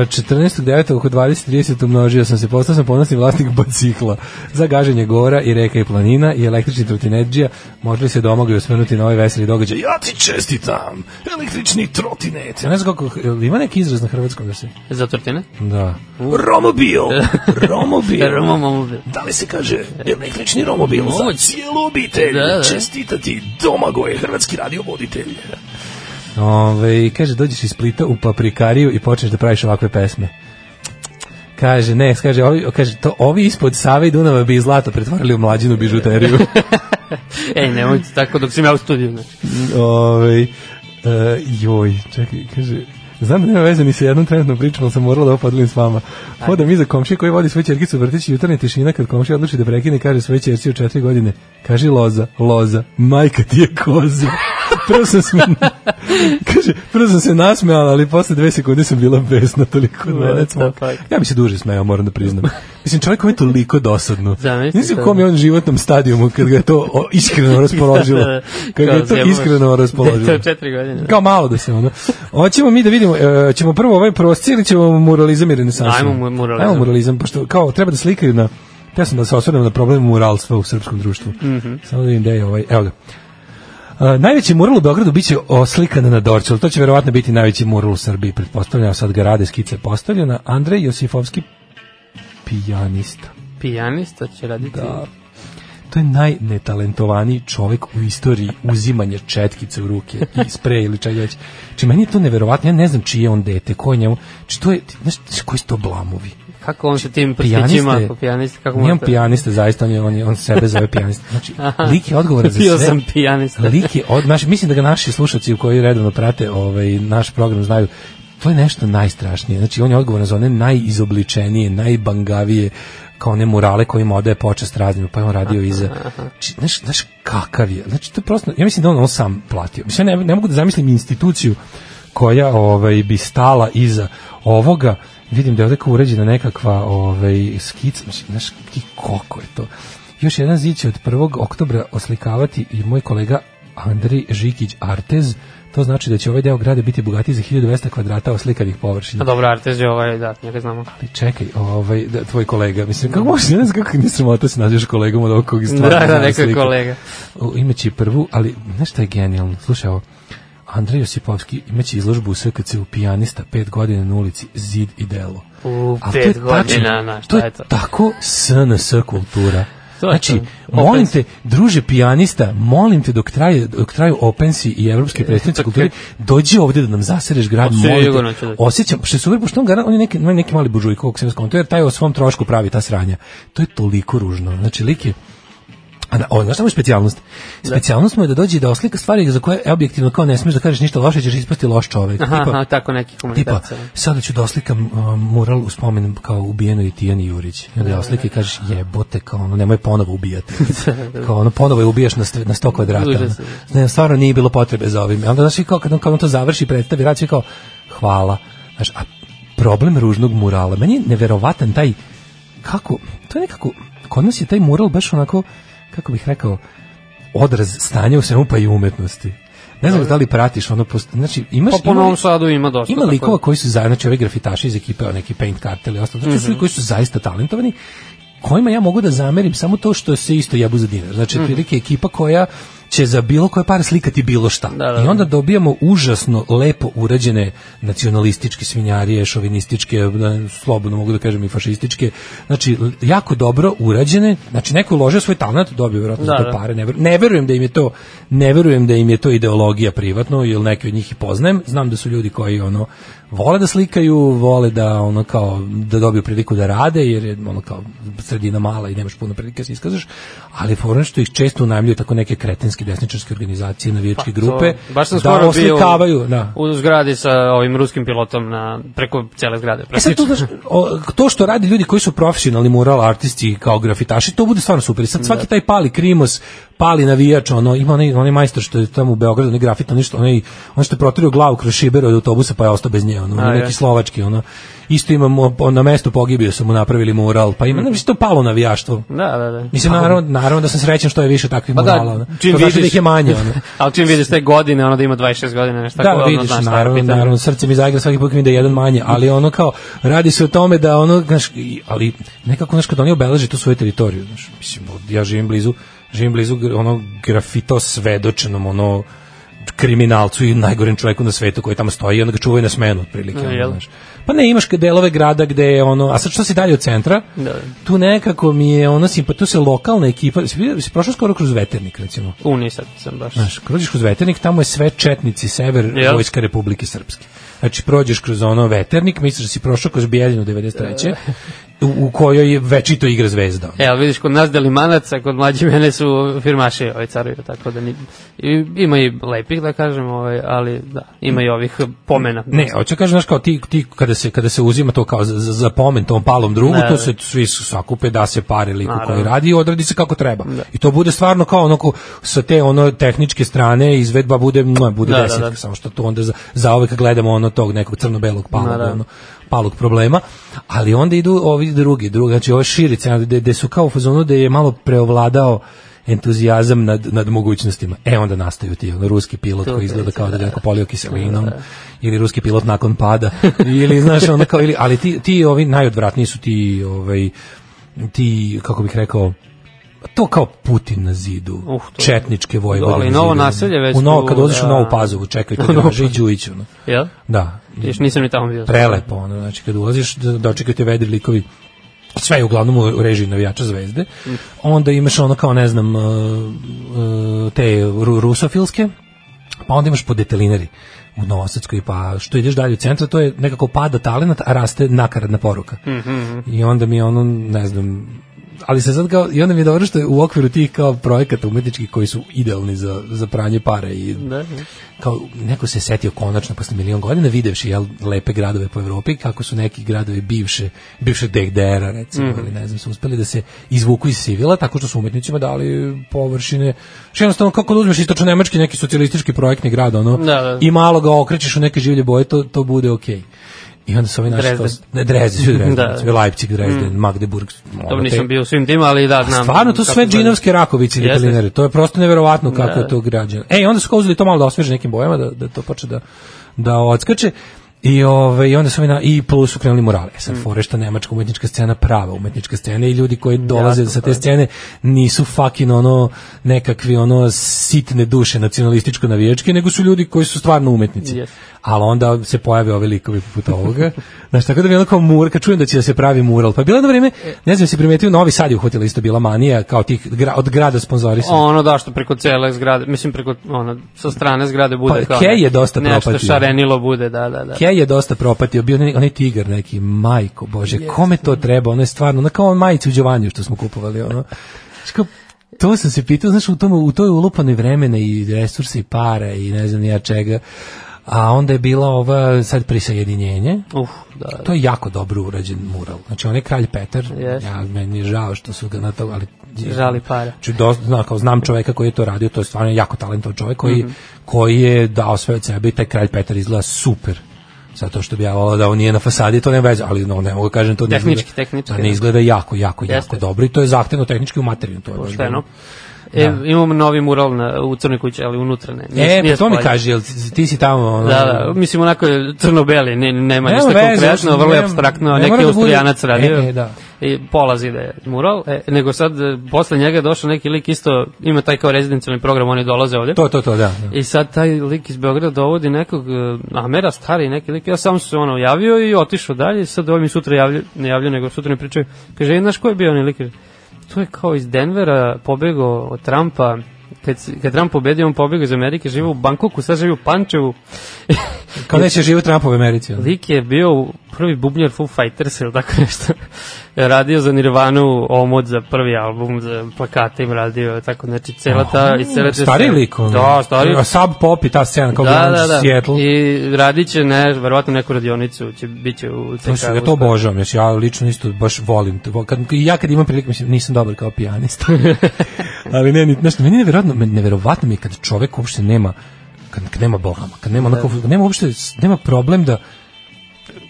14.9. oko 20.30 umnožio sam se, postao sam ponosni vlasnik bicikla za gaženje gora i reka i planina i električni trotinetđija možda li se domogli osvrnuti na ovaj veseli događaj ja ti čestitam, električni trotinet ja ne znam kako, jel ima neki izraz na hrvatskom da se Za tortine? da. Romobil, romobil Romomobil. da li se kaže električni romobil za cijelu obitelj? Da, da. Čestitati Domagoje, hrvatski radio voditelj. Ove, kaže, dođeš iz Splita u paprikariju i počneš da praviš ovakve pesme. Kaže, ne, kaže, ovi, kaže, to, ovi ispod Save i Dunava bi zlato pretvorili u mlađinu bižuteriju. Ej, nemojte tako dok sam ja u studiju. Znači. Ove, e, joj, čekaj, kaže, Znam da nema veze ni sa jednom trenutnom pričom, ali sam morala da ovo podelim s vama. Hodam iza komšije koji vodi svoju čerkicu u vrtić i jutarnja tišina kad komšija odluči da prekine i kaže svoje čerci u četiri godine. Kaži loza, loza, majka ti je koza. Prvo sam se, kaže, prvo sam se nasmejala, ali posle dve sekunde sam bila besna toliko od mene. What the fuck? Ja bi se duže smejao, moram da priznam. Mislim, čovjek mi je toliko dosadno. Zamisli Mislim, u to. kom je on životnom stadijumu kad ga je to o, iskreno raspoložilo. Da, Kad ga je to zjebavaš. iskreno Dete raspoložilo. od Da, četiri godine. Kao malo da se ono. Hoćemo mi da vidimo, e, ćemo prvo ovaj prosci ili ćemo muralizam i renesansu? Ajmo mu- muralizam. Ajmo muralizam, pošto kao treba da slikaju na Teo sam da se osvrnem na problem muralstva u srpskom društvu. Mhm. Samo da vidim gde je ovaj, evo ga. E, najveći mural u Beogradu biće oslikan na Dorčelu. To će verovatno biti najveći mural u Srbiji, pretpostavljam. Sad ga rade skice postavljena. Andrej Josifovski, pijanista. Pijanista će raditi. Da. To je najnetalentovaniji čovek u istoriji uzimanja četkice u ruke i spre ili čega već. Či meni je to neverovatno, ja ne znam čije je on dete, ko je njemu, či to je, znaš, znaš koji su to blamovi? Kako on sa tim Pijanista prstićima, je- ako pijanista, kako Nije on možete? pijanista, zaista, on, je, on, je, on sebe zove pijanista. Znači, Aha. lik je odgovoran za sve. Bio sam pijanista. Lik je od, naš, mislim da ga naši slušalci koji redovno prate ovaj, naš program znaju to je nešto najstrašnije. Znači, on je odgovoran za one najizobličenije, najbangavije, kao one murale kojima odaje počast raznim, pa je on radio iza. Znači, znaš, znaš kakav je. Znači, to je prosto, ja mislim da on on sam platio. Mislim, ja ne, ne mogu da zamislim instituciju koja ovaj, bi stala iza ovoga. Vidim da je ovde kao uređena nekakva ovaj, skica. Znači, znaš, ti koliko je to. Još jedan zid će od 1. oktobra oslikavati i moj kolega Andrej Žikić Artez. To znači da će ovaj deo grada biti bogatiji za 1200 kvadrata oslikanih A površina. dobro, Artez je ovaj, da, njega znamo. Ali čekaj, ovaj, da, tvoj kolega, mislim, kako možeš, ne znam kako nisam da se nazivaš kolegom od ovog kog stvarno Da, da, znam neko je sliku. kolega. O, Imaće i prvu, ali znaš šta je genijalno? Slušaj ovo, Andrej Josipovski imaće izložbu u SKC u pijanista pet godina na ulici Zid i delo. U Ali to je pet tačno, godina, na, to šta je je to? tako SNS kultura. To je Znači, to. molim Opens. te, druže pijanista, molim te dok traje dok traju Opensi i E, evropski predstavnici kulture, dođi ovde da nam zasereš grad, Pa, molim sigurno te. ću doći. Osjećam, što je super, pošto on, garan- on je neki, on je neki mali buržuj, kog sam ja skonto, jer taj o svom trošku pravi ta sranja. To je toliko ružno. Znači, lik je, A da, ovo, znaš šta mu je specijalnost? Specijalnost mu je da dođe i da oslika stvari za koje objektivno kao ne smiješ da kažeš ništa loše, ćeš ispasti loš čovek. Aha, Tipa, aha, tako neki Tipa, komunikacija. sada ću da oslikam um, mural u spomen kao ubijenoj Tijani Jurić. I onda Da, je oslika i kažeš jebote, kao ono, nemoj ponovo ubijati. kao ono, ponovo je ubijaš na, st- na 100 kvadrata. Užasno. Ne, stvarno nije bilo potrebe za ovim. I onda znaš i kao kad on, kad on to završi i predstavi, rad će kao hvala. Znaš, a problem ružnog murala, meni je neverovatan taj kako, to je nekako, kod nas je taj mural baš onako, kako bih rekao, odraz stanja u svemu pa i umetnosti. Ne znam da li pratiš ono, post- znači imaš... Pa po ima- Novom Sadu ima dosta. ima tako da. likova koji su za, znači ovi grafitaši iz ekipe, o, neki paint kartel i ostalo, znači Mhm. su ljudi koji su zaista talentovani, kojima ja mogu da zamerim samo to što se isto jebu za dinar. Znači, Mhm. otprilike ekipa koja će za bilo koje pare slikati bilo šta. Da, da, da. I onda dobijamo užasno lepo urađene nacionalističke svinjarije, šovinističke, da, slobodno mogu da kažem i fašističke. Znači, l- jako dobro urađene. Znači, neko je uložio svoj talent, dobio verovatno Da, da, da. pare. Ne, ver, ne verujem da im je to ne verujem da im je to ideologija privatno, jer neki od njih i poznajem. Znam da su ljudi koji ono vole da slikaju, vole da ono kao da dobiju priliku da rade, jer je ono kao sredina mala i nemaš puno prilike da se iskažeš, ali foran što ih često unajmljuju tako neke kretenske desničarske organizacije, navijačke Pa, To- grupe, baš sam da skoro bio oslikavaju, da. u zgradi sa ovim ruskim pilotom na, preko cele zgrade. E sad Praktično. to, znaš, o, to što radi ljudi koji su profesionalni mural artisti kao grafitaši, to bude stvarno super. I sad Da. svaki taj pali krimos, pali navijač, ono, ima onaj, onaj majstor što je tamo u Beogradu, onaj grafit, onaj što, onaj, on što je protirio glavu kroz šiber od autobusa pa je ostao bez nje, ono, A, neki je. slovački, ono. Isto imamo, on, na mesto pogibio su mu napravili mural, pa ima, mm. znači to je palo navijaštvo. Da, da, da. Mislim, naravno, naravno da sam srećan što je više takvih Pa da, murala. ono. čim to znači da vidiš- ih je manje. Ono. Ali čim vidiš te godine, ono da ima 26 godina, nešto tako, da, ono, vidiš, znaš šta je naravno, pitanje. naravno, srce mi zaigra svaki put kad mi da jedan manje, ali ono kao, radi se o tome da ono, znaš, i- ali nekako, znaš, kad oni obeleže tu svoju teritoriju, znaš, mislim, od- ja živim blizu, živim blizu gr- ono grafito svedočenom, ono, kriminalcu i najgorem čoveku na svetu koji tamo stoji i onda ga čuvaju na smenu otprilike. E, Ono, jel? znaš. Pa ne, imaš ka- delove grada gde je ono, a sad što si dalje od centra, Da. tu nekako mi je ono simpa, tu se lokalna ekipa, si, vidio- si prošao skoro kroz veternik recimo. U, nisam sam baš. Znaš, kad prođeš kroz Veternik, tamo je sve četnici sever Jel? Vojska Republike Srpske. Znači, prođeš kroz ono Veternik, misliš da si prošao kroz Bijeljinu 93. u, u kojoj je večito igra zvezda. E, ali vidiš, kod nas delimanaca, kod mlađe mene su firmaši ovaj carovi, tako da ni, i, ima i lepih, da kažem, ovaj, ali da, ima i ovih pomena. Ne, hoću da kažem, znaš, kao ti, ti kada, se, kada se uzima to kao za, za- za pomen tom palom drugu, Ne, to ne. se svi su- sakupe da se pare liku Naravno. Da. koji radi i odradi se kako treba. I to bude stvarno kao onako sa te ono tehničke strane izvedba bude, no, bude Da, da, desetka, da. samo što to onda za, za uvek gledamo ono tog nekog crno-belog palog, Naravno. ono, palog problema, ali onda idu ovi drugi, drugi znači ove širice, gde, gde su kao u fazonu da je malo preovladao entuzijazam nad, nad mogućnostima. E, onda nastaju ti ono, ruski pilot koji izgleda kao da ga neko polio kiselinom, ili ruski pilot nakon pada, ili, znaš, ono kao, ili, ali ti, ti ovi najodvratniji su ti, ovaj, ti, kako bih rekao, to kao Putin na zidu, Uh, to- četničke vojvode. Ali na novo zidu. naselje već U novo, tu, kad odeš u da. Novu Pazovu, čekaj, kad U Novu dođe i Pazovu. Đujić, ono. Jel? Da. Još nisam ni tamo bio. Prelepo, ono, znači kad ulaziš, da- dočekaju te vedri likovi sve je uglavnom u režiji navijača zvezde. Mm. Onda imaš ono kao, ne znam, uh, uh, te ru- rusofilske, pa onda imaš po detelinari u Novosadskoj, pa što ideš dalje u centar, to je nekako pada talenat, a raste nakaradna poruka. Mm, I onda mi je ono, ne znam, ali se sad kao, i onda mi je dobro što je u okviru tih kao projekata umetničkih koji su idealni za, za pranje para i Da. kao neko se setio konačno posle milion godina videvši jel, lepe gradove po Evropi kako su neki gradovi bivše bivše DDR-a recimo Mhm. ili ne znam su uspeli da se izvuku iz sivila tako što su umetnicima dali površine što jednostavno kako da uzmeš istočno nemački neki socijalistički projektni grad ono Da, da. i malo ga okrećeš u neke življe boje to, to bude okej I onda su ovi naši... Drezden. kao- Ne, Drezden, svi Drezden. Da. recimo, Leipzig, Drezden, Mm. Magdeburg. ono, Dobro, te- nisam bio u svim tima, ali da, znam. Stvarno, to su kako sve gleda. džinovske rakovice ili Jeste. pelinere. To je prosto neverovatno kako Da. je to građeno. E, i onda su kao uzeli to malo da osveže nekim bojama, da, da to počne da, da odskače. I, ove, I onda su ovi na, i plus su krenuli murale. E Sad, Mm. forešta nemačka umetnička scena, prava umetnička scena i ljudi koji dolaze Jasno, sa te pa. scene nisu fucking ono nekakvi ono sitne duše nacionalističko navijačke, nego su ljudi koji su stvarno umetnici. Yes. Ali onda se pojave ovi likovi poput ovoga. Znaš, tako da mi je ono kao mur, kad čujem da će da se pravi mural. Pa je bilo jedno vreme, E. ne znam, si primetio, Novi Sad je uhvatila isto bila manija, kao tih gra, od grada sponzorisana. Ono da što preko cele zgrade, mislim preko ono sa strane zgrade bude Pa, kao. Kej je ne- dosta propatio. Nešto šarenilo bude, da, da, da. Kej je dosta propatio, bio onaj, onaj tigar neki, majko bože, kome to treba, ono je stvarno, ono kao on majicu u Đovanju što smo kupovali, ono. Znaš, kao, to sam se pitao, znaš, u, tom, u toj ulupanoj vremena i resursi i para i ne znam ni ja čega, a onda je bila ova sad prisajedinjenje. Uf, da. To je jako dobro urađen mural. Znači, on je kralj Petar, Jeste. ja, meni je žao što su ga na to, ali... Žali para. Znači, do, zna, kao, znam čoveka koji je to radio, to je stvarno jako talentovan čovek koji, Mhm. koji je dao sve od sebe i taj kralj Petar izgleda super. Zato što bi ja volao da on nije na fasadi, to nema veze, ali no, ne mogu da kažem to ne Tehnički, izgleda, tehnički, da ne da. izgleda jako, jako, Jeste. jako dobro i to je zahtevno tehnički u materiju. To je baš Pošteno. Pa dobro. Da. E, imam novi mural na, u Crnoj kući, ali unutra ne. E, nije pa to mi spolja. kaže, jel ti si tamo? ono- Da, da, mislim onako je crno-beli, ne, nema Nema ništa veze, konkretno, uopšte vrlo je nema- abstraktno, ne neki mora da bude- austrijanac radio. E, e, da. I polazi da je mural, e, nego sad e, posle njega je došao neki lik isto, ima taj kao rezidencijalni program, oni dolaze ovde. To, to, to, da. I sad taj lik iz Beograda dovodi nekog e, Amera, stari neki lik, ja sam se ono javio i otišao dalje, i sad ovaj mi sutra javlja, ne javlja, nego sutra mi pričaju, kaže, "E, znaš ko je bio onaj lik? Kaže, To je kao iz Denvera pobegao od Trumpa, kad, si- kad Trump pobedio, on pobegao iz Amerike, živi u Bankoku, sad živi u Pančevu. Kao neće živjeti Trump u Americi. ono. Lik je bio prvi bubnjar Foo Fighters ili tako nešto. Radio za Nirvanu omot za prvi album, za plakate im radio, tako znači cela ta... i cela ta Stari scena- lik. ovaj. ono. Da, stari. A Sub Pop i ta scena, kao da, grunge da, da. Seattle. I radit će, ne, verovatno neku radionicu, će, bit će u CK. Slušaj, ja da to obožavam, još ja lično isto baš volim. to. Vo- Kad, i ja kad imam priliku, mislim, nisam dobar kao pijanista. Ali ne, ni, nešto, meni je nevjerojatno, meni- nevjerovatno mi je kad čovek uopšte nema, kad, kad nema blama, kad Da. nema, onako, nema uopšte, nema problem da,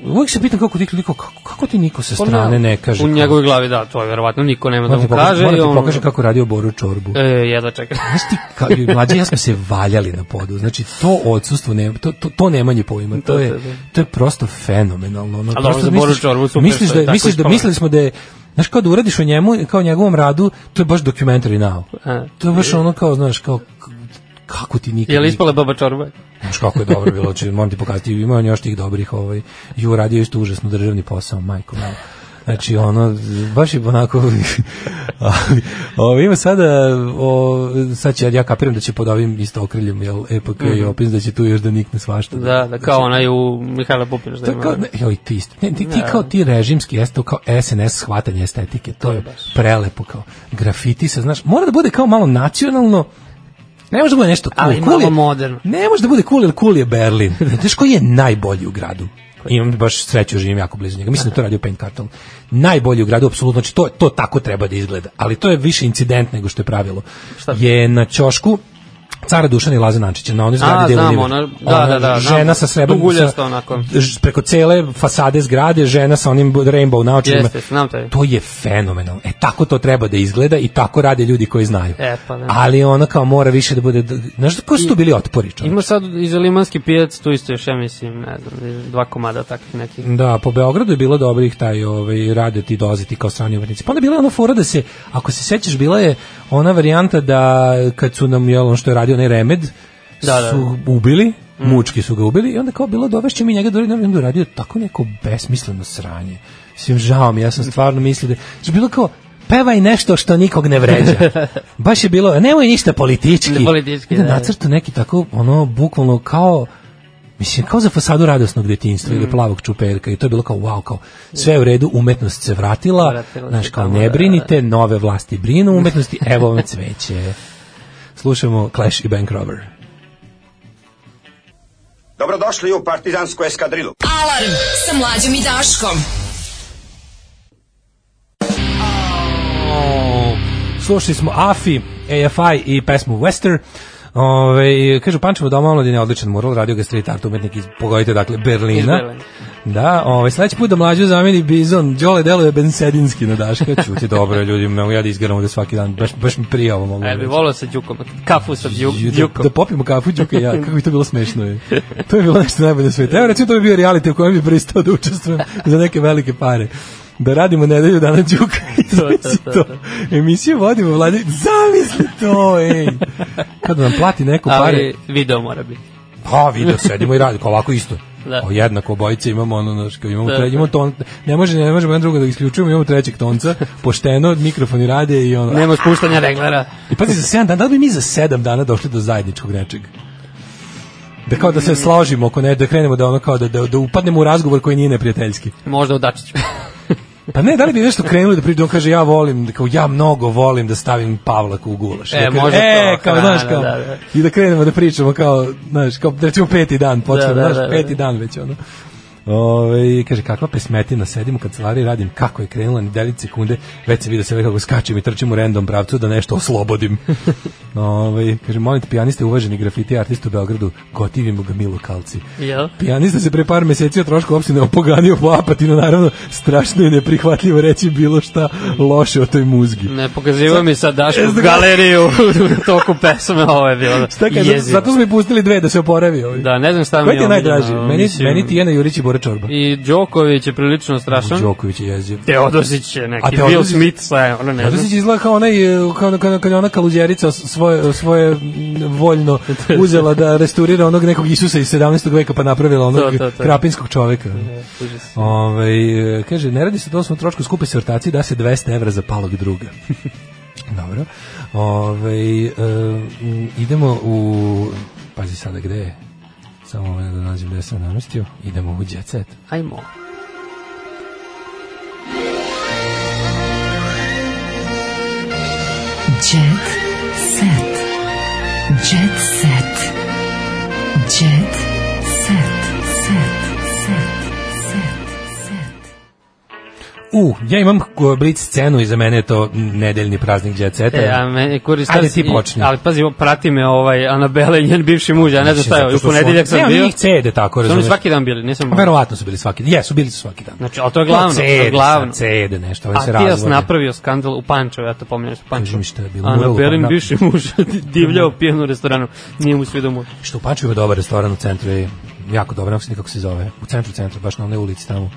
uvijek se pitam kako ti, kako, kako ti niko sa Pa strane ne, ne kaže. U njegovoj glavi, da, to je verovatno niko nema da Moram mu ti pokažem- kaže. moram i ti on- pokažem kako je radio Boru Čorbu. E, jedva čekam. Znaš ti, kao, i mlađe, i ja smo se valjali na podu. Znači, to odsustvo, ne, to, to, to nemanje pojma, to je, to je prosto fenomenalno. Ono, Da, Ali prosto dobro, za Boru Čorbu super misliš što je da, tako misliš da, ispalo. mislili smo da je, znaš, kao da uradiš o njemu, kao o njegovom radu, to je baš documentary now. E. To je baš ono kao, znaš, kao, k- kako ti nikad... Je li nikad- ispala baba čorba? Znaš kako je dobro bilo, znači moram ti pokazati, ima on još tih dobrih, ovaj, i uradio je isto užasno državni posao, majko mala. Znači, ono, baš je onako, ovo, ima sada, o, sad će, ja kapiram da će pod ovim isto okriljem, jel, EPK i Mhm. opis, da će tu još da nikne svašta. Da, da, kao onaj u Mihajla Pupina. što Znači- To je ima. kao, ne, joj, ti isto. Ne, ti, ti Da. kao ti režimski, jeste to kao SNS shvatanje estetike. To je prelepo, kao grafiti se, znaš, mora da bude kao malo nacionalno, ne može da bude nešto cool. Ali cool malo je- moderno. Ne može da bude cool, jer cool je Berlin. Znaš koji je najbolji u gradu? Imam baš sreću, živim jako blizu njega. Mislim da je to radio Penn Carton. Najbolji u gradu, apsolutno, znači to, to tako treba da izgleda. Ali to je više incident nego što je pravilo. Šta? Je na ćošku cara Dušana i Laza Nančića, na onoj zgradi A, gde je znam, Oliver. ona- da, da, da, žena na- sa srebrnim, duguljasta sa- onako. ž- preko cele fasade zgrade, žena sa onim rainbow naočima. Jeste, znam taj. To je fenomenalno. E, tako to treba da izgleda i tako rade ljudi koji znaju. E, pa da. Ali ona kao mora više da bude... d- Znaš ko su tu bili otpori, čovječe? Ima sad i za limanski pijac, tu isto još, ja mislim, ne znam, dva komada takvih nekih. Da, po Beogradu je bilo dobrih taj ovaj raditi i dolaziti kao strani umetnici. Pa onda je bila ona fora da se, ako se sećaš, bila je ona varijanta da kad su nam jel, ono što je radio onaj remed, Da, Mm. da. su ubili, mučki su ga ubili i onda kao bilo dovešće mi njega da uradim, onda je uradio tako neko besmisleno sranje. Mislim, žao mi, ja sam stvarno mislio da... Znači, bilo kao, pevaj nešto što nikog ne vređa. Baš je bilo, nemoj ništa politički. Ne, politički, Onda da, da. nacrtao neki tako, ono, bukvalno kao, Mislim, kao za fasadu radosnog detinjstva Mm. ili plavog čuperka i to je bilo kao, wow, kao, sve je u redu, umetnost se vratila, Vratila se znaš, kao, tamo, ne da, brinite, nove vlasti brinu o umetnosti, evo vam cveće. Slušamo Clash i Bank Robber. Dobrodošli u partizansku eskadrilu. Alarm sa mlađom i Daškom. Slušali smo AFI, AFI i pesmu Wester. Ove, kaže, Pančevo doma omladine je odličan mural, radio ga street art umetnik iz, pogojite, dakle, Berlina. Berlina. Da, ovaj, sledeći put da mlađu zameni Bizon, Đole deluje bensedinski na Daška, čuti dobro ljudi, mogu ja da izgaram ovde svaki dan, baš, baš mi prija ovo mogu. E, bi reći. volao sa Đukom, kafu sa Đuk, Ju, Da, Đukom. da popijemo kafu Đuka i ja, kako bi to bilo smešno. Je. To je bilo nešto najbolje na svetu. Evo recimo to bi bio reality u kojem bi pristao da učestvujem za neke velike pare. Da radimo nedelju dana Đuka i To, to, zamisli to, to. Emisiju vodimo vladi. Zamisli to, ej! Kad nam plati neko pare. Ali video mora biti. Pa, video, sedimo i radimo, ovako isto. Da. O, jednako obojice imamo ono naš, kao imamo, Da, tre, imamo ton, ne može ne možemo jedan drugo da isključujemo, imamo trećeg tonca, pošteno, mikrofoni rade i ono. Nema spuštanja reglera. I pazi, za 7 dana, da li bi mi za 7 dana došli do zajedničkog nečeg? Da kao da Mm. se složimo oko ne, da krenemo da ono kao da, da, da upadnemo u razgovor koji nije neprijateljski. Možda u Dačiću. Pa ne, da li bi nešto krenuli da priđe, on kaže ja volim, da kao ja mnogo volim da stavim Pavlaku u gulaš. E, da kaže, možda e, to, kao, hrana, znaš, kao, da, da. i da krenemo da pričamo kao, znaš, kao, da recimo peti dan, počnemo, Da, da, znaš, da, da. peti dan već, ono. Ove, kaže, kakva pesmetina, sedim u kancelariji, radim kako je krenula, ni 9 sekunde, već se vidio sve kako skačem i trčim u random pravcu da nešto oslobodim. Ove, kaže, molim te, pijaniste uvaženi grafiti artist u Beogradu, gotivimo ga Milo Kalci. Jel? Pijanista se pre par meseci o trošku opštine opoganio po apatinu, naravno, strašno je neprihvatljivo reći bilo šta loše o toj muzgi. Ne, pokazivo mi sad Dašku galeriju u toku pesme, ovo je bilo Šta kad, zato, jezivo. zato smo i pustili dve da se oporavi ovaj. Da, ne znam šta mi Koji ti je omiljeno, najdraži? Meni, mislim- meni Tijena Jurić i Bora Čorba. I Đoković je prilično strašan. Đoković je jeziv. Teodosić je A neki, Teodosić- Bill Smith, sve, ono ne Zato znam. se izgleda kao onaj, e, kao, kao, kao ona kaluđerica svoje, svoje m, voljno uzela da restaurira onog nekog Isusa iz 17. veka pa napravila onog To, to, to. krapinskog čoveka. Užas. Ove, kaže, ne radi se to smo trošku skupe sortacije, da se 200 evra za palog druga. Dobro. Ove, e, m, idemo u... Pazi sada gde je. Samo moment da nađem gde sam namestio. Idemo u Jet Set. Ajmo. Jet set. Jet set. Jet set. Set. Set. Set. Set. U, ja imam ko- Blitz scenu i za mene je to nedeljni praznik Jet Seta. E, a meni koristi... Da. Ajde ti počni. Ali pazi, ovo, prati me ovaj Anabela i njen bivši muž, ja ne znam šta je, u ponedeljak sam Ne, oni bio. njih cede tako, Su oni razumeš. svaki dan bili, nisam... Pa Verovatno su bili svaki dan. Jesu, bili su svaki dan. Znači, ali to je glavno, to je cede, glavno. sad Cede nešto, ove A se ti jas razvode. napravio skandal u Pančevu, ja to pominjam u Pančevu. Kaži mi šta je bilo, Ana moral u Belin, Pančevu. bivši muž, divljao pijen u restoranu, nije mu svi domu. Što u Pančevu ima dobar restoran u centru je jako dobar, nekako se nikako se zove. U centru centra, baš na onoj ulici tamo.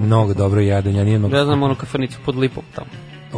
Mnogo dobro jedenja, nije mnogo... Ja Mm. znam onu kafanicu pod lipom tamo.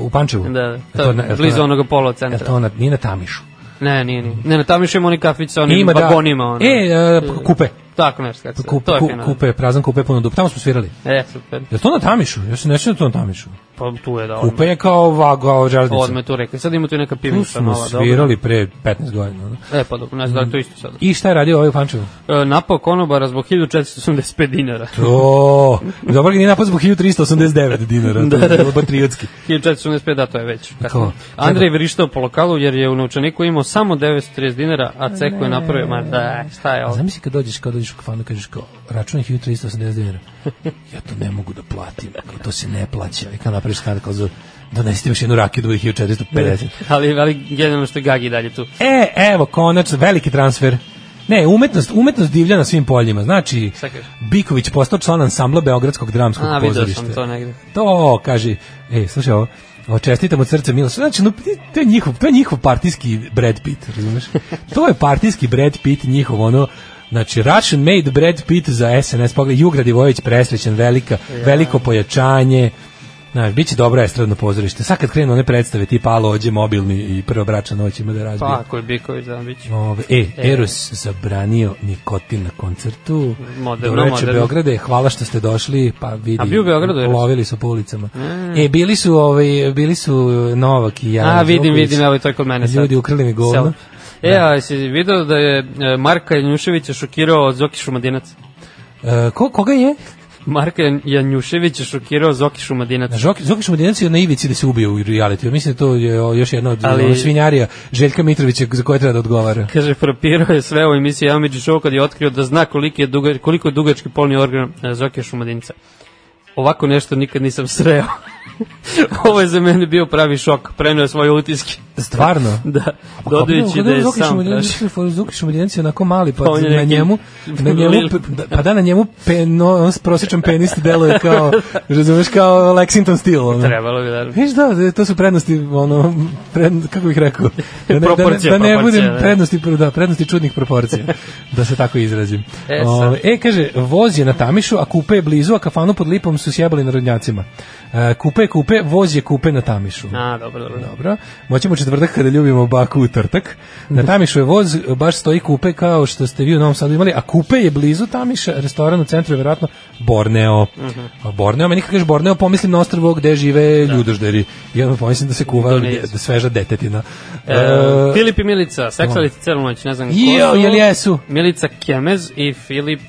U Pančevu? Da, da, Je E to na- je to, to blizu na- onoga polo Je centra. to na, nije na Tamišu. Ne, nije, nije. Ne, ne, tamo još ima oni kafić sa onim vagonima. ono. E, e, kupe. Tako nešto kako se. zove. Kupe, to je ku- fino. kupe, prazan kupe puno dupe. Tamo smo svirali. E, super. Je to na Tamišu? Ja se ne sjećam da je to na Tamišu. Pa tu je da. Kupe je kao vago železnica. Odme tu rekli. Sad ima tu i neka Tu pivnica smo nova. svirali pre 15 godina. ono. Dobro. E, pa dobro, ne znam da li je to isto sad. I šta je radio ovaj u Pančevu? E, napao konobara zbog 1485 dinara. To, dobro ga nije napad zbog 1389 dinara, to Da, je bilo patriotski. 1485, da, to je već. Kao? Andrej vrištao po lokalu jer je u novčaniku imao samo 930 dinara, a ceko je napravio, ma da, šta je A ovo? zamisli kad dođeš, kad dođeš ideš u kafanu i kažeš kao, račun je 1380 dinara. Ja to ne mogu da platim, kao, to se ne plaća. I kad napraviš skandal, kao, za- donesite još jednu rakiju 2450. ali, ali generalno što je Gagi dalje tu. E, evo, konačno, veliki transfer. Ne, umetnost, umetnost divlja na svim poljima. Znači, Šta kažeš? Biković postao član ansambla Beogradskog dramskog A, vidio pozorišta. sam to negde. To, kaže, e, slušaj ovo, ovo čestitam od srca Miloša. Znači, no, to, je njihov, to je njihov partijski Brad Pitt, razumeš? to je partijski Brad Pitt, njihov ono, Znači, Russian made Brad Pitt za SNS, pogled, Jugrad Ivojević presrećen, velika, veliko pojačanje, Znaš, bit će dobro estradno pozorište. Sad kad krenu one predstave tipa Alo, ođe mobilni i prva bračna noć ima da razbije. Pa, ako je Biković, da, bit će. Ove, e, Eros zabranio nikotin na koncertu. Moderno, Dobroveče, moderno. Beograde, hvala što ste došli, pa vidi. A bio u Beogradu Eros? Lovili su po ulicama. Mm. E, bili su, ovaj, bili su Novak i ja. A, vidim, vidim, evo i to je kod mene sad. Ljudi ukrali mi govno. Sel. E, a si vidio da je e, Marka Janjuševića šokirao Zoki Šumadinac? E, ko, koga je? Marka Jan- Janjušević je šokirao Zoki Šumadinac. Žoki, Zoki Šumadinac je na ivici da se ubije u realitiju. Mislim da to je o, još jedna od Ali- Ali... svinjarija Željka Mitrovića za koje treba da odgovara. Kaže, propirao je sve u emisiji Amidži Show kad je otkrio da zna koliko je, duga, koliko je dugački polni organ e, Zoki Šumadinca. Ovako nešto nikad nisam sreo. Ovo je za mene bio pravi šok. Prenio je svoje utiske. Stvarno? Da. Dodajući da je sam traži. Zoki Šumadinac je onako mali, pa, Pa on je na neki- njemu, na njemu, pe- da- pa da, na njemu pen, no, prosječan penis deluje kao, razumeš, kao Lexington Steel. Ono. Trebalo bi da... Viš da, to su prednosti, ono, pred, kako bih rekao, da ne, da ne, Proporcija, da ne proporcija, budem da. prednosti, da, prednosti čudnih proporcija, da se tako izrazim. E, sad. Ove, e, kaže, voz je na Tamišu, a kupe je blizu, a kafanu pod lipom su sjebali narodnjacima. E, kupe je kupe, voz je kupe na Tamišu. A, dobro, dobro. Dobro. Moćemo u četvrtak kada ljubimo baku u trtak. Na Mhm. Tamišu je voz, baš stoji kupe kao što ste vi u Novom Sadu imali, a kupe je blizu Tamiša, restoran u centru je verovatno Borneo. Mhm. A Borneo, meni kad kažeš Borneo, pomislim na ostrvo gde Da. žive ljudožderi. I onda pomislim da se kuva Indonezija. de- da sveža detetina. E, Filip i Milica, seksalici celu noć, ne znam ko Jo, su. jel jesu? Milica Kemez i Filip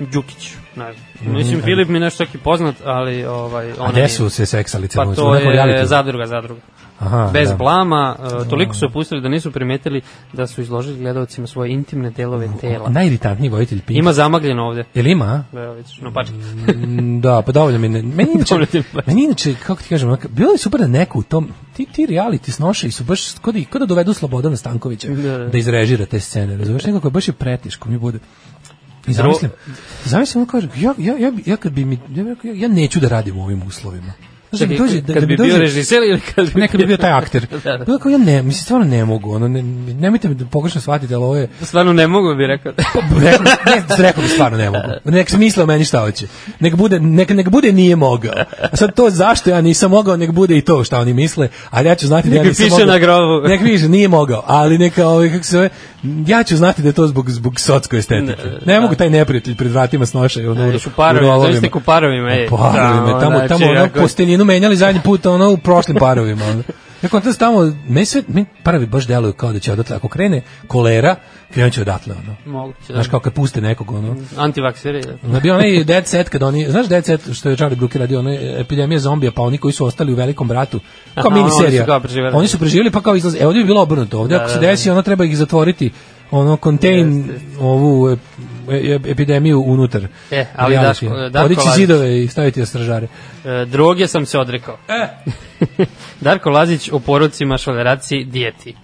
uh, Đukić. Ne znam. Mislim, Filip mi nešto čak i poznat, ali ovaj, ona Mm, e. a gde su se seksali Pa celonoćno? to U nekom je realitiju? zadruga, zadruga. Aha, Bez da. blama, e, toliko su opustili da nisu primetili da su izložili gledalcima svoje intimne delove tela. Najiritantniji vojitelj Pink. Ima zamagljeno ovde. Jel ima? Evo vidiš, no pački. Mm, da, pa dovoljno mi ne, meni inače, Dovoljno ti je baš. meni inače, kako ti kažem, onako, bilo je super da neko u tom, ti, ti reality snoše su baš, kod da, ko da dovedu Slobodana Stankovića Da, da, da. izrežira te scene, razumeš, nekako je baš je pretiško mi bude. I Drugo- zamislim, zamislim, on kaže, ja, ja, ja, bi- ja kad bi mi, ja, bi rekao, ja, ja neću da radim u ovim uslovima. Znaš, da mi Čekaj, dođe- kad mi bi bio dođe- režiser ili kad bi Nekad bi bio taj akter. Da, da. Bilo kao, ja ne, mislim, stvarno ne mogu, ono, ne, nemojte me da pogrešno shvatite, ali ovo je, Stvarno ne mogu bi rekao. Pa rekao, ne, rekao bi stvarno ne mogu. Nek se misle o meni šta hoće. Nek bude, nek, nek bude nije mogao. A sad to zašto ja nisam mogao, nek bude i to šta oni misle, ali ja ću znati da ja Nek mi nisam piše mogao. na grobu. Nek piše, nije mogao, ali neka, ovaj, kako se zove, ja ću znati da je to zbog, zbog socko estetike. Ne, da. mogu taj neprijatelj pred vratima snoša. Ono, u- Još u parovima, u rolovima. zamisli ku parovima, ej. U parovima, tamo, Tamo, tamo, znači, ono, ako- posteljinu menjali zadnji put, ono, u prošlim parovima. Ono. Ja kontam se tamo, meni sve, meni parovi baš deluju kao da će odatle, ako krene kolera, krenut će odatle, ono. Moguće, da. Znaš kao kad puste nekog ono. Antivakseri, da. Na bio onaj Dead Set kad oni, znaš Dead Set što je Charlie Brooker radio, ono je epidemija zombija, pa oni koji su ostali u velikom bratu, kao Aha, mini oni su serija. kao preživeli. Oni su preživjeli pa kao izlaze. E ovdje bi bilo obrnuto. Ovdje Da, ako se da, da. desi, ono treba ih zatvoriti. Ono contain ovu e, e, epidemiju unutar. E, ali Reality. Daško- Darko Podići Lazić. zidove i staviti je stražare. E, droge sam se odrekao. E. Darko Lazić o porucima, šoleraciji, dijeti.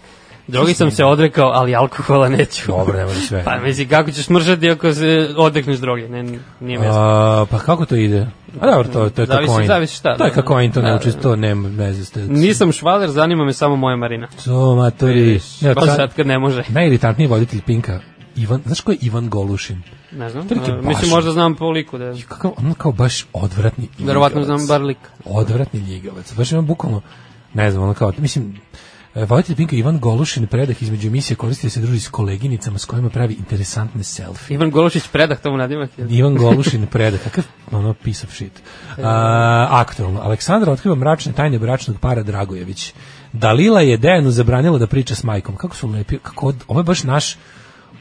Drogi sam se odrekao, ali alkohola neću. Dobro, e. ne može sve. Pa misli, kako ćeš mržati ako se odrekneš droge? Ne, nije mjesto. A, pa kako to ide? A dobro, to, to je Zavisi- kakoin. zavisi šta, To je da. kakoin, to Da, ne da. uči, to nema veze. s tim. Nisam švaler, zanima me samo moja Marina. To, matori. Evo, Pa sad- sad kad ne može. Najiritantniji voditelj Pinka, Ivan, znaš ko je Ivan Golušin? Ne znam. To je neki E, baš- Mislim, možda znam po liku da je. Kakav, on kao baš odvratni ljigavac. Verovatno znam bar lika. Odvratni ljigavac. Baš ima bukvalno, ne znam, ono kao, mislim, e, voditelj Pinka Ivan Golušin predah između emisije koristi da se druži s koleginicama s kojima pravi interesantne selfie. Ivan Gološić predah tomu nadimak. je. Ivan Golušin predah, kakav ono piece of E. shit. A, aktualno. Aleksandra otkriva mračne tajne bračnog para Dragojević. Dalila je Dejanu zabranila da priča s majkom. Kako su lepi, kako, od- ovo je baš naš,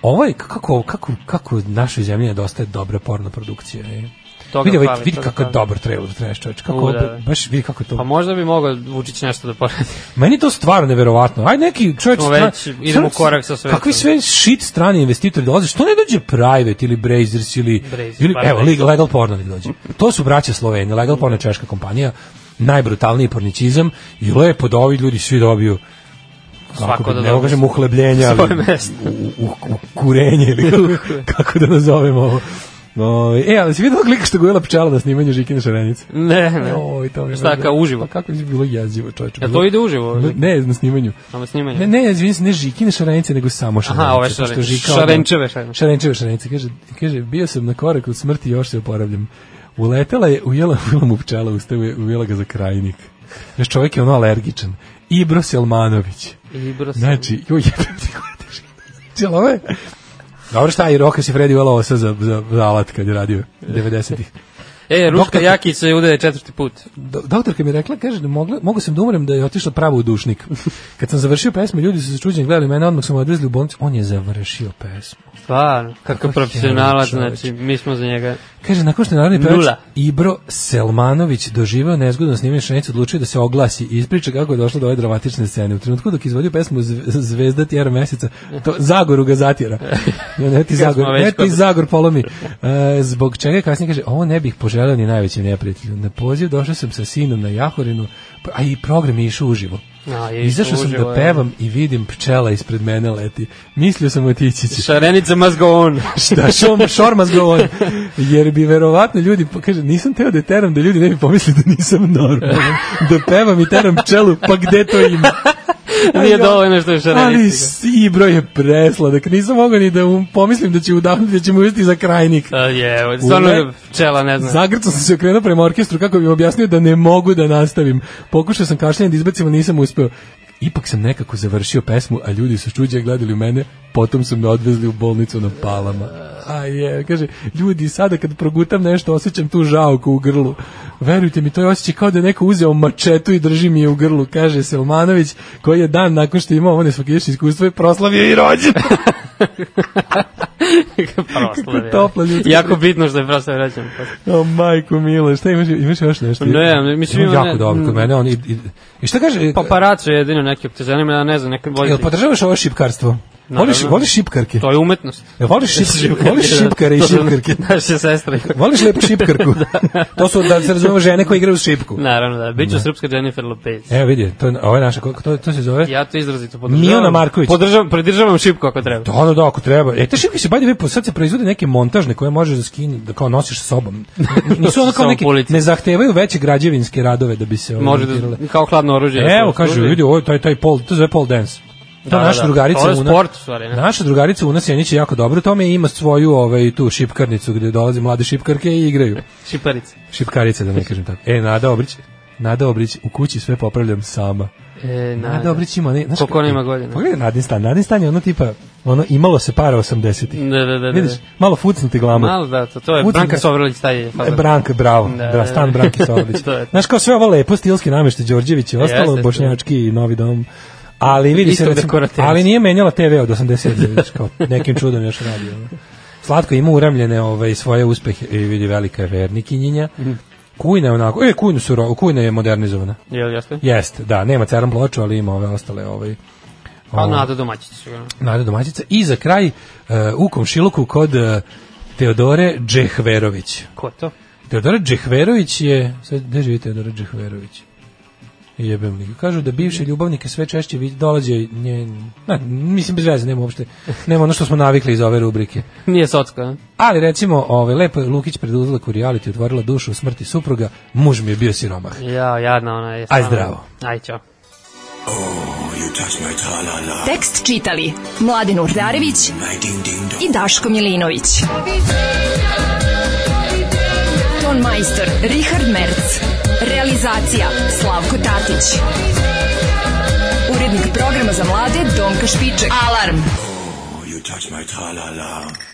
ovo je, kako, kako, kako našoj zemlji nedostaje dobra porno produkcija. Je. toga vidi, ovaj, fali, vidi toga kako je fali. dobar trailer Trash, čovječ. Kako, U, ovo- da, da. baš vidi kako je to. Pa možda bi mogao Vučić nešto da poradi. Meni je to stvarno neverovatno. Aj neki čovjek Smo stra- već, idemo stvarno- korak sa svetom. Kakvi sve shit strani investitori dolaze? Što ne dođe Private ili Brazers ili Brazers, pa da. ili bar evo Brazers. Legal, Legal Porno nek dođe. To su braća Sloveni, Legal Porno je češka kompanija, najbrutalniji porničizam i lepo da ovi ljudi svi dobiju Svako kako bi- da ne mogu dobije da kažem uhlebljenja, ali svoje mesto. u, u, u, kurenje ili kako, kako da nazovemo ovo. Ovaj, e, ali si vidio klika što gojela pčela na snimanju Žikine Šarenice? Ne, ne. Oj, to mi je Šta, bilo- kao uživo? Pa kako bi bilo jezivo, čoveče. Jel bilo- to ide uživo? Ne, na snimanju. Samo snimanje. Ne, ne, izvini se, ne Žikine šarenice, nego samo šarenice. ove pošto šarenice. Žika odmah- Šarenčeve šarenice. Šarenčeve šarenice. Kaže, kaže, bio sam na korak od smrti i još se oporavljam. Uletela je, ujela, ujela mu pčela, usta, uje- ujela ga za krajnik. Znaš, čovjek je ono alergičan. Ibro Selmanović. Ibro Selmanović. Znači, joj, jebem ti koja teška. Cijelo ovo je... Dobro šta je, Roka si Freddy uvela ovo sad za, za, za alat kad je radio 90-ih. E, Ruška Doktor- Jakić se udaje četvrti put. Do- doktorka mi je rekla, kaže, da mogla, mogu sam da umrem da je otišla pravo u dušnik. Kad sam završio pesmu, ljudi su se čuđeni gledali mene, odmah sam odvezli u bolnicu. On je završio pesmu. Stvarno, kakav Kakav profesionalac, heroj, znači, mi smo za njega. Kaže, nakon što je narodni pevač Nula. Ibro Selmanović doživeo nezgodno snimanje šanicu, odlučio da se oglasi i ispriča kako je došlo do ove dramatične scene. U trenutku dok je izvodio pesmu Zve- Zvezda tjera meseca, to Zagoru ga zatjera. Ne, ne ti Kad smo Zagor, već ne ti kod- Zagor polomi. E, zbog čega je kasnije kaže, ovo ne bih poželeo ni najvećem neprijatelju. Na poziv došao sam sa sinom na Jahorinu, pa- a i program je išao uživo. A, je išao Izašao sam uživo, da je. pevam i vidim pčela ispred mene leti. Mislio sam otići ćeš. Šarenica must go on. Šta šom, šormaz govori. Jer bi verovatno ljudi, pa kaže, nisam teo da teram da ljudi ne bi pomislili da nisam normalan. Da pevam i teram pčelu, pa gde to ima? Nije Ali, dovoljno što je Ali šarenica. s- Ibro je presladak. Nisam mogao ni da um, pomislim da će udahnuti, da će mu uzeti za krajnik. A, Je, stvarno je pčela, ne znam. Zagrcao sam se okrenuo prema orkestru kako bi im objasnio da ne mogu da nastavim. Pokušao sam kašljanje da izbacim, ali nisam uspeo. Ipak sam nekako završio pesmu, a ljudi su čuđe gledali u mene, potom su me odvezli u bolnicu na palama. A je, kaže, ljudi, sada kad progutam nešto, osjećam tu žauku u grlu. Verujte mi, to je osjećaj kao da je neko uzeo mačetu i drži mi je u grlu, kaže Selmanović, koji je dan nakon što je imao ovo nesvakidešnje iskustvo i proslavio i rođen. Proslava, je. topla ljudska Jako bitno što je prosto vraćam. O, majko mila, šta imaš, imaš još nešto? Ne, Pa, mislim, Ima ima jako ne- dobro kod mene, on i, i, i šta kaže, Paparaco je jedino neki opteženim, ja ne znam, neka bolje. Jel podržavaš ovo šipkarstvo? Naravno. Voliš, voliš šipkarke? To je umetnost. da- Jel voliš, šip, voliš šipkare i To su šipkarke? Naše sestre. Voliš lepu šipkarku? to su, da se razumemo, žene koje igraju uz šipku. Naravno da, bit ću srpska Jennifer Lopez. Evo vidi, to, je- ovo je naša, ko- to, to se zove? Ja to izrazito podržavam. Miona Marković. Podržavam, predržavam šipku ako treba. Da, da, da, ako treba. E, te šipke se, by the way, po- sad se proizvode neke montažne koje možeš da skini, da kao nosiš sa sobom. Nisu ono kao Samo neke, po ulici. ne zahtevaju veće građevinske radove da bi se... ovo Može da, montirale. kao hladno oružje. da Evo, to kaže, služi. vidi, ovo je taj, taj pol, to se zove pol dance. Da, Da, da, naša da. drugarica To je Una. sport, u stvari, ne? Naša drugarica Una Sjenić je jako dobro u tome i ima svoju ovaj tu šipkarnicu gde dolaze mlade šipkarke i igraju. Šiparice. Šipkarice da ne kažem tako. E, Nada Obrić, Nada Obrić u kući sve popravljam sama. E, Nada, Obrić ima ne, znaš Koliko kako- ona ima godina? Pogledaj Nadin stan, Nadin stan je ono tipa ono imalo se para 80-ih. Da, da, da, da. Vidiš, malo fucnuti glama. Malo da, to, to je Ucim Branka ga. Sovrlić taj je. E, Branka, bravo. Pa Da, Da, da, da. stan Branki Sovrlić. To je to. Znaš kao sve ovo lepo, stilski namještaj Đorđević i ostalo, Jeste, jeste. bošnjački i novi dom. Ali vidi se, Isto recimo, dekorativno. ali nije menjala TV od 80 vidiš, kao nekim čudom još radi. ono. Slatko ima uremljene ovaj, svoje uspehe i vidi velika je vernikinjinja. Mhm. Kujna je onako, e, kujnu su, ro- kujna je modernizovana. Jel, jeste? Jeste, da, nema ceram ploču, ali ima ove ostale ovaj, Pa ovo. Nada domaćić sigurno. Nada domaćica. I za kraj, e, u komšiluku kod e, Teodore Džehverović. Ko je to? Teodora Džehverović je... Sad, gde živi Teodora Džehverović? Jebem li. ga. Kažu da bivše ljubavnike sve češće vid- dolaze nje... Na, mislim, bez veze, nema uopšte. Nema ono što smo navikli iz ove rubrike. Nije Socka, ne? Ali recimo, ovaj, lepo je Lukić preduzela u reality, otvorila dušu u smrti supruga, muž mi je bio siromah. Ja, jadna ona je. Aj, stvarno. zdravo. Aj, čao. Tekst čitali Mladin Urdarević i Daško Milinović. Ton majstor Richard Merc. Realizacija Slavko Tatić. Urednik programa za mlade Donka Špiček. Alarm! You touch my tra-la-la.